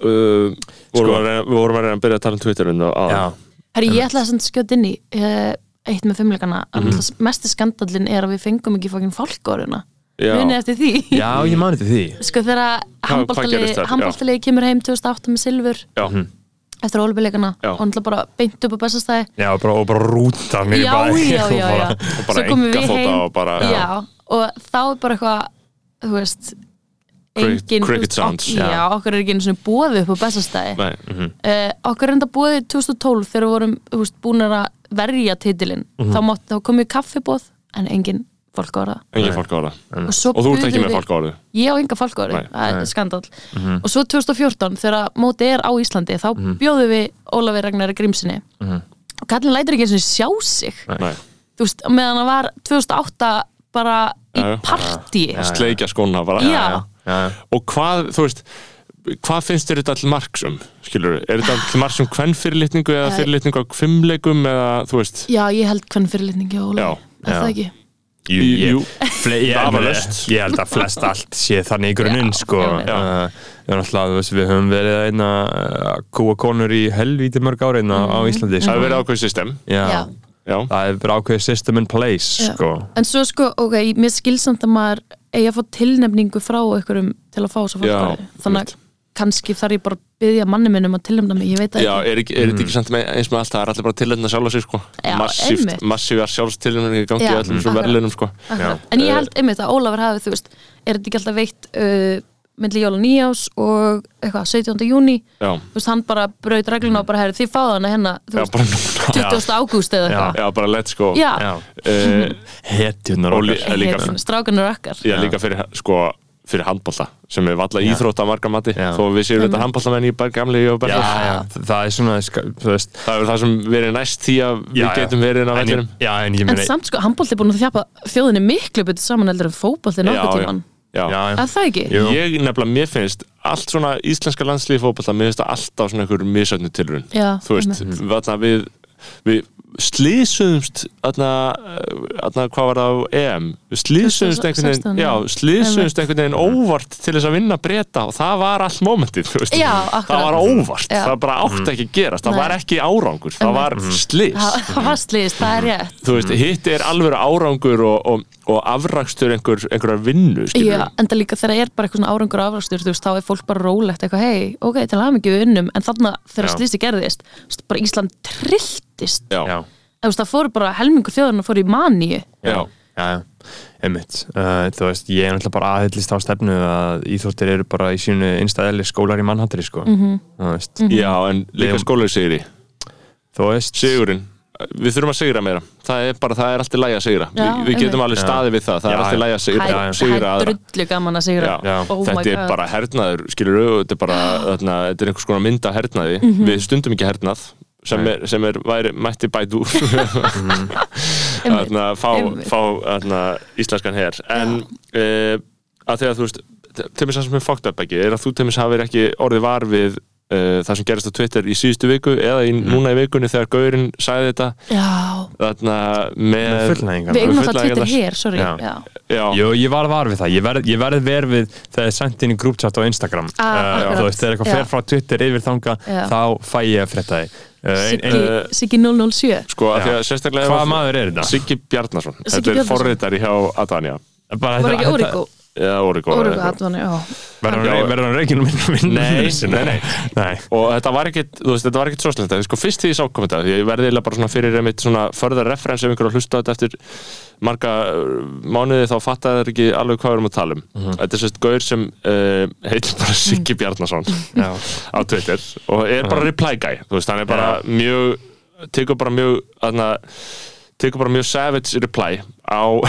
[SPEAKER 5] uh,
[SPEAKER 6] Sko.
[SPEAKER 5] vorum að reyna- við vorum að reyna að byrja að tala um Twitterinn og
[SPEAKER 6] já,
[SPEAKER 5] aðan
[SPEAKER 4] Herri, ég ætla að skjóta inn í eh, eitt með fimmleikana
[SPEAKER 5] Mhm.
[SPEAKER 4] mm -hmm. Mesti skandallin er að við fengum ekki fókin fólkóruna
[SPEAKER 5] Já.
[SPEAKER 4] Munið eftir því
[SPEAKER 6] já, ég mani til því
[SPEAKER 4] Sko þegar
[SPEAKER 5] Hvað- hvað gerist þar? Já.
[SPEAKER 4] handbóltalegi kemur heim 2008 með silfur
[SPEAKER 5] já,
[SPEAKER 4] eftir ólubileikana
[SPEAKER 5] Já.
[SPEAKER 4] og hann ætla bara beint upp á bestastæði
[SPEAKER 6] já, bara, og bara rúta mig
[SPEAKER 4] já,
[SPEAKER 6] bara,
[SPEAKER 4] já, já, já.
[SPEAKER 5] og bara
[SPEAKER 4] Svo komum við
[SPEAKER 5] enga þóta
[SPEAKER 4] heim-
[SPEAKER 5] og bara
[SPEAKER 4] já. og þá er bara eitthvað þú veist
[SPEAKER 5] Cricket-
[SPEAKER 4] engin,
[SPEAKER 5] cricket sounds.
[SPEAKER 4] ok, já, okkur er ekki einu svona bóði upp á bestastæði
[SPEAKER 5] Nei,
[SPEAKER 4] uh, okkur er enda bóði 2012 þegar við vorum þú veist, búnar að verja titilin
[SPEAKER 5] Mhm.
[SPEAKER 4] þá, mátt, þá komið kaffibóð en engin fólk ára
[SPEAKER 5] engin fólk á það
[SPEAKER 4] og, svo
[SPEAKER 5] og þú ert
[SPEAKER 4] buðu
[SPEAKER 5] ekki með
[SPEAKER 4] við-
[SPEAKER 5] fólk á það
[SPEAKER 4] ég á enga fólk ári,
[SPEAKER 5] Nei, Mhm.
[SPEAKER 4] það er skandal og svo 2014 þegar móti er á Íslandi þá bjóðum við Ólafi Ragnari Grímsinni og kallin lætur ekki eins og sjá sig
[SPEAKER 5] Mhm. Nei.
[SPEAKER 4] þú veist, á meðan hann var 2008 bara í
[SPEAKER 5] Já, já.
[SPEAKER 4] partí já,
[SPEAKER 5] sleikja skóna bara
[SPEAKER 4] Já.
[SPEAKER 6] já.
[SPEAKER 5] og hvað, þú veist hvað finnst þér þetta allir marksum skilur, er þetta allir marksum hvern fyrirlitningu eða
[SPEAKER 4] Já.
[SPEAKER 5] fyrirlitningu á fimmleikum eða þú veist,
[SPEAKER 4] ég held hvern fyrirlitningi á Ólafi,
[SPEAKER 5] Já,
[SPEAKER 4] er það
[SPEAKER 6] já.
[SPEAKER 4] ekki?
[SPEAKER 6] Jú,
[SPEAKER 5] Jú,
[SPEAKER 6] ég,
[SPEAKER 5] jú.
[SPEAKER 6] Fle, ég,
[SPEAKER 5] Vafalaust.
[SPEAKER 6] ég held að flest allt sé þannig í grunninn
[SPEAKER 4] Já,
[SPEAKER 6] sko.
[SPEAKER 4] einmitt.
[SPEAKER 6] uh, ég var náttúrulega, þú veist, við höfum verið að einna kúa konur í helvíti mörg ára einna á Íslandi
[SPEAKER 5] Mhm. það
[SPEAKER 6] sko.
[SPEAKER 5] hefur verið ákveð system
[SPEAKER 6] já,
[SPEAKER 4] Já.
[SPEAKER 5] já,
[SPEAKER 6] það hefur verið ákveðið system in place
[SPEAKER 4] Já.
[SPEAKER 6] sko.
[SPEAKER 4] en svo sko, ok, mér skilsamt að maður eigi að fá tilnefningu frá einhverjum til að fá þess að
[SPEAKER 5] Já,
[SPEAKER 4] fólk þannig að kannski þarf ég bara að byggja manni minn um að tilnefna mig, ég veit það
[SPEAKER 5] já er, ekki, er þetta ekki samt með, eins með allt, það er allir bara tilhengna sjálfa sig sko,
[SPEAKER 4] Já,
[SPEAKER 5] massíft,
[SPEAKER 4] einmitt.
[SPEAKER 5] massífar sjálfstilhengi gangi
[SPEAKER 4] Já,
[SPEAKER 5] í öllum svona
[SPEAKER 4] akkurat.
[SPEAKER 5] verðlunum sko
[SPEAKER 4] Akkurat. En ég held einmitt að Ólafur hafi, þú veist, er þetta ekki alltaf veitt uh, myndli jóla nýjás og eitthvað, 17. júni,
[SPEAKER 5] já,
[SPEAKER 4] þú veist, hann bara braut regluna og bara herri, þið fáðu hana hérna, þú
[SPEAKER 5] já,
[SPEAKER 4] veist,
[SPEAKER 5] bara núna
[SPEAKER 4] 20. ágúst eða eitthvað.
[SPEAKER 5] já, bara let's go
[SPEAKER 4] Já,
[SPEAKER 6] Já.
[SPEAKER 5] Eh,
[SPEAKER 6] hetjunar
[SPEAKER 5] og eh,
[SPEAKER 6] okkar
[SPEAKER 5] líka,
[SPEAKER 4] Hérna, strákan eru okkar.
[SPEAKER 5] já, líka fyrir sko fyrir handbolta sem er valla íþrótt að marga mati
[SPEAKER 6] Já.
[SPEAKER 5] þó við séum þetta handboltamenn í bar- gamli og
[SPEAKER 6] já,
[SPEAKER 5] berðar
[SPEAKER 6] já, það er svona ska- þú veist
[SPEAKER 5] það er það sem verið næst því að við
[SPEAKER 6] já, já.
[SPEAKER 5] getum verið inn á
[SPEAKER 6] En ég-
[SPEAKER 5] vellinum
[SPEAKER 6] já, en ég
[SPEAKER 4] En
[SPEAKER 6] meina
[SPEAKER 4] samt sko, handbólti er búin að þjapa þjóðinni miklu betur saman heldur en fótbólti nokkuð
[SPEAKER 5] já,
[SPEAKER 4] tíman.
[SPEAKER 5] já.
[SPEAKER 6] já, já.
[SPEAKER 4] Er það ekki?
[SPEAKER 6] Jú.
[SPEAKER 5] ég nefnilega, mér finnst allt svona íslenska landslíði fótballta mér finnst það alltaf svona einhver misöfnu tilrun
[SPEAKER 4] Já,
[SPEAKER 5] þú veist, vatna, við, við slýsumst atna, atna, hvað var það á EM við slýsumst einhvern
[SPEAKER 4] 2016,
[SPEAKER 5] veginn já,
[SPEAKER 4] já.
[SPEAKER 5] slýsumst einhvern veginn óvart til þess að vinna breyta og það var allt momentið þú veist.
[SPEAKER 4] Já,
[SPEAKER 5] það
[SPEAKER 4] akkurat.
[SPEAKER 5] var óvart,
[SPEAKER 4] Já.
[SPEAKER 5] það bara átti
[SPEAKER 6] Mm.
[SPEAKER 5] ekki að gerast það
[SPEAKER 4] Nei.
[SPEAKER 5] var ekki árangur, það var slýs
[SPEAKER 4] Það það var slýst, það er rétt.
[SPEAKER 5] þú
[SPEAKER 6] Mhm.
[SPEAKER 5] veist, hitt er alveg árangur og, og, og afrakstur einhver, einhverjar vinnu skilur
[SPEAKER 4] Já, en það líka þegar er bara eitthvað svona árangur afrakstur, þú veist, þá er fólk bara rólegt eitthvað, hei, ok, til að hafa mikið unnum, en þarna þegar
[SPEAKER 6] Já.
[SPEAKER 4] slýsi gerðist, þú veist, bara Ísland trilltist,
[SPEAKER 5] já,
[SPEAKER 6] já,
[SPEAKER 5] já,
[SPEAKER 4] Eða, þú veist, það fóru bara helmingur þjóðurinn að fóru í maníu.
[SPEAKER 5] já.
[SPEAKER 6] já, já, einmitt uh, þú veist, ég er náttúrulega bara aðhyllist á stefnu að íþróttir eru bara í sínu innstæðileg skólar í mannhattri, sko
[SPEAKER 5] Mhm.
[SPEAKER 6] þú veist,
[SPEAKER 5] en líka
[SPEAKER 6] Við-
[SPEAKER 5] skólaði sigri
[SPEAKER 6] þú veist
[SPEAKER 5] sigurinn, við þurfum að sigra meira það er bara, það er alltaf læg að sigra Vi,
[SPEAKER 4] Já,
[SPEAKER 5] við getum
[SPEAKER 4] einmitt.
[SPEAKER 5] alveg staðið við það, það
[SPEAKER 6] Já,
[SPEAKER 5] er alltaf
[SPEAKER 6] já.
[SPEAKER 5] læg að sigra,
[SPEAKER 6] já, já.
[SPEAKER 5] sigra
[SPEAKER 4] Það er
[SPEAKER 5] aðra
[SPEAKER 4] drullu gaman að sigra.
[SPEAKER 5] Já.
[SPEAKER 4] Oh my
[SPEAKER 5] þetta er
[SPEAKER 4] God.
[SPEAKER 5] bara hernaður, skilur við þetta er einhvers konar mynd af hernaði
[SPEAKER 4] Mhm.
[SPEAKER 5] við stundum ekki hernað sem er, sem er væri, mætti bæt úr Mhm.
[SPEAKER 4] Einmitt.
[SPEAKER 5] þarna, fá,
[SPEAKER 4] Einmitt.
[SPEAKER 5] fá þarna, íslenskan her en uh, að þegar þú veist til mér það sem er fucked up ekki er að þú til mér hafið ekki orðið var við uh, það sem gerist á Twitter í síðustu viku eða í,
[SPEAKER 6] Mhm.
[SPEAKER 5] núna í vikunni þegar Gaurinn sagði þetta
[SPEAKER 4] Já,
[SPEAKER 5] þarna með,
[SPEAKER 6] fullnæðingar
[SPEAKER 4] við eigum alltaf
[SPEAKER 5] fullnægingarnar.
[SPEAKER 4] Twitter hér, sorry.
[SPEAKER 6] Já.
[SPEAKER 4] Já.
[SPEAKER 5] já,
[SPEAKER 6] Jú, ég var var við það, ég verð, ég verð ver við þegar ég sendi inn í grúpchat á Instagram Eh,
[SPEAKER 4] Ah, akkurat.
[SPEAKER 6] þú veist, þegar eitthvað
[SPEAKER 4] Já.
[SPEAKER 6] fer frá Twitter yfir þanga,
[SPEAKER 4] Já.
[SPEAKER 6] þá fæ ég að frétta því uh, ein, ein,
[SPEAKER 5] eh,
[SPEAKER 4] Siggi- Siggi 007.
[SPEAKER 5] sko að
[SPEAKER 6] Já.
[SPEAKER 5] því að sérstaklega
[SPEAKER 6] Hvaða maður er þetta?
[SPEAKER 5] Siggi Bjarnason,
[SPEAKER 4] Siggi
[SPEAKER 5] þetta er
[SPEAKER 4] Bjarnason.
[SPEAKER 5] forritari hjá Adania
[SPEAKER 6] Bara
[SPEAKER 4] Var
[SPEAKER 6] þetta-
[SPEAKER 4] ekki
[SPEAKER 6] þetta-
[SPEAKER 4] Origo?
[SPEAKER 5] eða Origo, eða
[SPEAKER 4] Origo
[SPEAKER 5] eitthvað.
[SPEAKER 4] Advani, já.
[SPEAKER 6] Verður
[SPEAKER 5] Já.
[SPEAKER 6] hann- verður hann reikinu minn minn-
[SPEAKER 5] Nei,
[SPEAKER 6] minn- sinni?
[SPEAKER 5] nei, nei.
[SPEAKER 6] nei.
[SPEAKER 5] og þetta var ekkit, þú veist, þetta var ekkit svo slenda sko fyrst því ég sá komið þetta, því ég verði eiginlega bara svona fyrir einmitt svona förðar referens ef einhver er að hlusta á þetta eftir marga uh, mánuði þá fattaði þeir ekki alveg hvað við erum að tala um þetta er sérst gaur sem uh, heitir
[SPEAKER 4] Mhm.
[SPEAKER 5] bara Siggi Bjarnason
[SPEAKER 6] Já.
[SPEAKER 5] á Twitter og er bara reply guy þú veist, hann er bara mjög tekur bara mjög þarna, tekur bara mjög savage reply á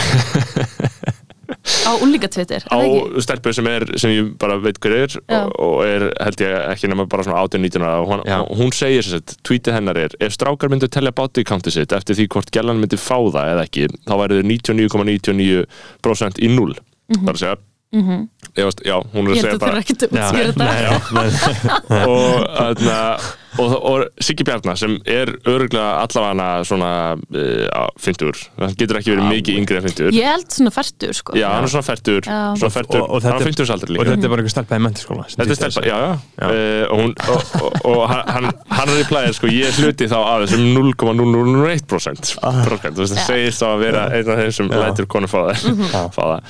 [SPEAKER 4] Á úlíka Twitter, er
[SPEAKER 5] á
[SPEAKER 4] það ekki?
[SPEAKER 5] stelpu sem er sem ég bara veit hver er
[SPEAKER 4] Já.
[SPEAKER 5] og, og er held ég ekki nema bara svona 18-19 ára og hún,
[SPEAKER 6] Já.
[SPEAKER 5] hún segir sem sagt, tweetið hennar er ef strákar myndu að tellja bodycountið sitt eftir því hvort gellan myndi fá það eða ekki þá væri þau 99,99% í 0 mm -hmm. þar að segja mm -hmm. já, hún er
[SPEAKER 4] Mhm. Ég
[SPEAKER 5] að
[SPEAKER 4] held
[SPEAKER 5] segja
[SPEAKER 4] að það er
[SPEAKER 5] bara
[SPEAKER 4] ekki dumt
[SPEAKER 6] Já.
[SPEAKER 4] að skýra þetta.
[SPEAKER 6] Nei, já, nei,
[SPEAKER 5] og, aðna, og, og Siggi Bjarnar sem er öruglega allavega svona uh, 50 hann getur ekki verið mikið yngri en 50
[SPEAKER 4] Ég held svona færtur, sko.
[SPEAKER 5] Já, hann er svona færtur,
[SPEAKER 4] Já.
[SPEAKER 5] svona færtur,
[SPEAKER 6] Og- og þetta
[SPEAKER 5] hann
[SPEAKER 6] er-
[SPEAKER 5] er 50 aldri líka.
[SPEAKER 6] og þetta er bara einhver stelpa í mentaskóla
[SPEAKER 5] Þetta er stelpa, já, já,
[SPEAKER 6] Já.
[SPEAKER 5] Eh, og, hún, og, og, og hann- hann, hann replæðir sko, ég er hluti þá af þessum 0,001% próskant, þú veist, það segist þá að vera einn af þeim sem lætur konu fá það, fá það.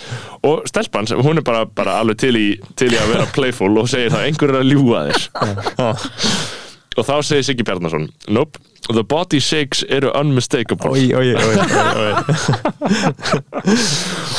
[SPEAKER 5] og stelpan, sem- hún er bara, bara alveg til í, til í að vera playful og segir það, einhver er að ljúga þér og þá segir Siggi Bjarnason nope, the body shakes eru unmistakable
[SPEAKER 6] Oi, oi, oi, oi, oi.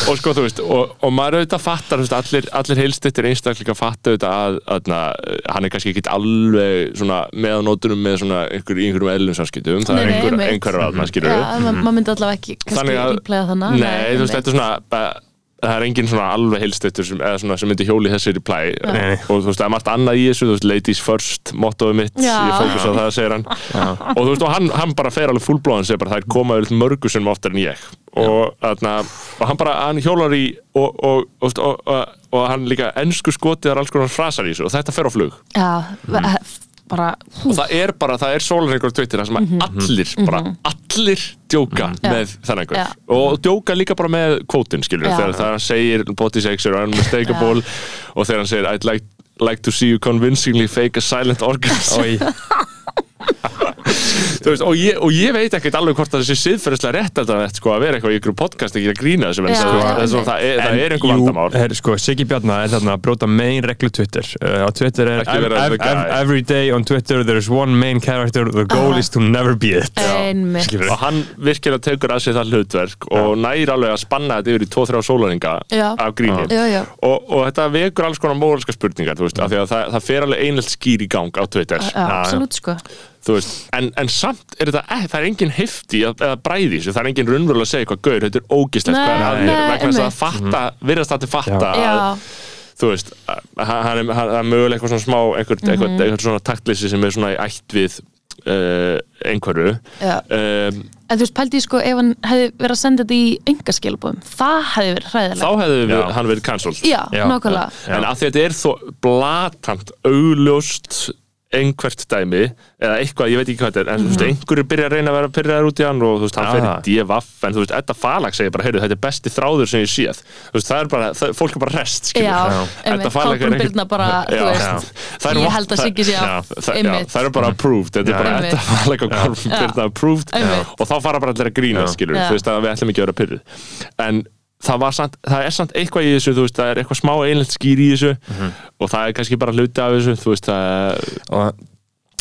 [SPEAKER 5] og sko þú veist og, og maður auðvitað fattar, þú veist, allir, allir heilstittir einstaklinga fattar auðvitað að, að na, hann er kannski ekki alveg svona með á nótunum með svona einhver, í einhverjum eðlum samskiptum, það
[SPEAKER 4] Nei,
[SPEAKER 5] er
[SPEAKER 4] nei,
[SPEAKER 5] einhver,
[SPEAKER 4] einmitt.
[SPEAKER 5] einhverjar aðna skilur
[SPEAKER 4] Já,
[SPEAKER 5] við
[SPEAKER 4] en ma- maður myndi allavega ekki kannski
[SPEAKER 5] Þannig að-
[SPEAKER 4] replayað þannig
[SPEAKER 5] nei, þú veist, þetta er svona bara- það er engin svona alveg heilstittur sem, eða svona sem myndi hjóli þessi reply
[SPEAKER 6] Nei.
[SPEAKER 5] og þú veist, það er margt annað í þessu, þú veist, ladies first mottoðu mitt,
[SPEAKER 4] Já.
[SPEAKER 5] ég fókus á það, segir hann og þú veist, og hann, hann bara fer alveg fullblóðan segir bara, það er komaður mörgu sem oftar en ég og, þarna, og hann bara, hann hjólar í og, og, og, og, og, og hann líka ensku skotiðar alls konar frasar í þessu og þetta fer á flug
[SPEAKER 4] Já, eh, bara, hú,
[SPEAKER 5] og það er bara, það er sólarhengur Twitter þar sem að allir, bara allir djóka með þennan einhver
[SPEAKER 4] Mhm. Já.
[SPEAKER 5] og djóka líka bara með kvótin skilur
[SPEAKER 4] Já.
[SPEAKER 5] þegar það hann segir body sex er unmistakable og þegar hann segir I'd like, like to see you convincingly fake a silent orgasm
[SPEAKER 6] Oi.
[SPEAKER 5] Þú veist, og, ég, og ég veit ekkert alveg hvort að þessi siðferðislega rétt að þetta sko, að vera eitthvað í ykkur podcast ekki að grína þessu menn
[SPEAKER 4] Já,
[SPEAKER 5] sko,
[SPEAKER 4] já,
[SPEAKER 5] það, er svona- það er, það er einhver
[SPEAKER 6] jú,
[SPEAKER 5] vandamál
[SPEAKER 6] her, sko, Siggi Bjarnar er þarna að bróta main reglu Twitter uh, á Twitter er
[SPEAKER 5] Ekki
[SPEAKER 6] ev
[SPEAKER 5] vera
[SPEAKER 6] ev
[SPEAKER 5] the guy.
[SPEAKER 6] ev every day on Twitter there is one main character the goal is to never be it
[SPEAKER 4] einmitt.
[SPEAKER 6] Skilurðu?
[SPEAKER 5] og hann virkilega tekur að sér það hlutverk og næri alveg að spanna þetta yfir í 2-3 sólaringa
[SPEAKER 4] Já.
[SPEAKER 5] af gríni
[SPEAKER 4] Já, já.
[SPEAKER 5] Og, og þetta vekur alls konar móralska spurningar þú veist, af því að það, það fer alveg einhelt skýr í gang á Twitter
[SPEAKER 4] Já, absolutt, sko.
[SPEAKER 5] Þú veist, en, en samt er þetta eh, það er engin hefti eða bræði í þessu, það er engin raunverulega að segja hvað gaur, þetta er ógislegt
[SPEAKER 4] Nei,
[SPEAKER 5] hvað er að þér
[SPEAKER 4] nei,
[SPEAKER 5] vegna þess að
[SPEAKER 4] einmitt.
[SPEAKER 5] það fatta, virðast það til fatta
[SPEAKER 4] Mhm. Já,
[SPEAKER 5] að þú veist, hann, hann, er- hann, hann mögulega eitthvað svona smá, eitthvað,
[SPEAKER 4] Mhm.
[SPEAKER 5] eitthvað, eitthvað svona taktlýsi sem er svona í ætt við uh, einhverju
[SPEAKER 4] Já.
[SPEAKER 5] um,
[SPEAKER 4] En þú veist, pældi ég sko, ef hann hefði verið að senda þetta í engaskilbúðum, það hefði verið
[SPEAKER 5] þá
[SPEAKER 4] hræðilegt.
[SPEAKER 5] hefði við,
[SPEAKER 6] Já.
[SPEAKER 5] hann verið cancelled
[SPEAKER 4] Já, nákvæmlega.
[SPEAKER 5] en að því að þetta er þó blatant augljóst einhvert dæmi eða eitthvað, ég veit ekki hvað þetta er en þú
[SPEAKER 4] Mhm.
[SPEAKER 5] veist, einhverju byrja að reyna að vera pyrraðar út í hann og þú veist, hann
[SPEAKER 6] Aha.
[SPEAKER 5] fer í devaff en þú veist, Edda Falag segir bara, heyrðu, þetta er besti þráður sem ég séð, þú veist, það er bara það, fólk er bara rest,
[SPEAKER 4] Já,
[SPEAKER 5] skilur
[SPEAKER 4] einmitt,
[SPEAKER 5] Edda Falag er
[SPEAKER 4] Kolbrún
[SPEAKER 5] einhver-
[SPEAKER 4] Birna bara, þú
[SPEAKER 5] Já.
[SPEAKER 4] veist,
[SPEAKER 5] Það eru
[SPEAKER 4] ég
[SPEAKER 5] vott-
[SPEAKER 4] held að
[SPEAKER 5] það-
[SPEAKER 4] Siggi sé
[SPEAKER 5] Já,
[SPEAKER 4] að-
[SPEAKER 5] það- já,
[SPEAKER 4] einmitt.
[SPEAKER 5] það eru bara approved, þetta er bara
[SPEAKER 4] Einmitt.
[SPEAKER 5] Edda Falag og Kolbrún
[SPEAKER 4] Já.
[SPEAKER 5] Birna approved
[SPEAKER 4] Einmitt.
[SPEAKER 5] og þá fara bara allir að grína,
[SPEAKER 6] Já.
[SPEAKER 5] skilur
[SPEAKER 4] Já.
[SPEAKER 5] þú veist, að við ætlum ekki að vera pyrruð en það, var samt, það er samt eitthvað í þessu þú veist, það er eitthvað smá einlend skýr í þessu
[SPEAKER 4] Mhm.
[SPEAKER 5] og það er kannski bara hluti af þessu þú veist, það,
[SPEAKER 6] og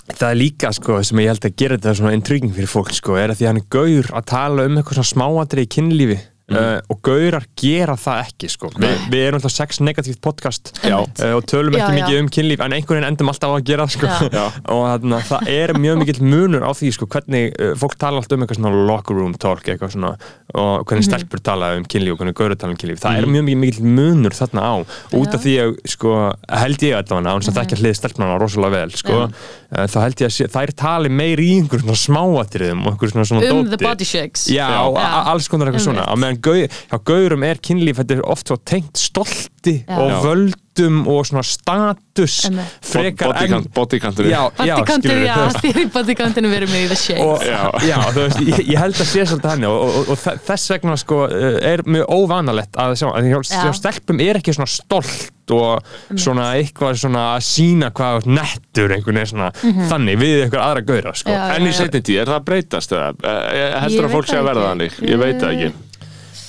[SPEAKER 6] það er líka sko sem ég held að gera þetta svona intriguing fyrir fólk sko er að því að hann er gaur að tala um eitthvað svona smáatri í kynlífi uh, og gaurar gera það ekki sko Vi, við erum alltaf sex negativt podcast
[SPEAKER 4] Já.
[SPEAKER 6] uh, og tölum
[SPEAKER 4] Já,
[SPEAKER 6] ekki
[SPEAKER 4] já.
[SPEAKER 6] mikið um kynlíf en einhvern veginn endum alltaf á að gera það sko
[SPEAKER 4] Já.
[SPEAKER 5] Já.
[SPEAKER 6] og þarna, það er mjög mikill munur á því sko hvernig uh, fólk tala alltaf um eitthvað svona locker room talk eitthvað svona og
[SPEAKER 4] Mhm.
[SPEAKER 6] hvernig stelpur tala um kynlíf og hvernig gaurar tala um kynlíf það er mjög mikill- mikill munur þarna á út af
[SPEAKER 4] Já.
[SPEAKER 6] því ég sko, held ég allavega
[SPEAKER 4] Mhm.
[SPEAKER 6] án sem mm -hmm. þekkja hlið stelpnana rosalega vel sko, eh, þá held ég að sé, þær tali meir í einhverjum svona smáatriðum og einhverjum svona, svona
[SPEAKER 4] Um
[SPEAKER 6] dóti
[SPEAKER 4] the body shakes.
[SPEAKER 6] Já, a- a- alls konar eitthvað svona á meðan gau, hjá gaurum er kynlíf þetta er oft svo tengt stolti
[SPEAKER 4] Já.
[SPEAKER 6] og
[SPEAKER 5] Já.
[SPEAKER 6] völdum og svona status
[SPEAKER 4] Einmitt.
[SPEAKER 6] frekar
[SPEAKER 5] bodycount, bodycountur
[SPEAKER 6] Já, já,
[SPEAKER 4] Bodykantin,
[SPEAKER 6] skilurðu,
[SPEAKER 4] já,
[SPEAKER 6] þú veist
[SPEAKER 4] þér í bodykantin verið með í the shakes.
[SPEAKER 6] og, já. þú veist, ég, ég held að sé svolítið hann og, og, og þe- þess vegna sko eh, er mjög óvanalegt að sjá, að hjá,
[SPEAKER 4] Já.
[SPEAKER 6] hjá stelpum er ekki svona stolt og svona eitthvað svona að sína hvað þú ert nettur einhvern veginn svona þannig við eitthvað aðra gauðra sko.
[SPEAKER 4] Mhm. Já,
[SPEAKER 5] en í setni tíð, er það að breytast eða, Eh, heldur
[SPEAKER 4] Ég
[SPEAKER 5] að fólk
[SPEAKER 4] veit
[SPEAKER 5] sé að
[SPEAKER 4] það
[SPEAKER 5] verða
[SPEAKER 4] ekki.
[SPEAKER 5] þannig ég veit það ekki,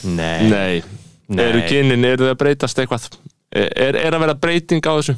[SPEAKER 6] Nei.
[SPEAKER 5] nei,
[SPEAKER 6] Nei.
[SPEAKER 5] eru kynin eru þau að breytast eitthvað E, er, er að vera breyting á þessu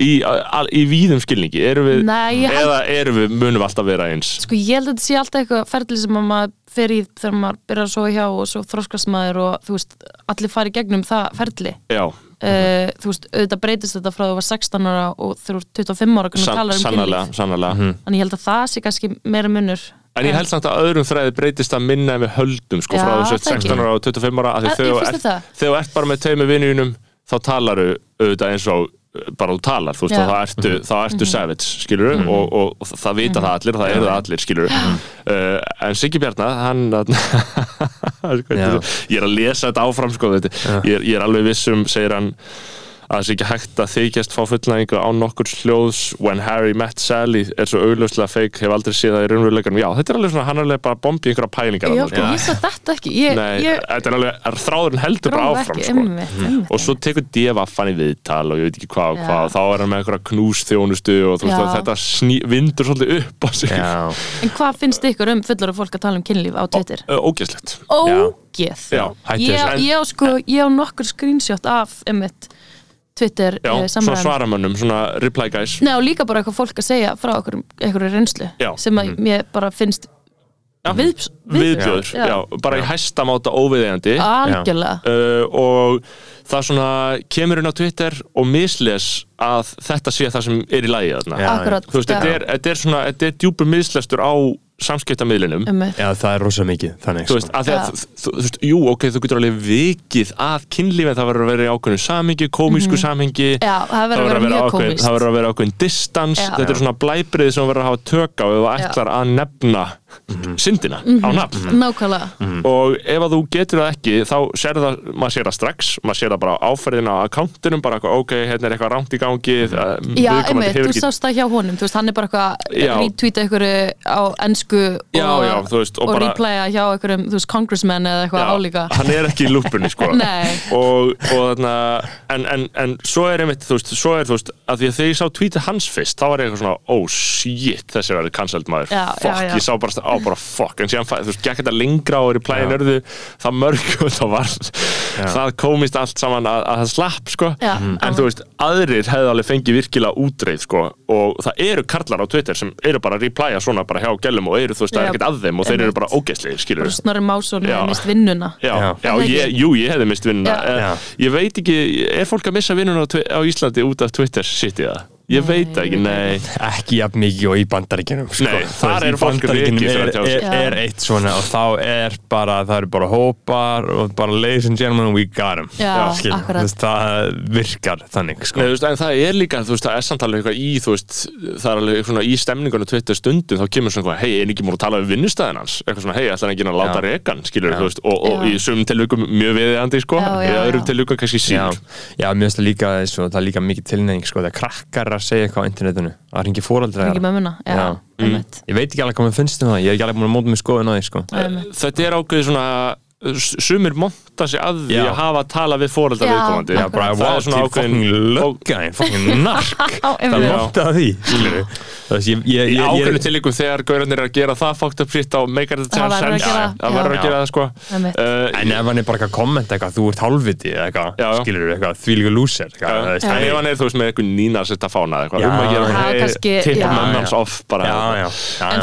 [SPEAKER 5] í, al, í víðum skilningi erum við,
[SPEAKER 4] Nei, ég held-
[SPEAKER 5] eða erum við munum við alltaf vera eins
[SPEAKER 4] Sko ég held að þetta sé alltaf eitthvað ferli sem að maður fer í þegar maður byrjar að sofa hjá og svo þroskast maður og þú veist, allir fari gegnum það ferli.
[SPEAKER 5] já,
[SPEAKER 4] Uh, þú veist, auðvitað breytist þetta frá þú var 16 ára og þegar þú eru 25 ára kannu
[SPEAKER 5] san,
[SPEAKER 4] tala um
[SPEAKER 5] sannlega,
[SPEAKER 4] kynlíf.
[SPEAKER 5] sannlega.
[SPEAKER 6] Mhm.
[SPEAKER 4] Þannig ég held að það sé kannski meira munur.
[SPEAKER 5] En ég held samt að öðrum þræði breytist að minna en við höldum sko
[SPEAKER 4] Já,
[SPEAKER 5] frá þessu
[SPEAKER 4] það ekki.
[SPEAKER 5] 16 ára og 25 ára af því
[SPEAKER 4] Eh, ég
[SPEAKER 5] þegar þú
[SPEAKER 4] finnst
[SPEAKER 5] ert-
[SPEAKER 4] þetta.
[SPEAKER 5] þegar þú ert bara með tveimur vinnunum þá talaru auðvitað eins og uh, bara þú talar, þú veist,
[SPEAKER 4] Já. Mhm.
[SPEAKER 5] og þá ertu, þá ertu savage, skilur og, og, og það vita það allir og það eru það allir, skilur uh, en Siggi Bjarna, hann hann- sko,
[SPEAKER 6] Já.
[SPEAKER 5] ég er að lesa þetta áfram, sko, þetta, ég, er, ég er alveg viss um, segir hann að það sé ekki hægt að þykjast fá fullnæðingu á nokkur hljóðs When Harry Met Sally er svo augljóslega feik hef aldrei séð það í raunveruleikanum já, þetta er alveg svona, hann er alveg bara að bombi einhverja pælingar
[SPEAKER 4] Já,
[SPEAKER 5] þarna, sko.
[SPEAKER 4] ég svo þetta ekki. Ég,
[SPEAKER 5] Nei,
[SPEAKER 4] ég
[SPEAKER 5] þetta er alveg, er þráðurinn heldur bara
[SPEAKER 4] gróf
[SPEAKER 5] áfram
[SPEAKER 4] ekki
[SPEAKER 5] sko.
[SPEAKER 4] einmitt, einmitt.
[SPEAKER 5] og svo tekur devaffan í viðtal og ég veit ekki hvað og
[SPEAKER 4] Já.
[SPEAKER 5] hvað og þá er hann með einhverja knúsþjónustu og þú veist
[SPEAKER 4] Já.
[SPEAKER 5] að þetta sný, vindur svolítið upp á sig
[SPEAKER 6] Já.
[SPEAKER 4] En hvað finnst ykkur um fullara fólk að tala um kynlíf á Twitter?
[SPEAKER 5] Ö, ógeðslegt
[SPEAKER 4] Ógeð.
[SPEAKER 5] Já,
[SPEAKER 6] hættu
[SPEAKER 4] Ég,
[SPEAKER 6] þessu.
[SPEAKER 4] ég, á sko, ég á nokkur screenshot af einmitt Twitter
[SPEAKER 5] já,
[SPEAKER 4] eh,
[SPEAKER 5] svona
[SPEAKER 4] samræðum.
[SPEAKER 5] svaramönnum, svona reply guys
[SPEAKER 4] Nei og líka bara eitthvað fólk að segja frá okkur um einhverju reynslu
[SPEAKER 5] Já. Mhm.
[SPEAKER 4] sem að mér bara finnst við,
[SPEAKER 5] viðbjöður, já.
[SPEAKER 4] Já.
[SPEAKER 5] bara í hæsta máta óviðeigandi
[SPEAKER 4] algjörlega
[SPEAKER 5] uh, og það svona kemur inn á Twitter og misles að þetta sé það sem er í lagi þarna.
[SPEAKER 6] Já.
[SPEAKER 4] akkurat
[SPEAKER 5] Þú veist, þetta er, þetta er svona, þetta er djúpur mislestur á samskiptamiðlinum.
[SPEAKER 4] um, já,
[SPEAKER 6] Já, það er rosa mikið þannig sko.
[SPEAKER 5] Þú veist, að því að,
[SPEAKER 4] Já.
[SPEAKER 5] þú, þú, þú veist, jú, ok, þú getur alveg vikið að kynlífið, það verður að vera í ákveðinu samhengi, komísku samhengi,
[SPEAKER 4] Mhm. það
[SPEAKER 5] það
[SPEAKER 4] verður að vera mjög
[SPEAKER 5] ákveðin-
[SPEAKER 4] komist
[SPEAKER 5] það verður að vera ákveðin distans,
[SPEAKER 4] Já.
[SPEAKER 5] þetta er svona blæbrið sem þú verður að hafa tök á ef þú ætlar að nefna syndina á nafn.
[SPEAKER 4] Mhm. nákvæmlega
[SPEAKER 5] og ef að þú getur það ekki þá sér það, maður sér það strax maður sér það bara á áferðin á akkántunum bara eitthvað, ok, hérna er eitthvað rámt í gangi mm.
[SPEAKER 4] já, einmitt, þú sást það hjá honum þú veist, hann er bara eitthvað
[SPEAKER 5] Já.
[SPEAKER 4] að retweeta einhverju á ennsku
[SPEAKER 5] Já,
[SPEAKER 4] og,
[SPEAKER 5] já, þú veist, og
[SPEAKER 4] og,
[SPEAKER 5] bara-
[SPEAKER 4] replaya hjá einhverjum, þú veist, congressman eða
[SPEAKER 5] Já,
[SPEAKER 4] eitthvað álíka
[SPEAKER 5] hann er ekki í lúpunni sko
[SPEAKER 4] Nei.
[SPEAKER 5] og, og þarna en, en, en svo er einmitt, þú veist, svo er þú veist að því að þegar ég sá tweetið hans fyrst þá var ég eitthvað svona, oh shit, þessi verður cancelled maður,
[SPEAKER 4] Já,
[SPEAKER 5] fuck,
[SPEAKER 4] já, já.
[SPEAKER 5] ég sá bara, á, bara fuck, en síðan, fæ- þú veist, gekk þetta lengra og er í plæðin örðu, það mörgum það var, það komist allt saman að, að það slapp sko
[SPEAKER 4] Já, Mhm.
[SPEAKER 5] en
[SPEAKER 4] alveg.
[SPEAKER 5] þú veist, aðrir hefði alveg fengið virkilega útreið sko og það eru karlar á Twitter sem eru bara að replya svona bara hjá gælum og eru þú veist, það er
[SPEAKER 4] Já,
[SPEAKER 5] ekkert að þeim og þeir eru
[SPEAKER 4] einmitt.
[SPEAKER 5] bara ógeðslegir, skilur
[SPEAKER 4] bara snorri másón
[SPEAKER 5] Já.
[SPEAKER 4] og mist vinnuna
[SPEAKER 5] Já, já,
[SPEAKER 4] Er það
[SPEAKER 5] ég,
[SPEAKER 4] ekki?
[SPEAKER 5] jú, ég hefði mist vinnuna
[SPEAKER 4] Já.
[SPEAKER 5] Eh,
[SPEAKER 6] Já.
[SPEAKER 5] Ég veit ekki, er fólk að missa vinnuna á, Twi- á Íslandi út af Twitter sitt í það? Ég veit það ekki, nei
[SPEAKER 6] ekki jafn mikið og í bandaríkjunum sko.
[SPEAKER 5] Nei,
[SPEAKER 6] Þú
[SPEAKER 5] þar
[SPEAKER 6] veist,
[SPEAKER 5] er
[SPEAKER 6] í
[SPEAKER 5] fólk
[SPEAKER 6] Bandaríkjunum
[SPEAKER 5] mikið
[SPEAKER 6] er,
[SPEAKER 5] fyrir að tjá sig.
[SPEAKER 6] er, er eitt svona og þá er bara, það eru bara hópar og bara ladies and gentlemen, we got 'em
[SPEAKER 4] Já,
[SPEAKER 6] skilur,
[SPEAKER 4] akkurat.
[SPEAKER 6] þú veist, það virkar þannig
[SPEAKER 5] Nei,
[SPEAKER 6] sko.
[SPEAKER 5] þú veist, en það er líka, þú veist, það er samt alveg eitthvað í, þú veist, það er alveg svona í stemningunum 20 stundum, þá kemur svona eitthvað, hei, er ekki múin að tala um vinnustæðin hans? Eitthvað svona, hei, ætlar hann ekki að láta
[SPEAKER 6] Já.
[SPEAKER 5] rekan, skilur, þú veist, og, og
[SPEAKER 4] Já.
[SPEAKER 5] í sumum tilvikum mjög viðiðandi, sko,
[SPEAKER 4] Já,
[SPEAKER 5] í
[SPEAKER 4] já,
[SPEAKER 5] öðrum
[SPEAKER 4] já.
[SPEAKER 5] tilvikum kannski
[SPEAKER 6] já,
[SPEAKER 5] síður.
[SPEAKER 6] já, mér finnst það líka svo, það er líka mikið tilnefning sko, þegar krakkar eru að segja eitthvað á internetinu að ringi fóraldra
[SPEAKER 4] Ekki mömmuna, já,
[SPEAKER 6] Já.
[SPEAKER 5] Mm.
[SPEAKER 4] einmitt.
[SPEAKER 6] ég veit ekki alveg hvað mér finnst um það, ég er ekki alveg múin að móta mér skoðun á því sko.
[SPEAKER 4] einmitt.
[SPEAKER 5] Þetta er ákveðið svona, s- sumir monta sig að því
[SPEAKER 6] Já.
[SPEAKER 5] að hafa að tala við fóreldra
[SPEAKER 4] Já,
[SPEAKER 5] viðkomandi.
[SPEAKER 6] já, bara,
[SPEAKER 5] það
[SPEAKER 6] wow,
[SPEAKER 5] er svona
[SPEAKER 6] til fucking
[SPEAKER 5] ákveðin,
[SPEAKER 6] löggaðin fucking nark
[SPEAKER 4] Á,
[SPEAKER 6] það
[SPEAKER 4] einmitt.
[SPEAKER 6] móta því skilurðu. Þú veist, ég- ég-
[SPEAKER 5] í
[SPEAKER 6] ég- ég er-
[SPEAKER 5] ákveðinu tilvikum þegar gaurarnir er að gera það fátt upp sitt á meikar þetta
[SPEAKER 4] Það verður að
[SPEAKER 5] sense.
[SPEAKER 4] gera það,
[SPEAKER 5] Það
[SPEAKER 4] já.
[SPEAKER 5] verður að gera það, sko.
[SPEAKER 4] Einmitt.
[SPEAKER 5] Eh,
[SPEAKER 6] En ef hann er bara eitthvað að kommenta eitthvað, þú ert hálfviti eða
[SPEAKER 5] Já,
[SPEAKER 6] eitthvað,
[SPEAKER 5] já.
[SPEAKER 6] skilur þú eitthvað, þvílíku lúser eitthvað, þú veist,
[SPEAKER 5] En
[SPEAKER 6] hann
[SPEAKER 5] ef
[SPEAKER 6] er-
[SPEAKER 5] hann er þú veist með einhvern nína að setja fána eða eitthvað
[SPEAKER 6] Já.
[SPEAKER 5] um að
[SPEAKER 6] Já,
[SPEAKER 5] gera
[SPEAKER 4] kannski, já.
[SPEAKER 5] tippa mömmans off bara
[SPEAKER 6] Já, já,
[SPEAKER 4] En
[SPEAKER 6] já, já.
[SPEAKER 4] þá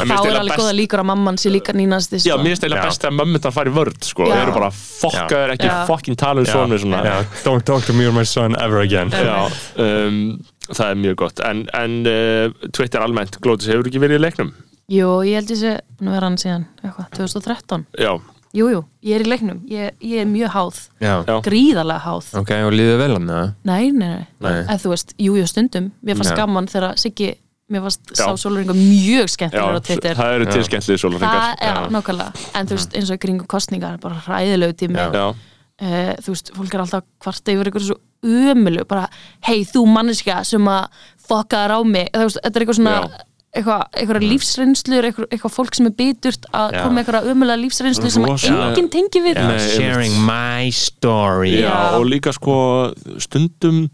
[SPEAKER 5] finnst
[SPEAKER 4] er
[SPEAKER 5] eiginlega
[SPEAKER 4] alveg
[SPEAKER 5] best-
[SPEAKER 4] góða líkur að mamman sé líka sko. nýnast
[SPEAKER 5] Já, mér finnst eiginlega
[SPEAKER 6] Já.
[SPEAKER 5] best að mömmundan fari í vörð sko,
[SPEAKER 4] Já.
[SPEAKER 5] og eru bara fokkaður ekki
[SPEAKER 4] Já.
[SPEAKER 5] fokkin tala um
[SPEAKER 6] Já,
[SPEAKER 5] svona svona
[SPEAKER 6] já, Don't talk to me or my son ever again
[SPEAKER 5] Já, um, það er mjög gott en, en uh, Twitter almennt Glótis hefur ekki verið í leiknum
[SPEAKER 4] Jú, ég held ég sé, nú er hann síðan, eitthvað, 2013
[SPEAKER 5] Já,
[SPEAKER 4] Jú, jú, ég er í leiknum, ég, ég er mjög háð
[SPEAKER 6] Já,
[SPEAKER 5] Já.
[SPEAKER 4] Gríðarlega háð
[SPEAKER 6] ok, og líður vel hann eða?
[SPEAKER 4] Nei, nei, nei,
[SPEAKER 6] Nei.
[SPEAKER 4] en þú veist, jú, jú, stundum Mér fannst
[SPEAKER 6] Nei.
[SPEAKER 4] gaman þegar Siggi Mér fannst sá
[SPEAKER 5] Já.
[SPEAKER 4] sólurringa
[SPEAKER 5] já
[SPEAKER 4] mjög skemmtilegur á Twitter
[SPEAKER 5] það eru til skemmtlið
[SPEAKER 4] Það,
[SPEAKER 5] sólarfengar
[SPEAKER 4] já, nákvæmlega, en þú veist, eins og í kringum kostningar, bara hræðilegu tími
[SPEAKER 6] Já.
[SPEAKER 5] Já,
[SPEAKER 4] uh, þú veist, fólk er alltaf kvart yfir ykkur svo ömulu, bara hei, þú manneskja sem að fokkaðar á mig, þú veist, þetta er eitthvað svona
[SPEAKER 5] Já. Mm.
[SPEAKER 4] eitthvað, eitthvað lífsreynslur, eitthvað, eitthvað fólk sem er biturt að
[SPEAKER 6] Já.
[SPEAKER 4] koma með eitthvað ömulega lífsreynslu sem að
[SPEAKER 5] Rosa-
[SPEAKER 4] enginn tengi við
[SPEAKER 5] Nei, einmitt.
[SPEAKER 6] my story
[SPEAKER 5] já, og líka sko stundum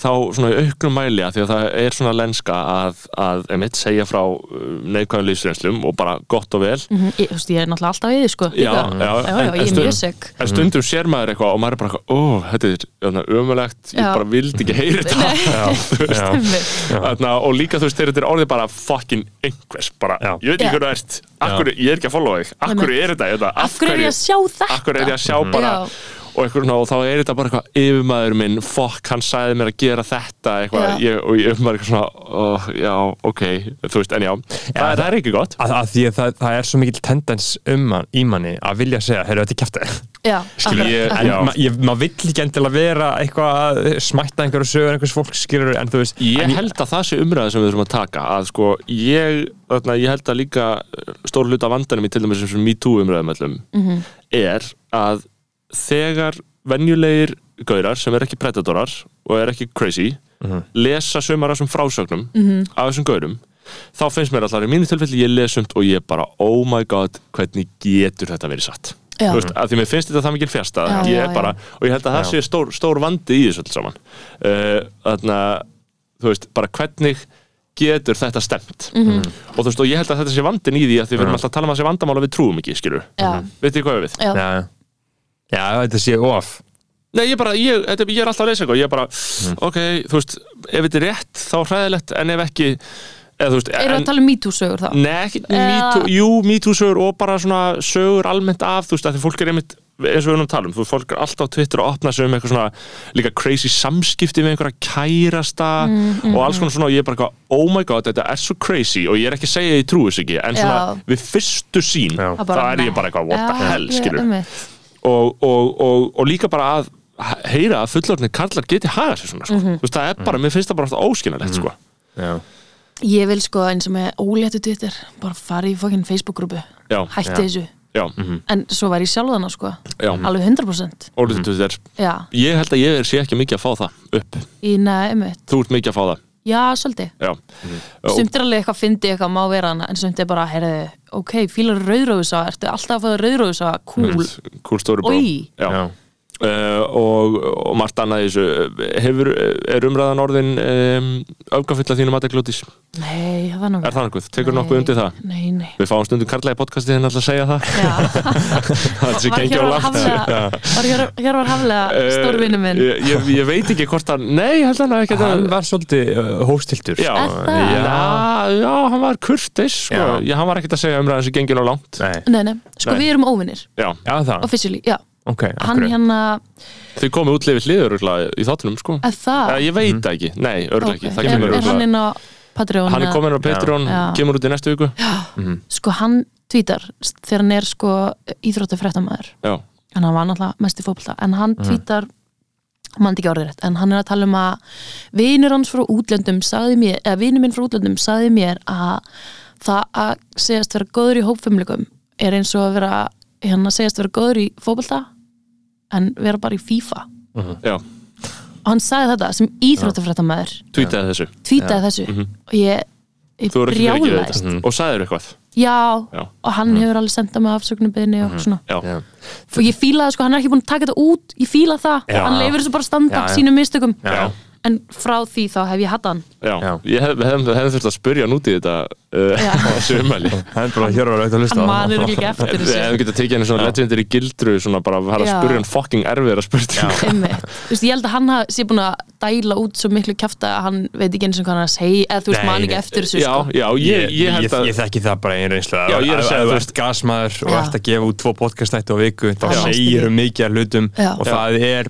[SPEAKER 5] þá svona í auknum mæli að því að það er svona lenska að, að emitt segja frá uh, neikvæðum lífsreynslum og bara gott og vel
[SPEAKER 4] Mhm, ég, þú veist, ég er náttúrulega alltaf í því, sko
[SPEAKER 5] Já,
[SPEAKER 4] líka.
[SPEAKER 5] já,
[SPEAKER 4] já, já,
[SPEAKER 5] en- en
[SPEAKER 4] ég er
[SPEAKER 5] stundum-
[SPEAKER 4] mjög seg
[SPEAKER 5] En stundum sér maður eitthvað og maður er bara eitthvað, ó, þetta er ömulegt, ég
[SPEAKER 4] Já.
[SPEAKER 5] bara vildi ekki heyra þetta. Þarna, og líka þú veist, þegar þetta er orðið bara fucking einhvers, bara,
[SPEAKER 6] Já.
[SPEAKER 5] ég veit ekki
[SPEAKER 4] Já.
[SPEAKER 5] hvernig það ert, akkur, ég er ekki að followa þig, akkur er þetta, þetta,
[SPEAKER 4] Af hverju er ég að sjá þetta?
[SPEAKER 5] Akkur er ég að sjá bara,
[SPEAKER 4] Já.
[SPEAKER 5] og, einhver, svona, og þá er þetta bara eitthvað, yfirmaður minn, fuck, hann sagði mér að gera þetta, eitthvað,
[SPEAKER 4] Já.
[SPEAKER 5] ég, og ég er bara eitthvað svona, ó, já, ok, þú veist, en já, það, það er ekki gott.
[SPEAKER 6] Að, að því að það, það er svo mikil tendens um man, í manni að vilja segja, heyrðu þetta er kjæftið
[SPEAKER 4] Já,
[SPEAKER 5] Skilur,
[SPEAKER 4] akkurat,
[SPEAKER 5] ég-
[SPEAKER 4] akkurat.
[SPEAKER 6] en
[SPEAKER 5] Já.
[SPEAKER 6] ma- ég- maður vill ekki endilega vera eitthvað að smætta einhverju sögur einhvers fólk skilur en þú veist
[SPEAKER 5] Ég
[SPEAKER 6] en
[SPEAKER 5] held að það sé umræða sem við þurfum að taka að sko, ég, þarna, ég held að líka uh, stór hluta af vandanum í til dæmis sem me too umræðum öllum er að þegar venjulegir gaurar sem er ekki predatorar og er ekki crazy lesa sumar af þessum frásögnum af þessum gaurum þá finnst mér allar í mínu tilfelli ég lesumt og ég bara oh my god, hvernig getur þetta verið satt
[SPEAKER 4] Já.
[SPEAKER 5] Þú veist, að því mér finnst þetta það mikil fjasta
[SPEAKER 4] Já,
[SPEAKER 5] ég
[SPEAKER 4] já,
[SPEAKER 5] er bara, og ég held að það sé stór, stór vandi í þessu alls saman uh, þannig þú veist, bara hvernig getur þetta stemt
[SPEAKER 4] Mhm.
[SPEAKER 5] og þú veist, og ég held að þetta sé vandin í því að því við erum alltaf að tala um að sé vandamál og við trúum ekki, skilur
[SPEAKER 4] Já.
[SPEAKER 5] veit ég hvað við við?
[SPEAKER 4] Já.
[SPEAKER 6] já, já. já, þetta sé of
[SPEAKER 5] Nei, ég bara, ég, þetta, ég er alltaf að leysa eitthvað, ég er bara ok, þú veist, ef þetta er rétt þá hræðilegt, en ef ekki eða þú veist,
[SPEAKER 4] Erum við
[SPEAKER 5] en Mm.
[SPEAKER 4] að tala um MeToo-sögur þá?
[SPEAKER 5] Nei, ekki,
[SPEAKER 4] Eða-
[SPEAKER 5] Me Too- jú, MeToo sögur og bara svona sögur almennt af, þú veist, að því fólk er einmitt eins og við erum að tala um, þú veist, fólk er alltaf á Twitter að opna sig um eitthvað svona líka crazy samskipti með einhverja kærasta
[SPEAKER 4] Mm,
[SPEAKER 5] og alls konar svona og ég er bara eitthvað oh my god, þetta er svo crazy og ég er ekki að segja að ég trúi þess ekki, en svona
[SPEAKER 4] Já.
[SPEAKER 5] við fyrstu sín,
[SPEAKER 6] Já.
[SPEAKER 4] Að
[SPEAKER 5] þá
[SPEAKER 4] bara,
[SPEAKER 5] er ég bara eitthvað what the
[SPEAKER 4] Já,
[SPEAKER 5] hell,
[SPEAKER 4] ég-
[SPEAKER 5] skilur
[SPEAKER 4] einmitt.
[SPEAKER 5] og, og, og, og líka bara að heyra að fullorðni karlar geti hagað sér svona, sko. þú
[SPEAKER 4] Mhm.
[SPEAKER 5] veist, það er bara, mér finnst það bara alltaf óskiljanlegt, sko
[SPEAKER 6] já.
[SPEAKER 4] Ég vil sko eins og með óléttu Twitter bara fara í fokkin Facebook-grúpu
[SPEAKER 5] Já. Mm.
[SPEAKER 4] hætti þessu,
[SPEAKER 5] já,
[SPEAKER 4] en svo var ég sjálf þarna sko,
[SPEAKER 5] já,
[SPEAKER 4] alveg 100%
[SPEAKER 5] ólítið þú þér
[SPEAKER 4] Já,
[SPEAKER 5] Ég held að ég er sé ekki mikið að fá það upp
[SPEAKER 4] í nefnum
[SPEAKER 5] Þú ert mikið að fá það
[SPEAKER 4] Já, svolítið,
[SPEAKER 5] Já,
[SPEAKER 4] Mhm.
[SPEAKER 5] Og-
[SPEAKER 4] sumt er alveg eitthvað fyndi eitthvað má vera hana, en sumt er bara heyrðu, ok, fílar rauðróðusa, ertu alltaf að fæða rauðróðusa, cool
[SPEAKER 5] cool story bro
[SPEAKER 4] Oj.
[SPEAKER 5] Já.
[SPEAKER 6] Já.
[SPEAKER 5] Uh, og, og margt annað í þessu hefur, er umræðan orðin um, öfgafull að þínum aðeglótis er
[SPEAKER 4] Nei, það var nokkuð
[SPEAKER 5] það nokkuð, tekur nokkuð undir það
[SPEAKER 4] Nei, nei
[SPEAKER 5] við fáum stundum karlægi podcastið henni alltaf að segja það
[SPEAKER 4] Já,
[SPEAKER 5] það sé
[SPEAKER 4] var
[SPEAKER 5] gengið á
[SPEAKER 4] hér var
[SPEAKER 5] langt
[SPEAKER 4] haflega, var hér, hér var haflega
[SPEAKER 5] Eh,
[SPEAKER 4] stórvinnu minn
[SPEAKER 5] ég, ég, ég veit ekki hvort hann, nei, ég held hann að ekki
[SPEAKER 6] hann var svolítið uh, hóstiltur
[SPEAKER 5] já,
[SPEAKER 4] Er það?
[SPEAKER 5] já, já, hann var kurtis sko.
[SPEAKER 6] Já.
[SPEAKER 5] já, hann var ekkert að segja umræðan sem gengið á langt
[SPEAKER 6] Nei.
[SPEAKER 4] Nei, nei, sko
[SPEAKER 5] Nei. Ah,
[SPEAKER 4] við erum óvinnir
[SPEAKER 5] já,
[SPEAKER 6] já það
[SPEAKER 4] officially, já,
[SPEAKER 6] ok,
[SPEAKER 4] hann
[SPEAKER 6] akkurat
[SPEAKER 4] hérna,
[SPEAKER 5] Þið komið út lifið hliður örugglega, í þáttunum sko
[SPEAKER 4] að það
[SPEAKER 5] ah, Ég veit
[SPEAKER 6] Mhm.
[SPEAKER 5] það ekki, nei, örgulega
[SPEAKER 4] Ok.
[SPEAKER 5] ekki Það kemur
[SPEAKER 4] er, er hann
[SPEAKER 5] örugglega-
[SPEAKER 4] inn á Patreon
[SPEAKER 5] Hann er
[SPEAKER 4] eða-
[SPEAKER 5] komin á Patreon,
[SPEAKER 4] Já.
[SPEAKER 5] kemur út í næstu viku
[SPEAKER 4] sko hann tvítar þegar hann er sko íþróttu fréttamaður
[SPEAKER 5] Já.
[SPEAKER 4] en hann var náttúrulega mest í fótbolta en hann
[SPEAKER 5] Mhm.
[SPEAKER 4] tvítar, mann ekki orðið rétt en hann er að tala um að vinur hans frá útlöndum sagði mér, eða vinur minn frá útlöndum sagði mér að það að segjast vera góður í hópfumlikum er eins og að vera hérna segjast vera góður í fótbolta en vera bara í FIFA
[SPEAKER 5] Já.
[SPEAKER 4] og hann sagði þetta sem íþróttu fréttamaður
[SPEAKER 5] Tweetaði þessu,
[SPEAKER 4] tvítaði þessu og ég, ég
[SPEAKER 5] Mhm. þú eru ekki fyrir að gera
[SPEAKER 4] brjálaðist
[SPEAKER 5] þetta Og sagðir eitthvað
[SPEAKER 4] já,
[SPEAKER 5] Já.
[SPEAKER 4] og hann hefur alveg sendað mig afsökunarbeðinni og svona
[SPEAKER 5] Já.
[SPEAKER 6] Mhm. Já.
[SPEAKER 4] og ég fílaði sko, hann er ekki búin að taka þetta út ég fíla það,
[SPEAKER 6] Já.
[SPEAKER 4] hann leifir þessu bara að standa
[SPEAKER 6] Já, já.
[SPEAKER 4] sínum mistökum,
[SPEAKER 6] Já.
[SPEAKER 4] en frá því þá hef ég hatt hann
[SPEAKER 5] Já,
[SPEAKER 6] Já.
[SPEAKER 5] ég hef, hef, hef þurft að spyrja hann út í þetta uh,
[SPEAKER 4] Já.
[SPEAKER 5] á þessu umæli
[SPEAKER 6] hann er bara hér og auðvitað að
[SPEAKER 4] hann
[SPEAKER 6] hlusta á
[SPEAKER 4] manir
[SPEAKER 6] það.
[SPEAKER 4] ekki eftir
[SPEAKER 5] Ef við
[SPEAKER 4] þessu
[SPEAKER 5] getum tekið henni svona legendir í gildru svona bara að fara að
[SPEAKER 4] Já.
[SPEAKER 5] spyrja hann fucking erfiðar að spyrja
[SPEAKER 4] Einmitt. Þú veist, ég held að hann hafi- sé búin að dæla út svo miklu kjafta að hann veit ekki eins og hvað hann er að segja eða þú veist
[SPEAKER 6] Nei,
[SPEAKER 4] mann ekki
[SPEAKER 6] nei.
[SPEAKER 4] eftir þessu
[SPEAKER 5] Já,
[SPEAKER 4] sko.
[SPEAKER 5] já, ég,
[SPEAKER 6] ég,
[SPEAKER 5] ég held að
[SPEAKER 6] ég þekki það bara einn reynslu
[SPEAKER 5] Já, ég er að segja,
[SPEAKER 6] þú
[SPEAKER 5] þú
[SPEAKER 6] ert gasmaður og
[SPEAKER 4] Já.
[SPEAKER 6] ert að gefa út tvo podcastætti á viku þá
[SPEAKER 4] Já.
[SPEAKER 6] segir um mikið af hlutum
[SPEAKER 4] Já.
[SPEAKER 6] og það er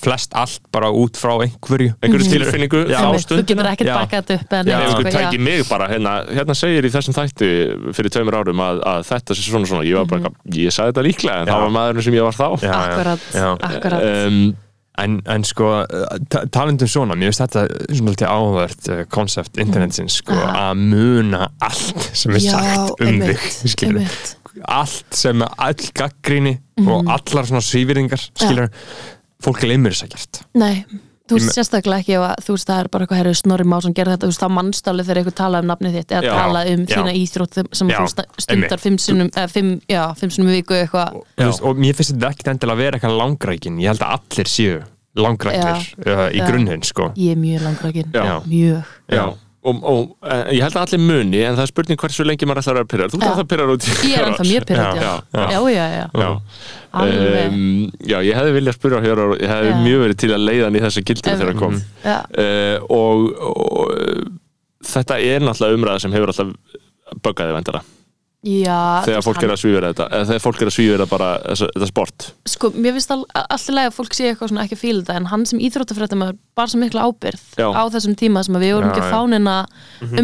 [SPEAKER 6] flest allt bara út frá einhverju
[SPEAKER 5] einhverju tilfinningu
[SPEAKER 6] Já.
[SPEAKER 5] á
[SPEAKER 4] Einmitt, þú
[SPEAKER 5] stundina
[SPEAKER 4] getur ekkert
[SPEAKER 6] Já.
[SPEAKER 4] bakað þetta upp eða
[SPEAKER 5] Ef
[SPEAKER 4] neitt,
[SPEAKER 6] Já. Nei,
[SPEAKER 4] sko,
[SPEAKER 5] einhver tæki
[SPEAKER 4] já.
[SPEAKER 5] mig bara, hérna, hérna segir í þessum þætti fyrir tveimur árum að, að þetta sé svona svona, ég var
[SPEAKER 4] Mhm.
[SPEAKER 5] bara, ég sagði þetta líklega en
[SPEAKER 6] Já.
[SPEAKER 5] það var maðurinn sem ég var þá
[SPEAKER 6] Já, já.
[SPEAKER 4] Akkurat,
[SPEAKER 6] Já. Eh,
[SPEAKER 4] akkurat
[SPEAKER 5] um,
[SPEAKER 6] En, en sko, ta- talandi um svona, mér finnst þetta svona til áhvert eh, konsept internetsins, sko,
[SPEAKER 4] Aha.
[SPEAKER 6] að muna allt sem er
[SPEAKER 4] Já,
[SPEAKER 6] sagt um
[SPEAKER 4] einmitt,
[SPEAKER 6] þig, skilur.
[SPEAKER 4] einmitt.
[SPEAKER 6] Allt sem er all gaggríni og allar svona svívirðingar, skilur. Fólk gleymir þess ekkert.
[SPEAKER 4] Nei, þú
[SPEAKER 6] Ég
[SPEAKER 4] veist
[SPEAKER 6] me-
[SPEAKER 4] sérstaklega ekki ef að þú veist það er bara eitthvað herrið Snorri Másson gerði þetta, þú veist það mannstalið þegar eitthvað talaði um nafnið þitt eða
[SPEAKER 6] Já,
[SPEAKER 4] talaði um
[SPEAKER 6] já.
[SPEAKER 4] þína íþrótt sem- sem
[SPEAKER 6] Já,
[SPEAKER 4] þú sta- stundar
[SPEAKER 6] einmitt.
[SPEAKER 4] fimm sinnum, eða fimm, já, fimm sinnum í viku eitthvað,
[SPEAKER 6] Þú Veist, og mér finnst þetta ekkert endilega að vera eitthvað langrækin. Ég held að allir séu langræknir uh, í
[SPEAKER 4] Já.
[SPEAKER 6] grunninn, sko.
[SPEAKER 4] ég er mjög langrakinn,
[SPEAKER 6] Já.
[SPEAKER 4] mjög
[SPEAKER 5] já Og, og e, ég held að allir muni en það er spurning hversu lengi maður ætlar að vera pyrrar þú ert
[SPEAKER 4] Já.
[SPEAKER 5] alltaf pyrrar út í
[SPEAKER 4] Ég er ennþá mjög pyrrandi, já.
[SPEAKER 5] Já,
[SPEAKER 4] Já, já, já, já. Alveg.
[SPEAKER 5] Um, já, ég hefði viljað spyrja hér og ég hefði
[SPEAKER 4] Já.
[SPEAKER 5] mjög verið til að leiða hann í þessa gildru þegar hann kom
[SPEAKER 4] já.
[SPEAKER 5] uh, og, og uh, þetta er náttúrulega umræða sem hefur alltaf böggaði vendara
[SPEAKER 4] já
[SPEAKER 5] þegar fólk er að svífira þetta eða þegar fólk er að svífira bara þessa, þetta sport
[SPEAKER 4] sko, mér finnst all- alltaf lega að fólk sé eitthvað svona ekki að fíla þetta en hann sem íþróttafrættamöður bar svo mikla ábyrð
[SPEAKER 5] Já.
[SPEAKER 4] á þessum tíma sem að við vorum
[SPEAKER 6] Já,
[SPEAKER 4] ekki að
[SPEAKER 6] já.
[SPEAKER 4] fá neina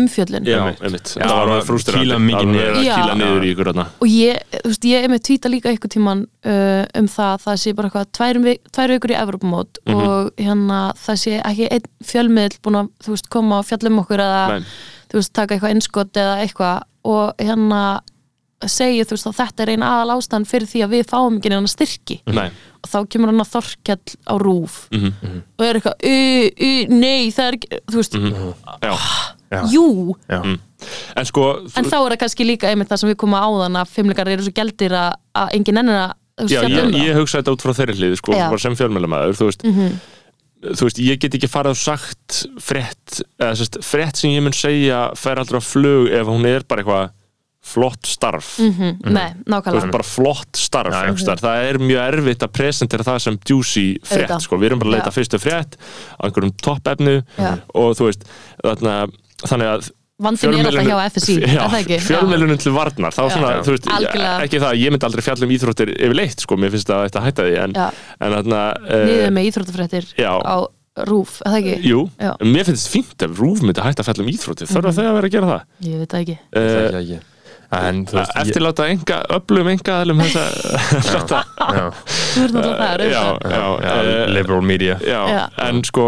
[SPEAKER 4] umfjöllun
[SPEAKER 5] Já, einmitt
[SPEAKER 6] Já,
[SPEAKER 5] Það var alveg frústrandi
[SPEAKER 6] kýla mikið
[SPEAKER 5] Það var
[SPEAKER 6] niður.
[SPEAKER 5] að kýla
[SPEAKER 4] Já.
[SPEAKER 5] niður í ykkur þarna
[SPEAKER 4] og ég, þú veist, ég er með tvíta líka einhvern tíman uh, um það að það sé bara eitthvað tvær, vi- tvær vikur í Evropamót
[SPEAKER 5] Mhm.
[SPEAKER 4] og hérna það sé ekki einn fjölmiðl búin að, þú veist, koma og fjalla um okkur eða,
[SPEAKER 5] Nei.
[SPEAKER 4] þú veist, taka eitthvað einskot eða eitthvað og hérna segja, þú veist, að þetta er eina aðal ástæðan fyrir því að við fáum ekki neina styrki
[SPEAKER 5] Nei, Mhm.
[SPEAKER 4] og þá kemur hann að þorkjall á rúf og er eitthvað, u, u, nei, það er ekki, þú veist,
[SPEAKER 5] Mhm. já
[SPEAKER 4] jú,
[SPEAKER 5] En sko,
[SPEAKER 4] En þá er það kannski líka einmitt það sem við komum á þann að fimmleikar eru svo gældir að, að enginn ennir að þú veist,
[SPEAKER 5] já,
[SPEAKER 4] fjalla
[SPEAKER 5] ég,
[SPEAKER 4] um það.
[SPEAKER 5] ég hugsa þetta út frá þeirri hlið sko,
[SPEAKER 4] Já. Mhm.
[SPEAKER 5] bara sem fjölmjölamæður þú, veist, þú veist, ég get ekki farið og sagt frett, eða sérst frett sem ég mun segja fer aldrei á flug ef hún er bara eitthvað flott starf
[SPEAKER 4] Mhm,
[SPEAKER 5] þú
[SPEAKER 4] Nei,
[SPEAKER 5] veist,
[SPEAKER 4] nákvæmlega
[SPEAKER 5] bara flott starf já, það er mjög erfitt að presentera það sem juicy frétt,
[SPEAKER 4] Auðvitað.
[SPEAKER 5] sko. við erum bara að leita
[SPEAKER 4] Já.
[SPEAKER 5] fyrstu frétt á einhverjum toppefnu
[SPEAKER 4] Já.
[SPEAKER 5] og þú veist, þarna þannig að
[SPEAKER 4] Vandinn er alltaf hjá FSI,
[SPEAKER 5] já,
[SPEAKER 4] er það ekki?
[SPEAKER 5] fjölmiðlunum til varnar þá svona,
[SPEAKER 6] Já.
[SPEAKER 5] þú veist,
[SPEAKER 4] Algjörlega.
[SPEAKER 5] ekki það, ég myndi aldrei fjalla um íþróttir yfirleitt, sko, mér finnst að þetta hætta því en,
[SPEAKER 4] Já.
[SPEAKER 5] en þarna
[SPEAKER 4] Niður
[SPEAKER 5] uh,
[SPEAKER 4] með íþróttafréttir
[SPEAKER 5] já.
[SPEAKER 4] á rúf, er það ekki?
[SPEAKER 5] jú,
[SPEAKER 4] Já. Mhm.
[SPEAKER 5] mér finnst fínt ef rúf myndi hætta að fjalla um íþróttir, þarf að þau að vera að gera það
[SPEAKER 4] Ég veit það ekki.
[SPEAKER 6] Það
[SPEAKER 5] Uh,
[SPEAKER 6] er ekki. En þú veist, ég-
[SPEAKER 5] eftirláta enga, öflum enga aðlum þessa, þetta
[SPEAKER 6] já.
[SPEAKER 4] Þú ert náttúrulega það,
[SPEAKER 5] já,
[SPEAKER 4] auðvitað.
[SPEAKER 5] já,
[SPEAKER 6] Já, uh,
[SPEAKER 5] eh,
[SPEAKER 6] liberal media
[SPEAKER 5] já,
[SPEAKER 4] Já.
[SPEAKER 5] en sko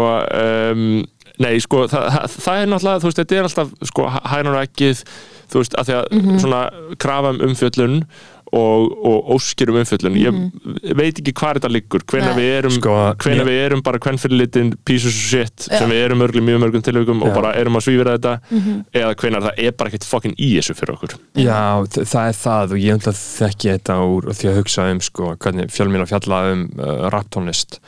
[SPEAKER 5] um, nei, sko, þa þa það er náttúrulega þú veist, þetta er alltaf, sko, hænunar ekkið þú veist, að því að
[SPEAKER 4] Mhm.
[SPEAKER 5] svona krafa um umfjöllun og, og óskir um umfjöllun ég veit ekki hvar þetta liggur, hvenær
[SPEAKER 4] Mhm. Nei.
[SPEAKER 5] við erum
[SPEAKER 6] Sko,
[SPEAKER 5] hvenær
[SPEAKER 6] ég-
[SPEAKER 5] við erum bara hvern fyrir litin pieces of shit sem við erum örgli mjög mörgum tilögum og
[SPEAKER 6] Já.
[SPEAKER 5] bara erum að svífira þetta
[SPEAKER 4] Mhm.
[SPEAKER 5] eða hvenær það er bara ekkert fucking í þessu fyrir okkur
[SPEAKER 6] Já, þ- það er það og ég ætla að þekki þetta úr því að hugsa um sko, hvernig fjölmjöla fjalla um uh, raptónlist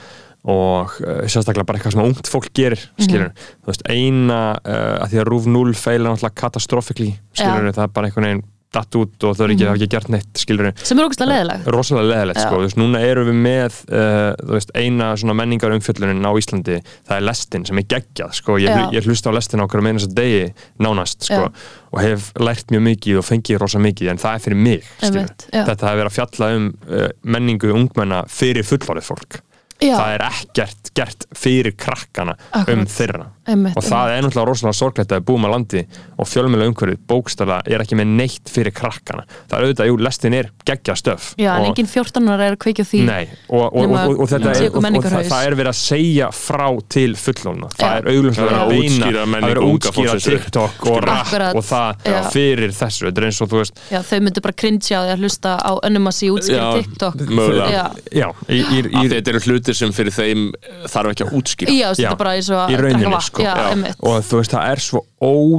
[SPEAKER 6] og uh, sérstaklega bara eitthvað sem ungt fólk gerir Mhm. skilur, þú veist, eina uh, að því að Rúf 0 feila náttúrulega katastrofikli skilur, það er bara einhvern veginn datt út og það er ekki, það er ekki gert neitt skilur
[SPEAKER 4] sem er ógustlega leðileg
[SPEAKER 6] rosalega leðilegt
[SPEAKER 4] Já.
[SPEAKER 6] sko, þú veist, núna erum við með uh, þú veist, eina svona menningar umfjöllunin á Íslandi, það er lestin sem er geggjað, sko, ég, hlu-
[SPEAKER 4] Já.
[SPEAKER 6] ég hlusta á lestin á hverju meina þess að degi nánast, sko
[SPEAKER 4] Já.
[SPEAKER 6] og hef lært mjög mikið og fengið rosa mikið, en það er fyrir mig, skilur
[SPEAKER 4] Einmitt, já.
[SPEAKER 6] þetta hefur verið að fjalla um uh, menningu ungmenna fyrir fullvarðið fólk
[SPEAKER 4] Já.
[SPEAKER 6] það er ekkert gert fyrir krakkana
[SPEAKER 4] Akkurat.
[SPEAKER 6] um þeirra
[SPEAKER 4] Einmitt,
[SPEAKER 6] og það er náttúrulega rosalega sorgleitt að við búum að landi og fjölmjöla umhverfið bókstala er ekki með neitt fyrir krakkana það er auðvitað, jú, lestin er geggja stöf
[SPEAKER 4] Já, en
[SPEAKER 6] og,
[SPEAKER 4] engin 14 ára er að kveikja á því
[SPEAKER 6] nei, og, og, og,
[SPEAKER 4] Nema
[SPEAKER 6] og, og
[SPEAKER 4] tekur
[SPEAKER 6] þetta er, og, og það,
[SPEAKER 4] menningarhaus.
[SPEAKER 6] það er verið að segja frá til fullóna það
[SPEAKER 4] Já.
[SPEAKER 6] er auðvitað
[SPEAKER 4] Já.
[SPEAKER 6] að beina
[SPEAKER 5] Útskýra
[SPEAKER 6] það
[SPEAKER 5] menningu
[SPEAKER 6] er
[SPEAKER 5] unga
[SPEAKER 6] útskýra
[SPEAKER 5] fólksins.
[SPEAKER 6] TikTok og
[SPEAKER 4] Akkurat.
[SPEAKER 6] rap og það
[SPEAKER 4] Já.
[SPEAKER 6] fyrir þessu þetta er eins og þú veist
[SPEAKER 4] Já, þau myndu bara cringja á því að hlusta á önnum að sí útskýra
[SPEAKER 5] Já,
[SPEAKER 4] TikTok
[SPEAKER 5] mögulega.
[SPEAKER 4] Já,
[SPEAKER 6] já, í, í, í,
[SPEAKER 5] Af því þetta eru hlutir sem fyrir þeim þarf ekki að útskýra
[SPEAKER 4] já,
[SPEAKER 6] Já.
[SPEAKER 4] þetta er bara eins og að
[SPEAKER 6] Í rauninni,
[SPEAKER 4] drekka vatn.
[SPEAKER 6] sko.
[SPEAKER 4] Já,
[SPEAKER 5] Já.
[SPEAKER 4] einmitt
[SPEAKER 6] og þú veist, það er svo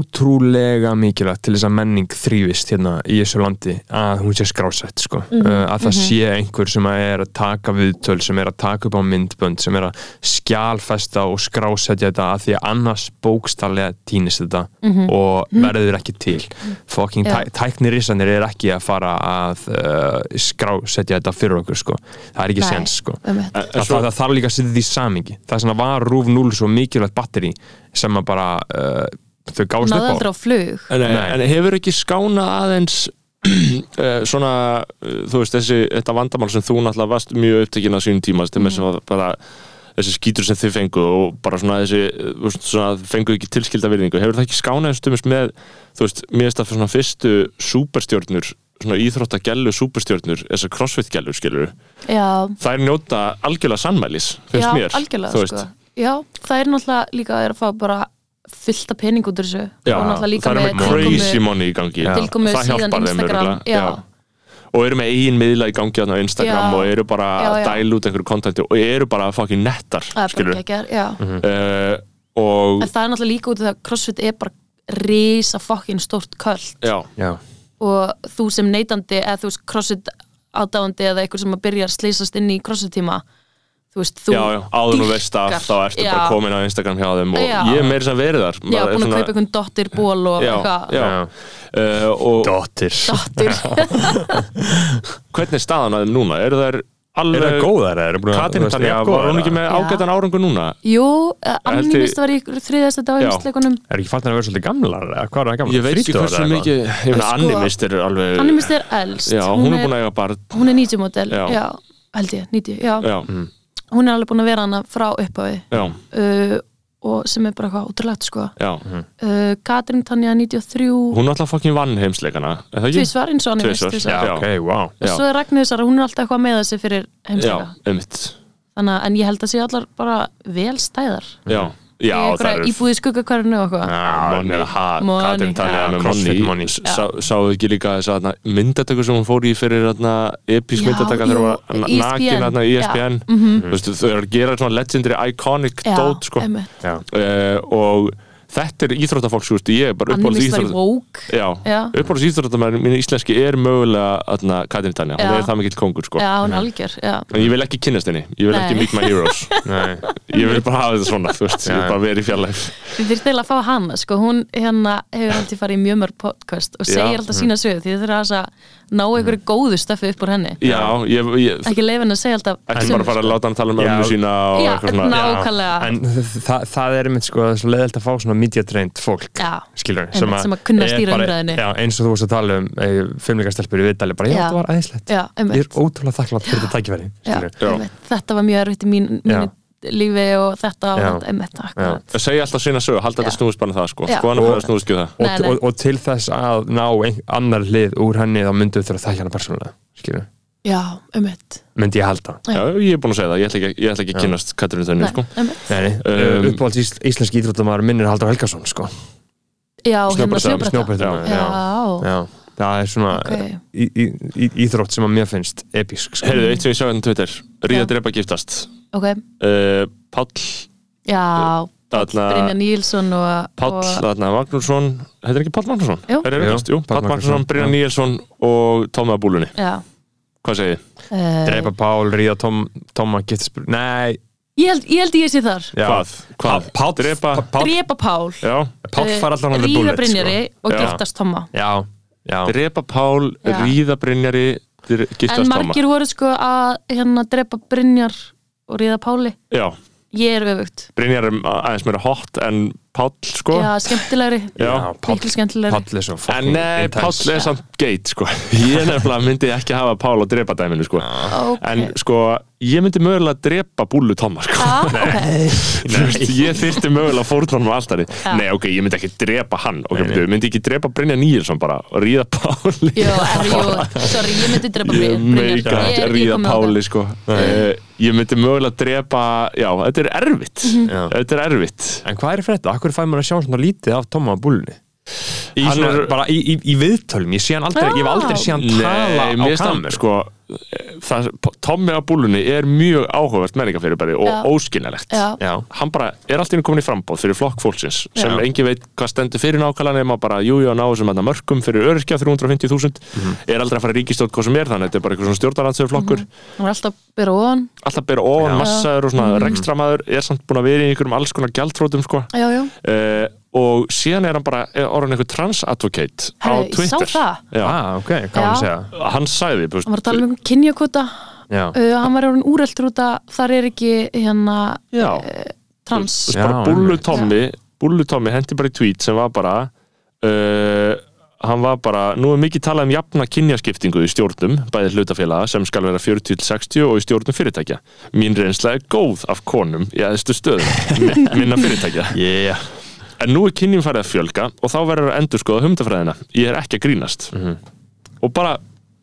[SPEAKER 6] ótrúlega mikilvægt til þess að menning þrývist hérna í þessu landi að hún sé skrásett sko,
[SPEAKER 4] Mhm,
[SPEAKER 6] uh, að það sé einhver sem að er að taka viðtöl sem er að taka upp á myndbönd, sem er að skjálfesta og skrásetja þetta að því að annars bókstallega týnist þetta og verður ekki til fucking
[SPEAKER 4] Mhm. Já.
[SPEAKER 6] tæ tæknirissanir er ekki að fara að uh, skrásetja þetta fyrir okkur sko, það er ekki
[SPEAKER 4] Nei,
[SPEAKER 6] sens sko
[SPEAKER 4] einmitt.
[SPEAKER 6] það, það, það þarf líka að setja því samingi það er svona var rúf 0 svo mikilvægt batteri sem að bara uh, þau gáðust
[SPEAKER 4] Náðu
[SPEAKER 6] upp á
[SPEAKER 4] aldrei á flug
[SPEAKER 5] En,
[SPEAKER 6] Nei.
[SPEAKER 5] en hefur ekki skána aðeins eh, svona, eh, þú veist, þessi þetta vandamál sem þú náttúrulega varst mjög upptekinn á sínum tíma, sem er
[SPEAKER 4] Mm.
[SPEAKER 5] svo bara þessi skítur sem þið fengu og bara svona þessi, eh, þú veist, svona fengu ekki tilskilda virðingu, hefur það ekki skánað eins stumist með, þú veist, mér finnst það svona fyrstu superstjórnur, svona íþróttagellu superstjórnur, þessar crossfit-gellur skilur,
[SPEAKER 4] Já,
[SPEAKER 5] þær njóta algjörlega sannmælis, finnst
[SPEAKER 4] já,
[SPEAKER 5] mér
[SPEAKER 4] algjörlega
[SPEAKER 5] þú veist.
[SPEAKER 4] sko. Já, það er náttúrulega líka að er að fá bara fullta pening út úr þessu
[SPEAKER 5] Já,
[SPEAKER 4] og náttúrulega líka
[SPEAKER 5] það er með
[SPEAKER 4] tilkomu-
[SPEAKER 5] crazy money í gangi
[SPEAKER 4] tilkomu
[SPEAKER 5] Það
[SPEAKER 4] síðan
[SPEAKER 5] hjálpar þeim
[SPEAKER 4] Instagram
[SPEAKER 5] örugglega, og eru með eigin miðla í gangi þarna á Instagram
[SPEAKER 4] Já.
[SPEAKER 5] og eru bara
[SPEAKER 4] Já, já.
[SPEAKER 5] að dæla út einhverju kontenti og eru bara fucking nettar
[SPEAKER 4] það er bara
[SPEAKER 5] skilur
[SPEAKER 4] geggjær, já
[SPEAKER 5] uh, og
[SPEAKER 4] en það er
[SPEAKER 5] Mhm.
[SPEAKER 4] náttúrulega líka út af því að crossfit er bara risa fokkin stórt köld
[SPEAKER 5] já,
[SPEAKER 6] já,
[SPEAKER 4] og þú sem neytandi eða þú veist crossfit ádáðandi eða eitthvað sem að byrja að sleysast inn í crossfit tíma þú veist, þú
[SPEAKER 5] já, já, áður og veist af
[SPEAKER 4] dýrkar-
[SPEAKER 5] þá ertu
[SPEAKER 4] já,
[SPEAKER 5] bara komin á Instagram hjá þeim og
[SPEAKER 4] Já.
[SPEAKER 5] ég er meira sem verið þar
[SPEAKER 4] já,
[SPEAKER 5] Maður er
[SPEAKER 4] búin að
[SPEAKER 5] svona-
[SPEAKER 4] kaupa einhvern dottir ból og eitthvað
[SPEAKER 5] já,
[SPEAKER 6] Já.
[SPEAKER 5] já. Uh, og
[SPEAKER 6] dottir
[SPEAKER 4] dottir,
[SPEAKER 5] hvernig er staðan að þeim núna? eru þær
[SPEAKER 6] er það
[SPEAKER 5] alveg
[SPEAKER 6] góðar? Er það
[SPEAKER 5] Katinn þannig að var hún ekki með
[SPEAKER 4] Já.
[SPEAKER 5] ágætan árangu núna?
[SPEAKER 4] jú eh,
[SPEAKER 5] Held
[SPEAKER 4] Anni
[SPEAKER 5] ég-
[SPEAKER 4] mist var í þriðast þetta á
[SPEAKER 5] Já.
[SPEAKER 4] heimsleikunum
[SPEAKER 6] er ekki fattin að vera svolítið gamlar? eða Hvað er það gamlar?
[SPEAKER 5] Ég veit ekki
[SPEAKER 6] 30 ára
[SPEAKER 5] hversu
[SPEAKER 6] eða
[SPEAKER 5] mikið, ég meina
[SPEAKER 4] Sko,
[SPEAKER 5] animist er alveg
[SPEAKER 4] Anni mist er elst
[SPEAKER 5] Já, hún er búin að eiga barn
[SPEAKER 4] hún er 90 model,
[SPEAKER 5] Já.
[SPEAKER 4] já, held ég 90, já.
[SPEAKER 5] Já, mm,
[SPEAKER 4] hún er alveg búin að vera hana frá upphafi
[SPEAKER 5] já,
[SPEAKER 4] uh, og sem er bara eitthvað útrúlegt sko.
[SPEAKER 5] já
[SPEAKER 4] uh, Katrin Tanja 93
[SPEAKER 5] Hún er alltaf fucking vann heimsleikana er það ekki?
[SPEAKER 4] tvísvar eins og hann er
[SPEAKER 5] Tvisvar,
[SPEAKER 4] veist
[SPEAKER 6] eitthvað?
[SPEAKER 5] Já.
[SPEAKER 6] Já, ok, wow
[SPEAKER 4] og svo er Ragnhildur Sara, hún er alltaf eitthvað með þessi fyrir heimsleika
[SPEAKER 5] Já, einmitt
[SPEAKER 4] Þannig, að- en ég held að sé allar bara vel stæðar
[SPEAKER 5] Já, já
[SPEAKER 4] Í
[SPEAKER 5] það
[SPEAKER 4] einhverja
[SPEAKER 5] eru
[SPEAKER 4] íbúð í skuggakvarinu og eitthvað
[SPEAKER 6] Ah,
[SPEAKER 5] Monni, ha,
[SPEAKER 4] Money.
[SPEAKER 5] Katrin
[SPEAKER 6] Já,
[SPEAKER 5] talaði með
[SPEAKER 6] CrossFit
[SPEAKER 5] Monni
[SPEAKER 6] Monni.
[SPEAKER 5] Sá- Sáðu ekki líka þess að myndatöku sem hún fór í fyrir þarna, episk
[SPEAKER 4] Já, E
[SPEAKER 5] myndataka
[SPEAKER 4] jú,
[SPEAKER 5] þegar hún var
[SPEAKER 4] ESPN.
[SPEAKER 5] nakin þarna í E
[SPEAKER 4] Já. Mhm.
[SPEAKER 5] ESPN Þú veistu, Þau eru að gera svona legendary iconic
[SPEAKER 4] Já,
[SPEAKER 5] dót sko.
[SPEAKER 4] einmitt.
[SPEAKER 6] Já.
[SPEAKER 5] Eh, og þetta er íþróttafólk sko, veistu, ég er bara
[SPEAKER 4] Anni
[SPEAKER 5] uppáhalds
[SPEAKER 4] mist var í
[SPEAKER 5] íþrótt
[SPEAKER 4] Vogue
[SPEAKER 5] Já,
[SPEAKER 4] Já.
[SPEAKER 5] uppáhalds íþróttamæður mín íslenski er mögulega þarna, Katrin Tanja, hún
[SPEAKER 4] Já.
[SPEAKER 5] er það mikill kongur sko.
[SPEAKER 4] Já, hún er algjör já.
[SPEAKER 5] en ég vil ekki kynnast henni, ég vil ekki
[SPEAKER 4] Nei.
[SPEAKER 5] meet my heroes
[SPEAKER 6] Nei.
[SPEAKER 5] ég vil bara hafa þetta svona, þú veist, ég vil
[SPEAKER 6] Já.
[SPEAKER 5] bara vera í fjarlæf
[SPEAKER 4] Við þurfum til að fá hana sko. Hún hérna hefur haldið farið í mjög mörg podcast og
[SPEAKER 5] Já. Mm.
[SPEAKER 4] segir alltaf sína sögu því þið þurfa aðeins að ná einhverju góðu stöfi upp úr henni
[SPEAKER 5] Já, ég, ég,
[SPEAKER 4] Ekki leif henni að segja alltaf
[SPEAKER 5] ekki
[SPEAKER 4] sömu,
[SPEAKER 5] bara fara að láta hann tala um
[SPEAKER 6] Já.
[SPEAKER 5] ömmu sína og
[SPEAKER 4] Já,
[SPEAKER 5] eitthvað svona
[SPEAKER 4] ná- Nákvæmlega.
[SPEAKER 6] en það, það er einmitt sko, það er svo leðilt að fá svona mediatrained fólk
[SPEAKER 4] Já.
[SPEAKER 6] skilur,
[SPEAKER 4] Einmitt, sem að kunna
[SPEAKER 6] er
[SPEAKER 4] stýra
[SPEAKER 6] bara-
[SPEAKER 4] umræðunni.
[SPEAKER 6] já, eins og þú varst að tala um fimmleikastelpur í viðdali, bara já,
[SPEAKER 4] Já.
[SPEAKER 6] það var æðislegt
[SPEAKER 4] Já, einmitt.
[SPEAKER 6] ég er ótrúlega þakklátt fyrir þetta tækifæri
[SPEAKER 4] Já,
[SPEAKER 6] skilur.
[SPEAKER 4] einmitt. Þetta var mjög erfitt í mín, mínu lífi og þetta og
[SPEAKER 6] Já.
[SPEAKER 4] þetta, einmitt, akkurat.
[SPEAKER 5] Að segja alltaf sína sögu, halda þetta snúðist bara um það sko
[SPEAKER 4] Já.
[SPEAKER 5] Skoðan að
[SPEAKER 6] Og-
[SPEAKER 5] það snúðist ekki um það
[SPEAKER 6] og,
[SPEAKER 4] Nei, nei.
[SPEAKER 6] Og, og til þess að ná ein, annar hlið úr henni þá myndum við þurfa að þekka hana persónulega skilur,
[SPEAKER 4] Já, einmitt.
[SPEAKER 6] myndi ég halda
[SPEAKER 4] Nei.
[SPEAKER 5] Já, ég er búin að segja það, ég ætla ekki, ég ætla ekki að kynnast Katrínu
[SPEAKER 4] Nei,
[SPEAKER 5] þenni sko
[SPEAKER 4] einmitt.
[SPEAKER 6] Nei,
[SPEAKER 5] Um,
[SPEAKER 6] um, uppáhalds ís, íslenski íþróttamæður minnir Haldur Helgason sko.
[SPEAKER 4] Já, hérna
[SPEAKER 6] Snjóbretta-
[SPEAKER 4] snjóbretta.
[SPEAKER 6] snjóbrettamaður,
[SPEAKER 4] Já,
[SPEAKER 6] já. það er svona
[SPEAKER 4] Ok.
[SPEAKER 6] í, í, í, íþrótt sem að mér finnst episk sko.
[SPEAKER 5] Heyrðu, eitt sem ég sjá hérna á Twitter Ríða
[SPEAKER 4] Já.
[SPEAKER 5] drepa giftast
[SPEAKER 4] ok.
[SPEAKER 5] uh, Páll,
[SPEAKER 4] Já,
[SPEAKER 5] þarna
[SPEAKER 4] Brynja Nílsson og...
[SPEAKER 5] Páll,
[SPEAKER 4] og-
[SPEAKER 5] þarna Magnússon Heitir ekki Páll Magnússon?
[SPEAKER 4] Jú.
[SPEAKER 5] Þeir eru
[SPEAKER 6] Jú,
[SPEAKER 5] giftast, Jú,
[SPEAKER 6] Páll
[SPEAKER 5] Páll Magnússon,
[SPEAKER 6] Magnússon,
[SPEAKER 5] Brynja
[SPEAKER 6] já.
[SPEAKER 5] Níelsson og Tóma Búlunni
[SPEAKER 4] Já.
[SPEAKER 5] Hvað segið þið?
[SPEAKER 4] eh,
[SPEAKER 6] Dreipa Pál, Ríða Tom, Tóma Gittisbr Nei,
[SPEAKER 4] Ég held, ég held ég sé þar.
[SPEAKER 6] já.
[SPEAKER 5] Hvað? Hvað?
[SPEAKER 6] Páll,
[SPEAKER 5] Drepa-
[SPEAKER 6] Páll,
[SPEAKER 4] Drepa Pál.
[SPEAKER 5] Já,
[SPEAKER 6] Páll far allan á the
[SPEAKER 4] Ríða
[SPEAKER 6] bullet
[SPEAKER 4] Eh, Brynjari
[SPEAKER 6] sko.
[SPEAKER 4] og
[SPEAKER 5] Já.
[SPEAKER 4] giftast Tomma.
[SPEAKER 6] Já, Já.
[SPEAKER 5] drepa Pál,
[SPEAKER 4] Já.
[SPEAKER 5] ríða Brynjari dr- giftast
[SPEAKER 4] en
[SPEAKER 5] Tóma
[SPEAKER 4] margir voru sko að hérna drepa Brynjar og Ríða Páli
[SPEAKER 5] já,
[SPEAKER 4] ég er öfugt,
[SPEAKER 5] Brynjar er aðeins meira hot en Pál sko
[SPEAKER 4] já, skemmtilegri
[SPEAKER 5] Já.
[SPEAKER 6] Páll,
[SPEAKER 4] miklu skemmtilegri
[SPEAKER 6] Páll er svo
[SPEAKER 5] en
[SPEAKER 6] fucking
[SPEAKER 5] nei, Pál
[SPEAKER 6] intense.
[SPEAKER 5] er samt geit sko ég nefnilega myndi ekki hafa Pál á drepa dæminu sko
[SPEAKER 4] Ok.
[SPEAKER 5] en sko, ég myndi mögulega drepa búlu Tóma sko
[SPEAKER 4] Ah, okay.
[SPEAKER 5] Þú veist, ég þyrfti mögulega fórnum á alltari
[SPEAKER 4] Já.
[SPEAKER 5] Nei, ok, ég myndi ekki drepa hann ok, nei, nei. myndi ekki drepa Brynja Níelsson bara og ríða Páli
[SPEAKER 4] Jó, er, jó, sorry, ég myndi drepa
[SPEAKER 5] Ég
[SPEAKER 4] Brynjar
[SPEAKER 5] meika
[SPEAKER 4] Ég
[SPEAKER 5] ekki
[SPEAKER 4] er-
[SPEAKER 5] að
[SPEAKER 4] ég
[SPEAKER 5] ríða
[SPEAKER 4] kom með
[SPEAKER 5] Páli sko. Eh, Ég myndi mögulega drepa Já, þetta er erfitt
[SPEAKER 4] Mhm.
[SPEAKER 6] Já.
[SPEAKER 5] Þetta er erfitt
[SPEAKER 6] En hvað er fyrir þetta? Akkur fær maður að sjá svona lítið af Tóma á búlunni?
[SPEAKER 5] Í
[SPEAKER 6] Hann er
[SPEAKER 5] svona-
[SPEAKER 6] bara í, í, í viðtölum, ég sé hann aldrei, ég hef
[SPEAKER 4] Ah.
[SPEAKER 6] aldrei sé hann tala
[SPEAKER 5] Nei,
[SPEAKER 6] á
[SPEAKER 5] mér
[SPEAKER 6] kamer.
[SPEAKER 5] stand sko, eh, það, Tommi á búlunni er mjög áhugavert menningarfyrirbæri og
[SPEAKER 4] Já.
[SPEAKER 5] óskiljanlegt
[SPEAKER 4] Já.
[SPEAKER 6] Já.
[SPEAKER 5] hann bara er alltaf inn komin í frambóð fyrir flokk fólksins sem
[SPEAKER 4] Já.
[SPEAKER 5] engin veit hvað stendur fyrir nákvæmlega nema bara jújú að ná þessum hérna mörkum fyrir öryrkja 350.000
[SPEAKER 4] Mhm.
[SPEAKER 5] er aldrei að fara í ríkistjórn hvað sem er þannig þetta er bara eitthvað svona stjórnarandsöðu flokkur
[SPEAKER 4] Hún er alltaf byrja ofan
[SPEAKER 5] alltaf bera ofan massaður og svona
[SPEAKER 4] Mm.
[SPEAKER 5] rekstramaður er samt búin að vera í einhverjum alls konar gjaldrótum sko
[SPEAKER 4] Já, já,
[SPEAKER 5] uh, og síðan er hann bara er orðin einhver transadvocate á
[SPEAKER 4] Herri, ég sá
[SPEAKER 5] Twitter
[SPEAKER 4] það.
[SPEAKER 5] Já.
[SPEAKER 6] Ah, ok, hvað hann
[SPEAKER 4] Já.
[SPEAKER 6] segja?
[SPEAKER 5] hann sagði þú veist,
[SPEAKER 4] hann var að tala um kynjakota
[SPEAKER 6] Já.
[SPEAKER 4] uh, Hann var orðin úreltur út að þar er ekki hérna
[SPEAKER 5] Já.
[SPEAKER 4] uh, trans
[SPEAKER 5] Þú veist, bara
[SPEAKER 6] Já,
[SPEAKER 5] Búllu
[SPEAKER 6] einmitt.
[SPEAKER 5] Tommi Búllu Tommi hendi bara í tweet sem var bara uh, hann var bara nú er mikið talað um jafna kynjaskiptingu í stjórnum, bæði hlutafélaga sem skal vera 40-60 og í stjórnum fyrirtækja mín reynsla er góð af konum í aðeistu stöðum, mi- minna fyrirtækja
[SPEAKER 6] Yeah.
[SPEAKER 5] en nú er kynjum farið að fjölga og þá verður að endurskoða humdafræðina ég er ekki að grínast og bara,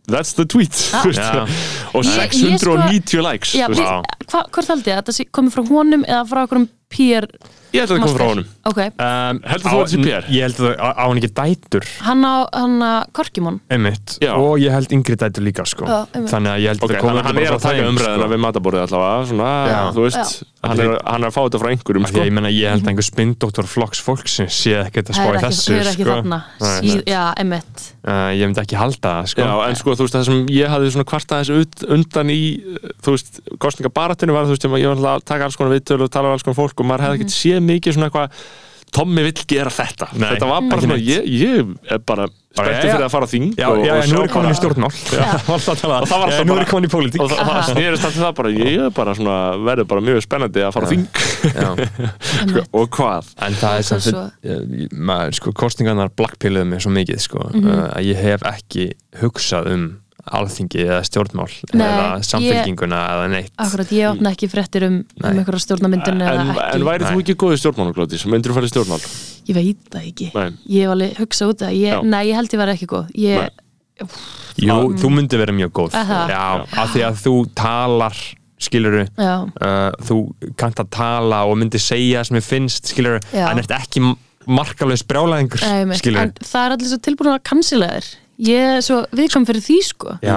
[SPEAKER 5] that's the tweet þú veist.
[SPEAKER 6] Mhm. Já.
[SPEAKER 5] og
[SPEAKER 4] Ah. Ég- ég sko-
[SPEAKER 5] 690 likes
[SPEAKER 4] Já,
[SPEAKER 5] þú veist.
[SPEAKER 4] hva, hvort held ég að þetta sé- komi frá honum eða frá okkur um PR
[SPEAKER 5] ég held að það kom frá
[SPEAKER 4] master?
[SPEAKER 5] honum
[SPEAKER 4] Ok,
[SPEAKER 6] Um,
[SPEAKER 5] Heldur þú að þetta sé PR?
[SPEAKER 6] Ég held að á, á hann ekki dætur
[SPEAKER 4] hann á, hann á Korkimón
[SPEAKER 6] einmitt
[SPEAKER 5] Já.
[SPEAKER 6] og ég held yngri dætur líka sko.
[SPEAKER 4] Já, einmitt.
[SPEAKER 6] þannig að ég hérna held
[SPEAKER 5] Ok,
[SPEAKER 6] að komi
[SPEAKER 5] þannig að hann er að taka umræðina við mataborðið allavega, svona,
[SPEAKER 6] sko. Já.
[SPEAKER 5] þú veist, hann er, hann er að fá þetta frá einhverjum,
[SPEAKER 6] Því
[SPEAKER 5] sko.
[SPEAKER 6] að ég menna, ég held að einhver spindóttur flokks fólksins sé ekkert
[SPEAKER 4] Það
[SPEAKER 6] að spá
[SPEAKER 4] er
[SPEAKER 6] í
[SPEAKER 4] ekki,
[SPEAKER 6] þessu
[SPEAKER 4] er ekki
[SPEAKER 6] sko.
[SPEAKER 4] þarna
[SPEAKER 6] Nei,
[SPEAKER 4] Síð, Já, emmitt
[SPEAKER 6] Uh, ég myndi ekki halda það sko.
[SPEAKER 5] Já, en sko, þú veist, það sem ég hafði svona kvartað þessu ut- undan í, uh, þú veist, kostningabaratunni var, þú veist, ég var alltaf að taka alls konar viðtölu og tala við alls konar fólk og maður hefði ekkert séð mikið svona eitthvað, Tommi vill gera þetta.
[SPEAKER 6] Mhm. Nei,
[SPEAKER 5] þetta var bara
[SPEAKER 6] ekki
[SPEAKER 5] svona,
[SPEAKER 6] neitt.
[SPEAKER 5] ég, ég er bara
[SPEAKER 6] já,
[SPEAKER 5] spektið
[SPEAKER 6] já.
[SPEAKER 5] fyrir að fara á þing
[SPEAKER 6] Já,
[SPEAKER 5] og, og
[SPEAKER 6] já, já, nú er ég komin í
[SPEAKER 5] bara-
[SPEAKER 6] stjórnmál
[SPEAKER 5] Og það var alltaf
[SPEAKER 6] Já, Eh, Nú er ég komin í pólitík
[SPEAKER 5] og það, það snerist alltaf það bara, ég er bara svona, verður bara mjög spennandi að fara á þing
[SPEAKER 4] Emmitt
[SPEAKER 5] og hvað.
[SPEAKER 6] En það er
[SPEAKER 4] Það er
[SPEAKER 6] sem
[SPEAKER 4] svo-
[SPEAKER 6] fyrir maður, sko, kostningarnar blakkpiluðu mig svo mikið sko,
[SPEAKER 4] Mhm.
[SPEAKER 6] uh, að ég hef ekki hugsað um alþingi eða stjórnmál
[SPEAKER 4] Nei,
[SPEAKER 6] eða
[SPEAKER 4] ég-
[SPEAKER 6] samfélkinguna eða neitt
[SPEAKER 4] Akkurat, ég opna ekki fréttir um, um
[SPEAKER 6] Nei.
[SPEAKER 4] einhverja stjórnamyndun eða
[SPEAKER 5] En,
[SPEAKER 4] ekki
[SPEAKER 5] en værið þú ekki góðið stjórnmáluglóti sem myndir að fara í stjórnmál?
[SPEAKER 4] Ég veit það ekki
[SPEAKER 5] Nei.
[SPEAKER 4] Ég hef alveg hugsað út að ég,
[SPEAKER 5] Já.
[SPEAKER 4] Nei, ég held ég verið ekki góð ég,
[SPEAKER 5] Nei.
[SPEAKER 6] Jú,
[SPEAKER 4] Sko-
[SPEAKER 6] þú myndi vera mjög góð
[SPEAKER 4] Er það?
[SPEAKER 6] Já, af því að þú talar skiluru
[SPEAKER 4] Já,
[SPEAKER 6] uh, þú kannt að tala og myndi segja sem ég finnst skiluru,
[SPEAKER 4] Já.
[SPEAKER 6] en ert ekki markalaus brjálæðingur
[SPEAKER 4] emmitt En
[SPEAKER 6] skiluru
[SPEAKER 4] það er allir svo tilbúin að kansila þér Ég er svo viðkvæm fyrir því sko
[SPEAKER 6] Já,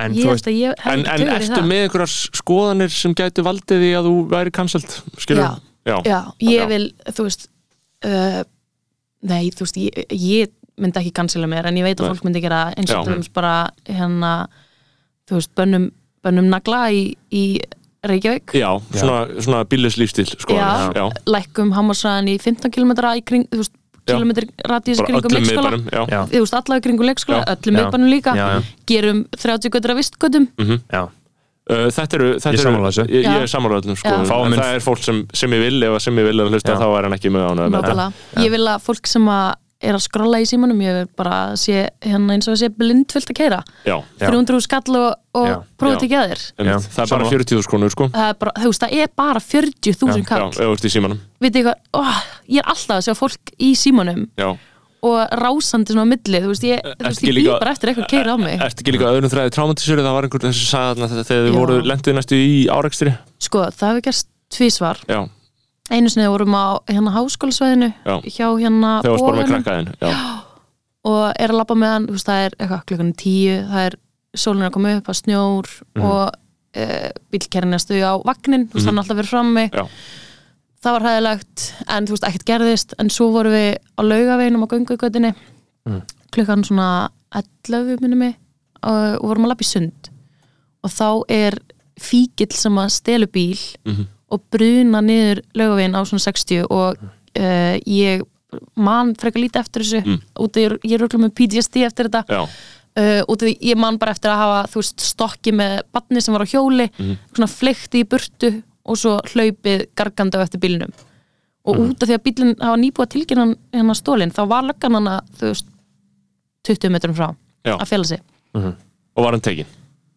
[SPEAKER 6] en
[SPEAKER 4] Ég
[SPEAKER 6] þú
[SPEAKER 4] held
[SPEAKER 6] veist
[SPEAKER 4] að ég hef
[SPEAKER 5] En,
[SPEAKER 4] ekki
[SPEAKER 5] en
[SPEAKER 4] tökur í
[SPEAKER 5] ertu
[SPEAKER 4] það
[SPEAKER 5] með einhverjar skoðanir sem gætu valdið því að þú væri cancelled?
[SPEAKER 4] Já,
[SPEAKER 5] Skilur? Já.
[SPEAKER 4] já, ég
[SPEAKER 5] Já.
[SPEAKER 4] vil, þú veist uh, Nei, þú veist, ég, ég myndi ekki kansila mér En ég veit að
[SPEAKER 5] Nei.
[SPEAKER 4] fólk myndi gera það, eins og
[SPEAKER 5] Já.
[SPEAKER 4] til dæmis bara hérna Þú veist, bönnum, bönnum nagla í, í Reykjavík
[SPEAKER 5] Já, svona, svona bílis lífstíl
[SPEAKER 4] Já,
[SPEAKER 5] skoðanir. Já.
[SPEAKER 4] lækkum hámarsraðan í 15 km í kring, þú veist, kilometri radíus
[SPEAKER 5] Bara
[SPEAKER 4] kringum
[SPEAKER 5] öllum
[SPEAKER 4] leikskóla
[SPEAKER 5] miðbænum. Já.
[SPEAKER 6] Já.
[SPEAKER 4] þú veist, allavega kringu leikskóla,
[SPEAKER 5] Já. Mhm.
[SPEAKER 4] öllum
[SPEAKER 6] Já.
[SPEAKER 4] miðbænum líka
[SPEAKER 6] Já, já.
[SPEAKER 4] gerum 30 götur af vistgötum
[SPEAKER 6] Já,
[SPEAKER 5] Uh, þetta eru... Þetta
[SPEAKER 6] Ég
[SPEAKER 5] eru-
[SPEAKER 6] sammála þessu.
[SPEAKER 5] Ég,
[SPEAKER 4] Já.
[SPEAKER 5] ég er samanlæðum skoðanir.
[SPEAKER 6] Fáum
[SPEAKER 5] En
[SPEAKER 6] minn-
[SPEAKER 5] Það er fólk sem, sem ég vil, ef sem ég vil er að hlusta,
[SPEAKER 6] Já.
[SPEAKER 5] þá er hann ekki með ánægð með þetta.
[SPEAKER 4] nákvæmlega, ég vil að fólk sem að er að skrolla í símanum, ég vil bara sé hérna eins og að sé blindfullt að keira
[SPEAKER 5] Já.
[SPEAKER 4] 300 skall og,
[SPEAKER 6] Já.
[SPEAKER 4] og prófið
[SPEAKER 5] Já.
[SPEAKER 4] ekki að þér
[SPEAKER 5] Já.
[SPEAKER 6] Já.
[SPEAKER 5] Það er bara
[SPEAKER 6] Sammála.
[SPEAKER 5] 40.000 krónur, sko.
[SPEAKER 4] það er bara, þú veist, það er bara 40.000
[SPEAKER 5] Já, ef
[SPEAKER 4] kall,
[SPEAKER 5] þú ert í símanum.
[SPEAKER 4] veit ég hvað oh, ég er alltaf að sjá fólk í símanum
[SPEAKER 5] Já.
[SPEAKER 4] og rásandi svona á milli, þú veist, ég, þú veist,
[SPEAKER 5] ekki
[SPEAKER 4] ég býð
[SPEAKER 5] líka-
[SPEAKER 4] bara eftir eitthvað að keira á mig
[SPEAKER 5] Ertu ekki líka öðrum þræði traumatisur? Það var einhver þessi sagðan að þegar þið
[SPEAKER 4] Já.
[SPEAKER 5] voru lendið næstu í árekstri?
[SPEAKER 4] sko, það hefur gerst tvísvar
[SPEAKER 5] Já.
[SPEAKER 4] einu sinni vorum á hérna háskólasvæðinu
[SPEAKER 5] Já.
[SPEAKER 4] hjá hérna
[SPEAKER 5] Þegar varst bara með
[SPEAKER 4] boganum
[SPEAKER 5] krakkaðin. Já.
[SPEAKER 4] og er að labba með hann þú veist, það er eitthvað klukkan tíu það er sólin er að koma upp að snjór
[SPEAKER 5] Mhm.
[SPEAKER 4] og e, bílkerinn er að stuði á vagnin þú veist, hann er alltaf verið frammi
[SPEAKER 5] Já.
[SPEAKER 4] það var hæðilegt, en þú veist, ekkert gerðist en svo vorum við á laugaveginum á göngugötinni
[SPEAKER 5] Mhm.
[SPEAKER 4] klukkan svona 11 minni mig og, og vorum að labba í sund og þá er fíkil sem að stelu
[SPEAKER 5] Mhm.
[SPEAKER 4] bíl og bruna niður laugavegin á svona 60 og uh, ég man frekar lítið eftir þessu
[SPEAKER 5] Mm.
[SPEAKER 4] út af, ég er röglega með PTSD eftir þetta
[SPEAKER 5] já,
[SPEAKER 4] uh, út af því ég man bara eftir að hafa þú veist, stokki með batni sem var á hjóli
[SPEAKER 5] Mhm.
[SPEAKER 4] svona flykti í burtu og svo hlaupið gargandi á eftir bílnum og
[SPEAKER 5] Mhm.
[SPEAKER 4] út af því að bílinn hafa nýbúið að tilkynna hann- hennar stólinn, þá var löggan hann að þú veist, 20 metrum frá
[SPEAKER 5] Já.
[SPEAKER 4] að fela sig,
[SPEAKER 5] og var hann tekin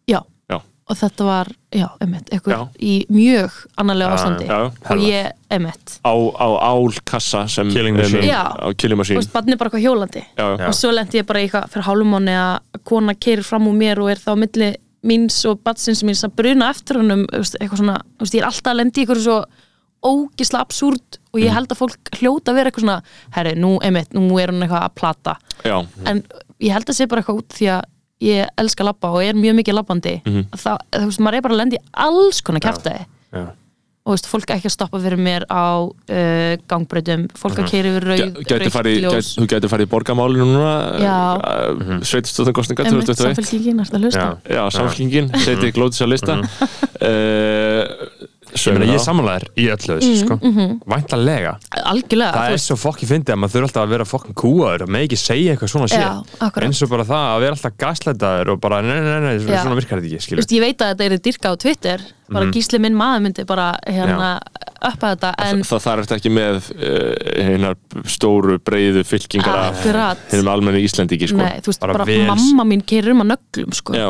[SPEAKER 4] já
[SPEAKER 5] Já.
[SPEAKER 4] og þetta var, já, einmitt,
[SPEAKER 5] Já.
[SPEAKER 4] eitthvað í mjög annarlega ástandi
[SPEAKER 5] já, já.
[SPEAKER 4] og ég, einmitt,
[SPEAKER 5] á, á álkassa sem
[SPEAKER 6] Killing machine.
[SPEAKER 5] um,
[SPEAKER 4] Já.
[SPEAKER 5] á killing
[SPEAKER 4] þú
[SPEAKER 5] machine
[SPEAKER 4] veist, batni bara eitthvað hjólandi
[SPEAKER 5] já, já.
[SPEAKER 4] og svo lendi ég bara í eitthvað fyrir hálfumóni að kona keirir fram úr mér og er þá á milli míns og batsins míns að bruna eftir honum þú veist, eitthvað svona, þú veist, ég er alltaf að lendi í eitthvað svo ógisla absúrt og
[SPEAKER 5] Mm.
[SPEAKER 4] ég held að fólk hljóta að vera eitthvað svona herri, nú, einmitt, nú er hún eitthvað að plata
[SPEAKER 5] Já.
[SPEAKER 4] en ég held að sé bara eitthvað út því að ég elska að labba og er mjög mikið labbandi
[SPEAKER 5] Mhm.
[SPEAKER 4] þá, þú veist, maður er bara að lendi í alls konar kæftæði
[SPEAKER 6] já.
[SPEAKER 4] og þú veist, fólk ekki að stoppa fyrir mér á uh, gangbreytum, fólk að keiri við
[SPEAKER 5] Mhm. Gæ-
[SPEAKER 4] rauð,
[SPEAKER 5] gæti farið,
[SPEAKER 4] ljós.
[SPEAKER 5] gæti, þú gæti farið í borgamálinu núna eh,
[SPEAKER 4] Já.
[SPEAKER 6] Mhm.
[SPEAKER 5] uh, sveitistöðan kostninga
[SPEAKER 4] Einmitt,
[SPEAKER 5] 2021
[SPEAKER 4] samfélkingin, ertu að hlusta?
[SPEAKER 6] Já. Mhm.
[SPEAKER 5] já, samfélkingin, setið glótis að lista uh,
[SPEAKER 6] Ég,
[SPEAKER 5] sögum
[SPEAKER 6] meina, ég
[SPEAKER 5] þá.
[SPEAKER 6] samanlegar í öllu þessu
[SPEAKER 4] Mm,
[SPEAKER 6] sko.
[SPEAKER 4] mhm.
[SPEAKER 6] væntanlega
[SPEAKER 4] algjörlega
[SPEAKER 6] það
[SPEAKER 4] þú
[SPEAKER 6] er
[SPEAKER 4] veist,
[SPEAKER 6] svo fokki fyndið að maður þurfa alltaf að vera fokkin kúaður og með ekki segja eitthvað svona sér
[SPEAKER 4] Já, akkurat.
[SPEAKER 6] eins og bara það að vera alltaf gaslætaður og bara nei, nei, nei, nei
[SPEAKER 4] Já.
[SPEAKER 6] svona virkar þetta ekki
[SPEAKER 4] þú
[SPEAKER 6] skilur.
[SPEAKER 4] veist, ég veit að þetta er dyrka á Twitter bara gísli minn maður myndi bara hérna uppa þetta en
[SPEAKER 5] það þarf þetta ekki með uh, hinnar stóru breiðu fylkingar af
[SPEAKER 4] Akkurat.
[SPEAKER 5] hinnum almenni Íslendingi sko.
[SPEAKER 4] nei, þú veist,
[SPEAKER 6] bara
[SPEAKER 4] bara,
[SPEAKER 6] vel-
[SPEAKER 4] mamma mín keirir um að nöglum sko.
[SPEAKER 5] já,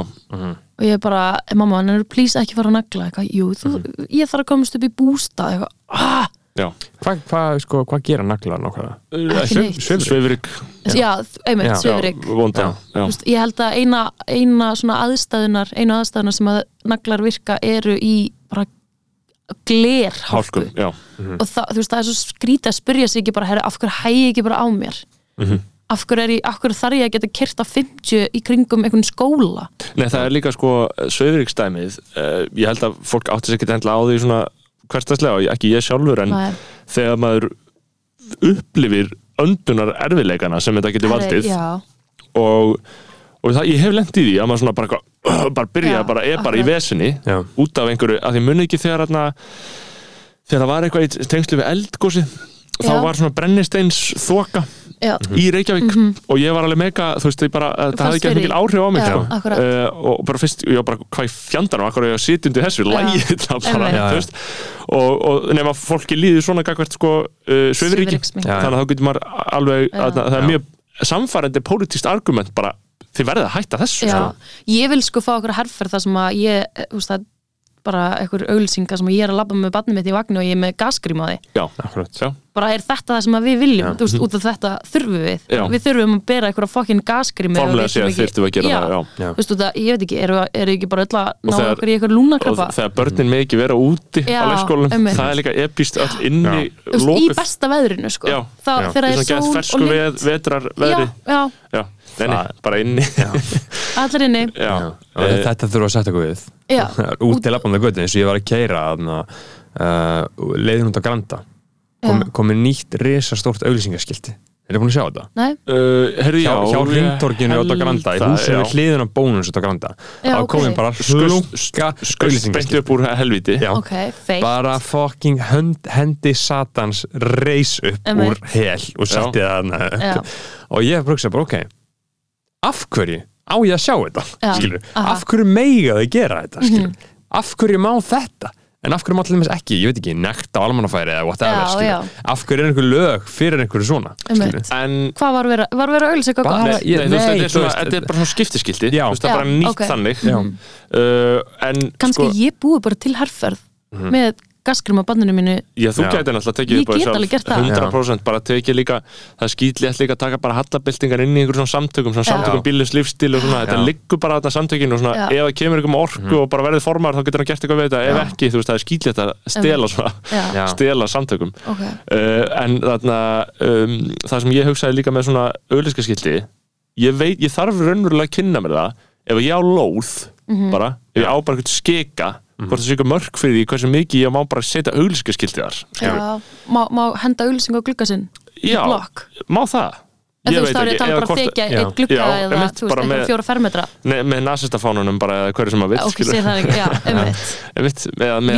[SPEAKER 4] og ég er bara, mamma, hann er please ekki fara að nögla eitthvað, jú, þú, ég þarf að komast upp í bústa eitthvað, ah,
[SPEAKER 5] já
[SPEAKER 6] Hvað hva, sko, hva gera naglar nákvæmlega?
[SPEAKER 4] Ekki
[SPEAKER 5] Svif-
[SPEAKER 4] neitt.
[SPEAKER 5] svifryk. svifryk
[SPEAKER 4] já, já
[SPEAKER 6] Já.
[SPEAKER 4] einmitt, svifrik
[SPEAKER 5] já, vondan já.
[SPEAKER 4] Þú veist, ég held að eina, eina svona aðstæðunar einu aðstæðunar sem að naglar virka eru í bara glerhálku
[SPEAKER 5] hálkum, já
[SPEAKER 4] og það, þú veist, það er svo skrítið að spyrja sig ekki bara, herri, af hverju hægi ég ekki bara á mér
[SPEAKER 5] Mhm.
[SPEAKER 4] af hverju, er ég, af hverju þarf ég að geta kert á 50 í kringum einhvern skóla
[SPEAKER 5] Nei, það er líka sko Sveifuríkstæmið, uh, ég held að fólk átti sér ekki hendla á því svona hverstaslega, ekki ég sjálfur, en
[SPEAKER 4] Maður-
[SPEAKER 5] þegar maður upplifir öndunar erfileikana sem þetta getur valdið
[SPEAKER 4] já,
[SPEAKER 5] og, og það, ég hef lent í því að maður svona bara, eitthvað, bara byrja,
[SPEAKER 4] Já,
[SPEAKER 5] bara er bara í
[SPEAKER 4] akkurat.
[SPEAKER 5] vesinni
[SPEAKER 6] Já.
[SPEAKER 5] út af einhverju, að ég muni ekki þegar þarna, þegar það var eitthvað í tengslu við eldgósi þá
[SPEAKER 4] Já.
[SPEAKER 5] var svona brennisteins þoka
[SPEAKER 4] já,
[SPEAKER 5] í Reykjavík og ég var alveg mega þú veist, ég bara, eh, það
[SPEAKER 4] fannst
[SPEAKER 5] hafði ekki
[SPEAKER 4] fyrir
[SPEAKER 5] mikil
[SPEAKER 4] því.
[SPEAKER 5] áhrif á mig
[SPEAKER 4] Mhm. Já,
[SPEAKER 5] sko.
[SPEAKER 4] akkurat.
[SPEAKER 5] uh, og bara fyrst, ég var bara hvað í fjandarnum, akkur er ég að sitja undir þessu lægi þetta bara,
[SPEAKER 4] Einmitt.
[SPEAKER 6] Já,
[SPEAKER 5] þú
[SPEAKER 6] já.
[SPEAKER 5] veist og, og nema fólki líður svona gagvert sko, uh, svifriki,
[SPEAKER 4] Svifryksmenn. Já,
[SPEAKER 6] já.
[SPEAKER 5] þannig að þá getur maður alveg,
[SPEAKER 4] Já.
[SPEAKER 5] að, það er mjög samfærandi pólitískt argument bara þið verðið að hætta þessu
[SPEAKER 4] já. ég vil sko fá okkur herferð þar sem að ég, eh, þú veist, það er bara einhver auglýsinga sem að ég er að labba með barnið mitt í vagnu og ég er með gasgrím á því
[SPEAKER 5] Já,
[SPEAKER 6] Akkurat.
[SPEAKER 5] já,
[SPEAKER 4] bara er þetta það sem að við viljum þú veist, út af þetta þurfum við
[SPEAKER 5] Já.
[SPEAKER 4] við þurfum að bera einhverja fokkin gasgrím
[SPEAKER 5] formlega séð þyrftum við að gera það já.
[SPEAKER 6] Já.
[SPEAKER 4] Þú veist, út af- ég veit ekki, eru, eru ekki bara öll að ná
[SPEAKER 5] þegar-
[SPEAKER 4] okkur í einhver
[SPEAKER 5] og
[SPEAKER 4] lúnakrabba
[SPEAKER 5] þegar börnin með ekki vera úti
[SPEAKER 4] Já,
[SPEAKER 5] á leikskólanum,
[SPEAKER 4] einmitt.
[SPEAKER 5] það er líka epist öll inni
[SPEAKER 4] Þú veist, í
[SPEAKER 5] lokuð,
[SPEAKER 4] besta veðrinu sko.
[SPEAKER 5] Já,
[SPEAKER 4] Þá,
[SPEAKER 6] já.
[SPEAKER 4] þegar
[SPEAKER 5] þess
[SPEAKER 4] er
[SPEAKER 5] að gett
[SPEAKER 4] sól
[SPEAKER 5] fersku
[SPEAKER 4] og
[SPEAKER 5] veð,
[SPEAKER 4] lykt
[SPEAKER 5] vetrar veðri
[SPEAKER 4] já,
[SPEAKER 5] Já, nei, nei, bara inni Já,
[SPEAKER 4] allir inni
[SPEAKER 6] Já.
[SPEAKER 5] Eh,
[SPEAKER 6] Uh, þetta þurfa að setja eitthvað við
[SPEAKER 4] já,
[SPEAKER 6] út til lafnum það götu eins og ég var að keira uh, leiðin út á Granda kom,
[SPEAKER 4] Já.
[SPEAKER 6] komið nýtt risastórt auglýsingaskilti Þeir eru búin að sjá þetta?
[SPEAKER 4] nei,
[SPEAKER 5] uh, Herri,
[SPEAKER 6] Hjá,
[SPEAKER 5] já
[SPEAKER 6] hjá
[SPEAKER 5] ég
[SPEAKER 6] hringtorginu út á
[SPEAKER 5] held
[SPEAKER 6] Granda í
[SPEAKER 5] það, já.
[SPEAKER 6] húsinu við hliðin á bónus út á Granda
[SPEAKER 4] Já,
[SPEAKER 6] þá
[SPEAKER 4] ok.
[SPEAKER 6] komið bara slunga
[SPEAKER 5] Skust beint
[SPEAKER 6] auglýsingaskilti
[SPEAKER 5] upp úr helviti
[SPEAKER 6] Já.
[SPEAKER 4] ok, feik
[SPEAKER 6] bara fucking hönd, hendi satans reis upp
[SPEAKER 4] Einmitt.
[SPEAKER 6] úr hel og setti
[SPEAKER 4] Já.
[SPEAKER 6] það hann og ég brugsa bara ok af hverju á ég að sjá þetta
[SPEAKER 4] Já.
[SPEAKER 6] skilur,
[SPEAKER 4] Aha. Mhm.
[SPEAKER 6] af hverju mega þau gera þetta skilur, af hverju má þetta en af hverju má allir með ekki, ég veit ekki, nekt á almannafæri eða whatever,
[SPEAKER 4] Já,
[SPEAKER 6] skilur,
[SPEAKER 4] já.
[SPEAKER 6] af hverju er einhver lög fyrir einhverju svona
[SPEAKER 4] Einmitt.
[SPEAKER 6] skilur.
[SPEAKER 5] En
[SPEAKER 4] hvað var verið, var verið að auglýsa eitthvað
[SPEAKER 6] Bara-
[SPEAKER 4] gott?
[SPEAKER 5] Nei,
[SPEAKER 6] ég-
[SPEAKER 5] nei, þú veist, þetta
[SPEAKER 6] nei,
[SPEAKER 5] er,
[SPEAKER 6] þú
[SPEAKER 5] svona,
[SPEAKER 6] veist,
[SPEAKER 5] þetta er bara svona skiptiskildi
[SPEAKER 6] Já.
[SPEAKER 5] Þú veist, það er bara
[SPEAKER 4] Já,
[SPEAKER 5] nýtt
[SPEAKER 4] ok.
[SPEAKER 5] þannig
[SPEAKER 6] Já.
[SPEAKER 5] uh, En
[SPEAKER 4] kannski
[SPEAKER 5] sko, Mhm.
[SPEAKER 4] ég búi bara til herrferð með gaskrím á bandinu mínu
[SPEAKER 5] já, þú
[SPEAKER 6] Já.
[SPEAKER 5] gæti náttúrulega tekið
[SPEAKER 4] Ég
[SPEAKER 5] upp á
[SPEAKER 4] get
[SPEAKER 5] sjálf,
[SPEAKER 4] alveg gert það.
[SPEAKER 5] 100% bara tekið líka Það skýtli allir líka að taka bara hallabildingar inn í einhverjum svona samtökum svona
[SPEAKER 4] Já.
[SPEAKER 5] Samtökum bílis lífstíl og svona Þetta
[SPEAKER 6] Já. Mhm.
[SPEAKER 5] liggur bara þarna samtökinu og svona
[SPEAKER 4] Já.
[SPEAKER 5] Ef það kemur einhverjum orku og bara verðið formar þá getur hann gert eitthvað við þetta Ef ekki, þú veist, það er skýtli að stela svona
[SPEAKER 4] já,
[SPEAKER 6] Já.
[SPEAKER 5] Stela samtökum
[SPEAKER 4] ok,
[SPEAKER 5] uh, en þarna um, það sem ég hugsaði líka með svona auðlýskaskilti ég veit, ég þarf raunverulega að kynna mér það ef ég á lóð
[SPEAKER 4] Mhm.
[SPEAKER 5] bara, ef ég á bara eitthvað skika hvort það sé eitthvað mörg fyrir því hversu mikið ég má bara setja auðlýskaskilti þar
[SPEAKER 4] já má, má henda auglýsing á glugga sinn
[SPEAKER 5] já,
[SPEAKER 4] blokk,
[SPEAKER 5] má það
[SPEAKER 4] En
[SPEAKER 5] Ég
[SPEAKER 4] þú veist,
[SPEAKER 5] veit
[SPEAKER 4] þá er
[SPEAKER 5] ekki,
[SPEAKER 4] ég að tala
[SPEAKER 5] eða
[SPEAKER 4] bara
[SPEAKER 5] hvort-
[SPEAKER 4] að þykja
[SPEAKER 6] já.
[SPEAKER 4] eitt glugga
[SPEAKER 5] Já, einmitt,
[SPEAKER 4] eða, þú veist,
[SPEAKER 5] bara
[SPEAKER 4] eitthvað
[SPEAKER 5] með-
[SPEAKER 4] fánunum fjóra fermetra
[SPEAKER 5] Nei, með nasistafánunum bara eða hverju sem að vill
[SPEAKER 4] Ok, sé það ekki, já, umvitt
[SPEAKER 5] Einmitt, eða með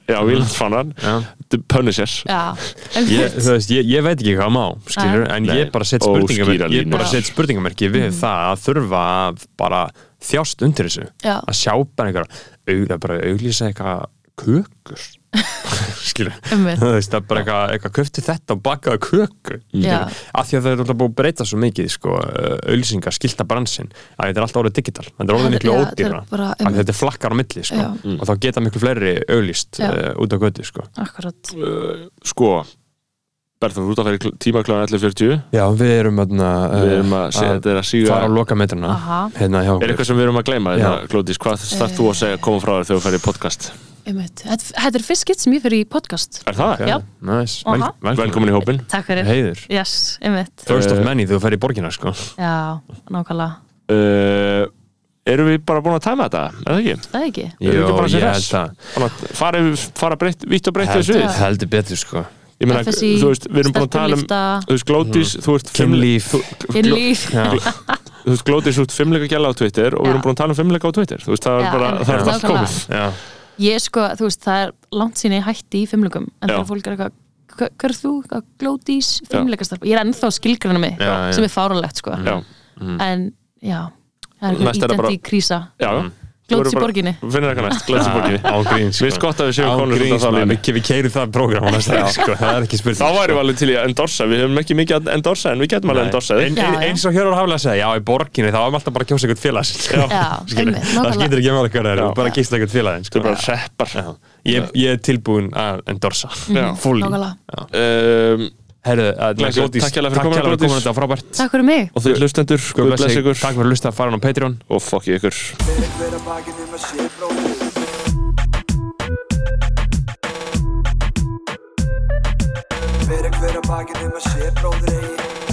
[SPEAKER 5] þarna- Já, Vínlandsfánan The Punishers
[SPEAKER 4] Já,
[SPEAKER 6] ég,
[SPEAKER 4] umvitt
[SPEAKER 6] þú veist, ég, ég veit ekki hvað má skilur, en
[SPEAKER 5] Nei.
[SPEAKER 6] ég bara set
[SPEAKER 5] Óskýra
[SPEAKER 6] spurningamerki ég
[SPEAKER 5] línur.
[SPEAKER 6] bara
[SPEAKER 4] Já.
[SPEAKER 6] set spurningamerki við
[SPEAKER 4] Mm.
[SPEAKER 6] það að þurfa að bara þjást undir þessu
[SPEAKER 4] Já.
[SPEAKER 6] að sjá bara einhver aug, að bara auglýsa eitthvað kökur skilur,
[SPEAKER 4] Einmitt.
[SPEAKER 6] þú veist, að bara eitthvað, eitthvað köfti þetta og bakaðu köku
[SPEAKER 4] Já.
[SPEAKER 6] af því að það er alltaf búið að breyta svo mikið sko, auglýsingar, skilta bransin að þetta er alltaf orðið digital, þetta er
[SPEAKER 4] Já,
[SPEAKER 6] orðið miklu
[SPEAKER 4] þetta- já, þetta er
[SPEAKER 6] ódýra
[SPEAKER 4] bara-
[SPEAKER 6] af því þetta er flakkar á milli sko,
[SPEAKER 4] Já.
[SPEAKER 6] og þá geta miklu fleiri auglýst
[SPEAKER 4] Já.
[SPEAKER 6] uh, út á götu sko.
[SPEAKER 4] Akkurat
[SPEAKER 5] Sko, Berður, þú ert að fara í tíma kláðan 11.40
[SPEAKER 6] já, við erum öðna,
[SPEAKER 5] Við erum að segja þetta Eh, er að síga
[SPEAKER 6] fara á lokametrana
[SPEAKER 4] Aha.
[SPEAKER 6] hérna hjá
[SPEAKER 5] Er
[SPEAKER 6] okkur
[SPEAKER 5] eitthvað sem við erum að gleyma
[SPEAKER 6] Já.
[SPEAKER 5] þetta, Glódís? Hvað starf þú að segja koma frá þér þegar þú ferð í podcast?
[SPEAKER 4] Einmitt. Þetta þetta er fyrst skipt sem ég fyrir í podcast
[SPEAKER 5] Er það?
[SPEAKER 4] Já.
[SPEAKER 6] nice.
[SPEAKER 4] Aha.
[SPEAKER 6] Vel, velkomin.
[SPEAKER 5] Velkomin í Eh, hópin
[SPEAKER 4] Takk fyrir
[SPEAKER 6] heiður Eh,
[SPEAKER 4] Yes, einmitt
[SPEAKER 6] first of many þú ferð í borgina sko
[SPEAKER 4] Já, nákvæmlega
[SPEAKER 5] uh, Erum við bara búin að tæma þetta? Er það ekki?
[SPEAKER 4] Það er ekki
[SPEAKER 5] Erum við
[SPEAKER 6] Jó,
[SPEAKER 5] ekki bara að
[SPEAKER 6] ég
[SPEAKER 5] segja þess?
[SPEAKER 6] held það
[SPEAKER 5] Bara að fara, yfir- fara breytt, vitt og breytt þessu
[SPEAKER 6] heldur,
[SPEAKER 5] við
[SPEAKER 6] heldur betur sko
[SPEAKER 5] Ég meina,
[SPEAKER 4] FSI,
[SPEAKER 5] þú veist, við erum búin að tala um
[SPEAKER 4] stelpulifta,
[SPEAKER 5] Þú veist, Glódís, þú veist
[SPEAKER 6] kynlíf
[SPEAKER 4] kynlíf
[SPEAKER 6] Já.
[SPEAKER 5] Þú veist, Glódís út fimmleika gæla á Twitter og við erum
[SPEAKER 4] Já.
[SPEAKER 5] búin að tala um fimmleika á Twitter Þú veist, það
[SPEAKER 4] Já,
[SPEAKER 5] er bara,
[SPEAKER 4] einmitt,
[SPEAKER 5] það er allt
[SPEAKER 4] nákvæmlega.
[SPEAKER 5] komið
[SPEAKER 6] Já.
[SPEAKER 4] Ég sko, þú veist, það er langt sín ég hætti í fimmlugum en
[SPEAKER 5] Já.
[SPEAKER 4] þegar fólk er eitthvað, hva- hver er þú? Eitthvað Glódís, fimmleikastarp Ég er ennþá skilgrana mig,
[SPEAKER 6] Já, já.
[SPEAKER 4] sem er fáralegt sko.
[SPEAKER 5] Já,
[SPEAKER 4] En, já Það er
[SPEAKER 5] Næst
[SPEAKER 4] eitthvað
[SPEAKER 5] er það
[SPEAKER 4] ítendi
[SPEAKER 5] bara-
[SPEAKER 4] í krísa
[SPEAKER 5] já Þú
[SPEAKER 4] Glódís
[SPEAKER 5] verður
[SPEAKER 4] í
[SPEAKER 5] bara-
[SPEAKER 4] borginni
[SPEAKER 5] Finnir eitthvað næst, Glódís í borginni
[SPEAKER 6] á sko. gríns
[SPEAKER 5] Mér finnst gott að við séum
[SPEAKER 6] á
[SPEAKER 5] konur út
[SPEAKER 6] gríns
[SPEAKER 5] af þá
[SPEAKER 6] maður.
[SPEAKER 5] línu
[SPEAKER 6] við, við keirum það program sko. það er ekki spurning
[SPEAKER 5] Þá væri við alveg til í að endorsa, við höfum ekki mikið að endorsa en við getum alveg að endorsa
[SPEAKER 6] En-
[SPEAKER 5] þig
[SPEAKER 4] Já,
[SPEAKER 6] en-
[SPEAKER 4] já.
[SPEAKER 6] eins og Hjörður Haflega segi, já í borginni þá erum alltaf bara að kjósa einhvern félag sinn.
[SPEAKER 4] Já,
[SPEAKER 6] Skilur,
[SPEAKER 4] einmitt,
[SPEAKER 6] það
[SPEAKER 4] nákvæmlega.
[SPEAKER 6] skiptir ekki með hvað það er
[SPEAKER 5] Já.
[SPEAKER 6] bara að kýsta einhvern félagin
[SPEAKER 5] Þú
[SPEAKER 6] sko.
[SPEAKER 5] er bara seppar
[SPEAKER 6] Já. ég, ég er tilbúin að endorsa
[SPEAKER 4] Mm.
[SPEAKER 6] fully
[SPEAKER 4] Mhm, Nákvæmlega.
[SPEAKER 5] um,
[SPEAKER 6] Herðu, að-
[SPEAKER 5] Blessuð,
[SPEAKER 6] Glódís,
[SPEAKER 5] takk hérlega fyrir
[SPEAKER 6] takk
[SPEAKER 5] komuna,
[SPEAKER 6] hérlega fyrir
[SPEAKER 5] Glódís.
[SPEAKER 6] komuna, þetta var frábært
[SPEAKER 4] Takk fyrir mig
[SPEAKER 5] Og þau hlustendur,
[SPEAKER 6] Guð
[SPEAKER 5] Guð
[SPEAKER 6] bless
[SPEAKER 5] bless
[SPEAKER 6] ykkur
[SPEAKER 5] ykkur
[SPEAKER 6] Takk fyrir að hlusta að fara á Patreon
[SPEAKER 5] Og fokkið ykkur
[SPEAKER 1] Fyrir hver að bakið nema sé bróðir Fyrir hver að bakið nema sé bróðir eigi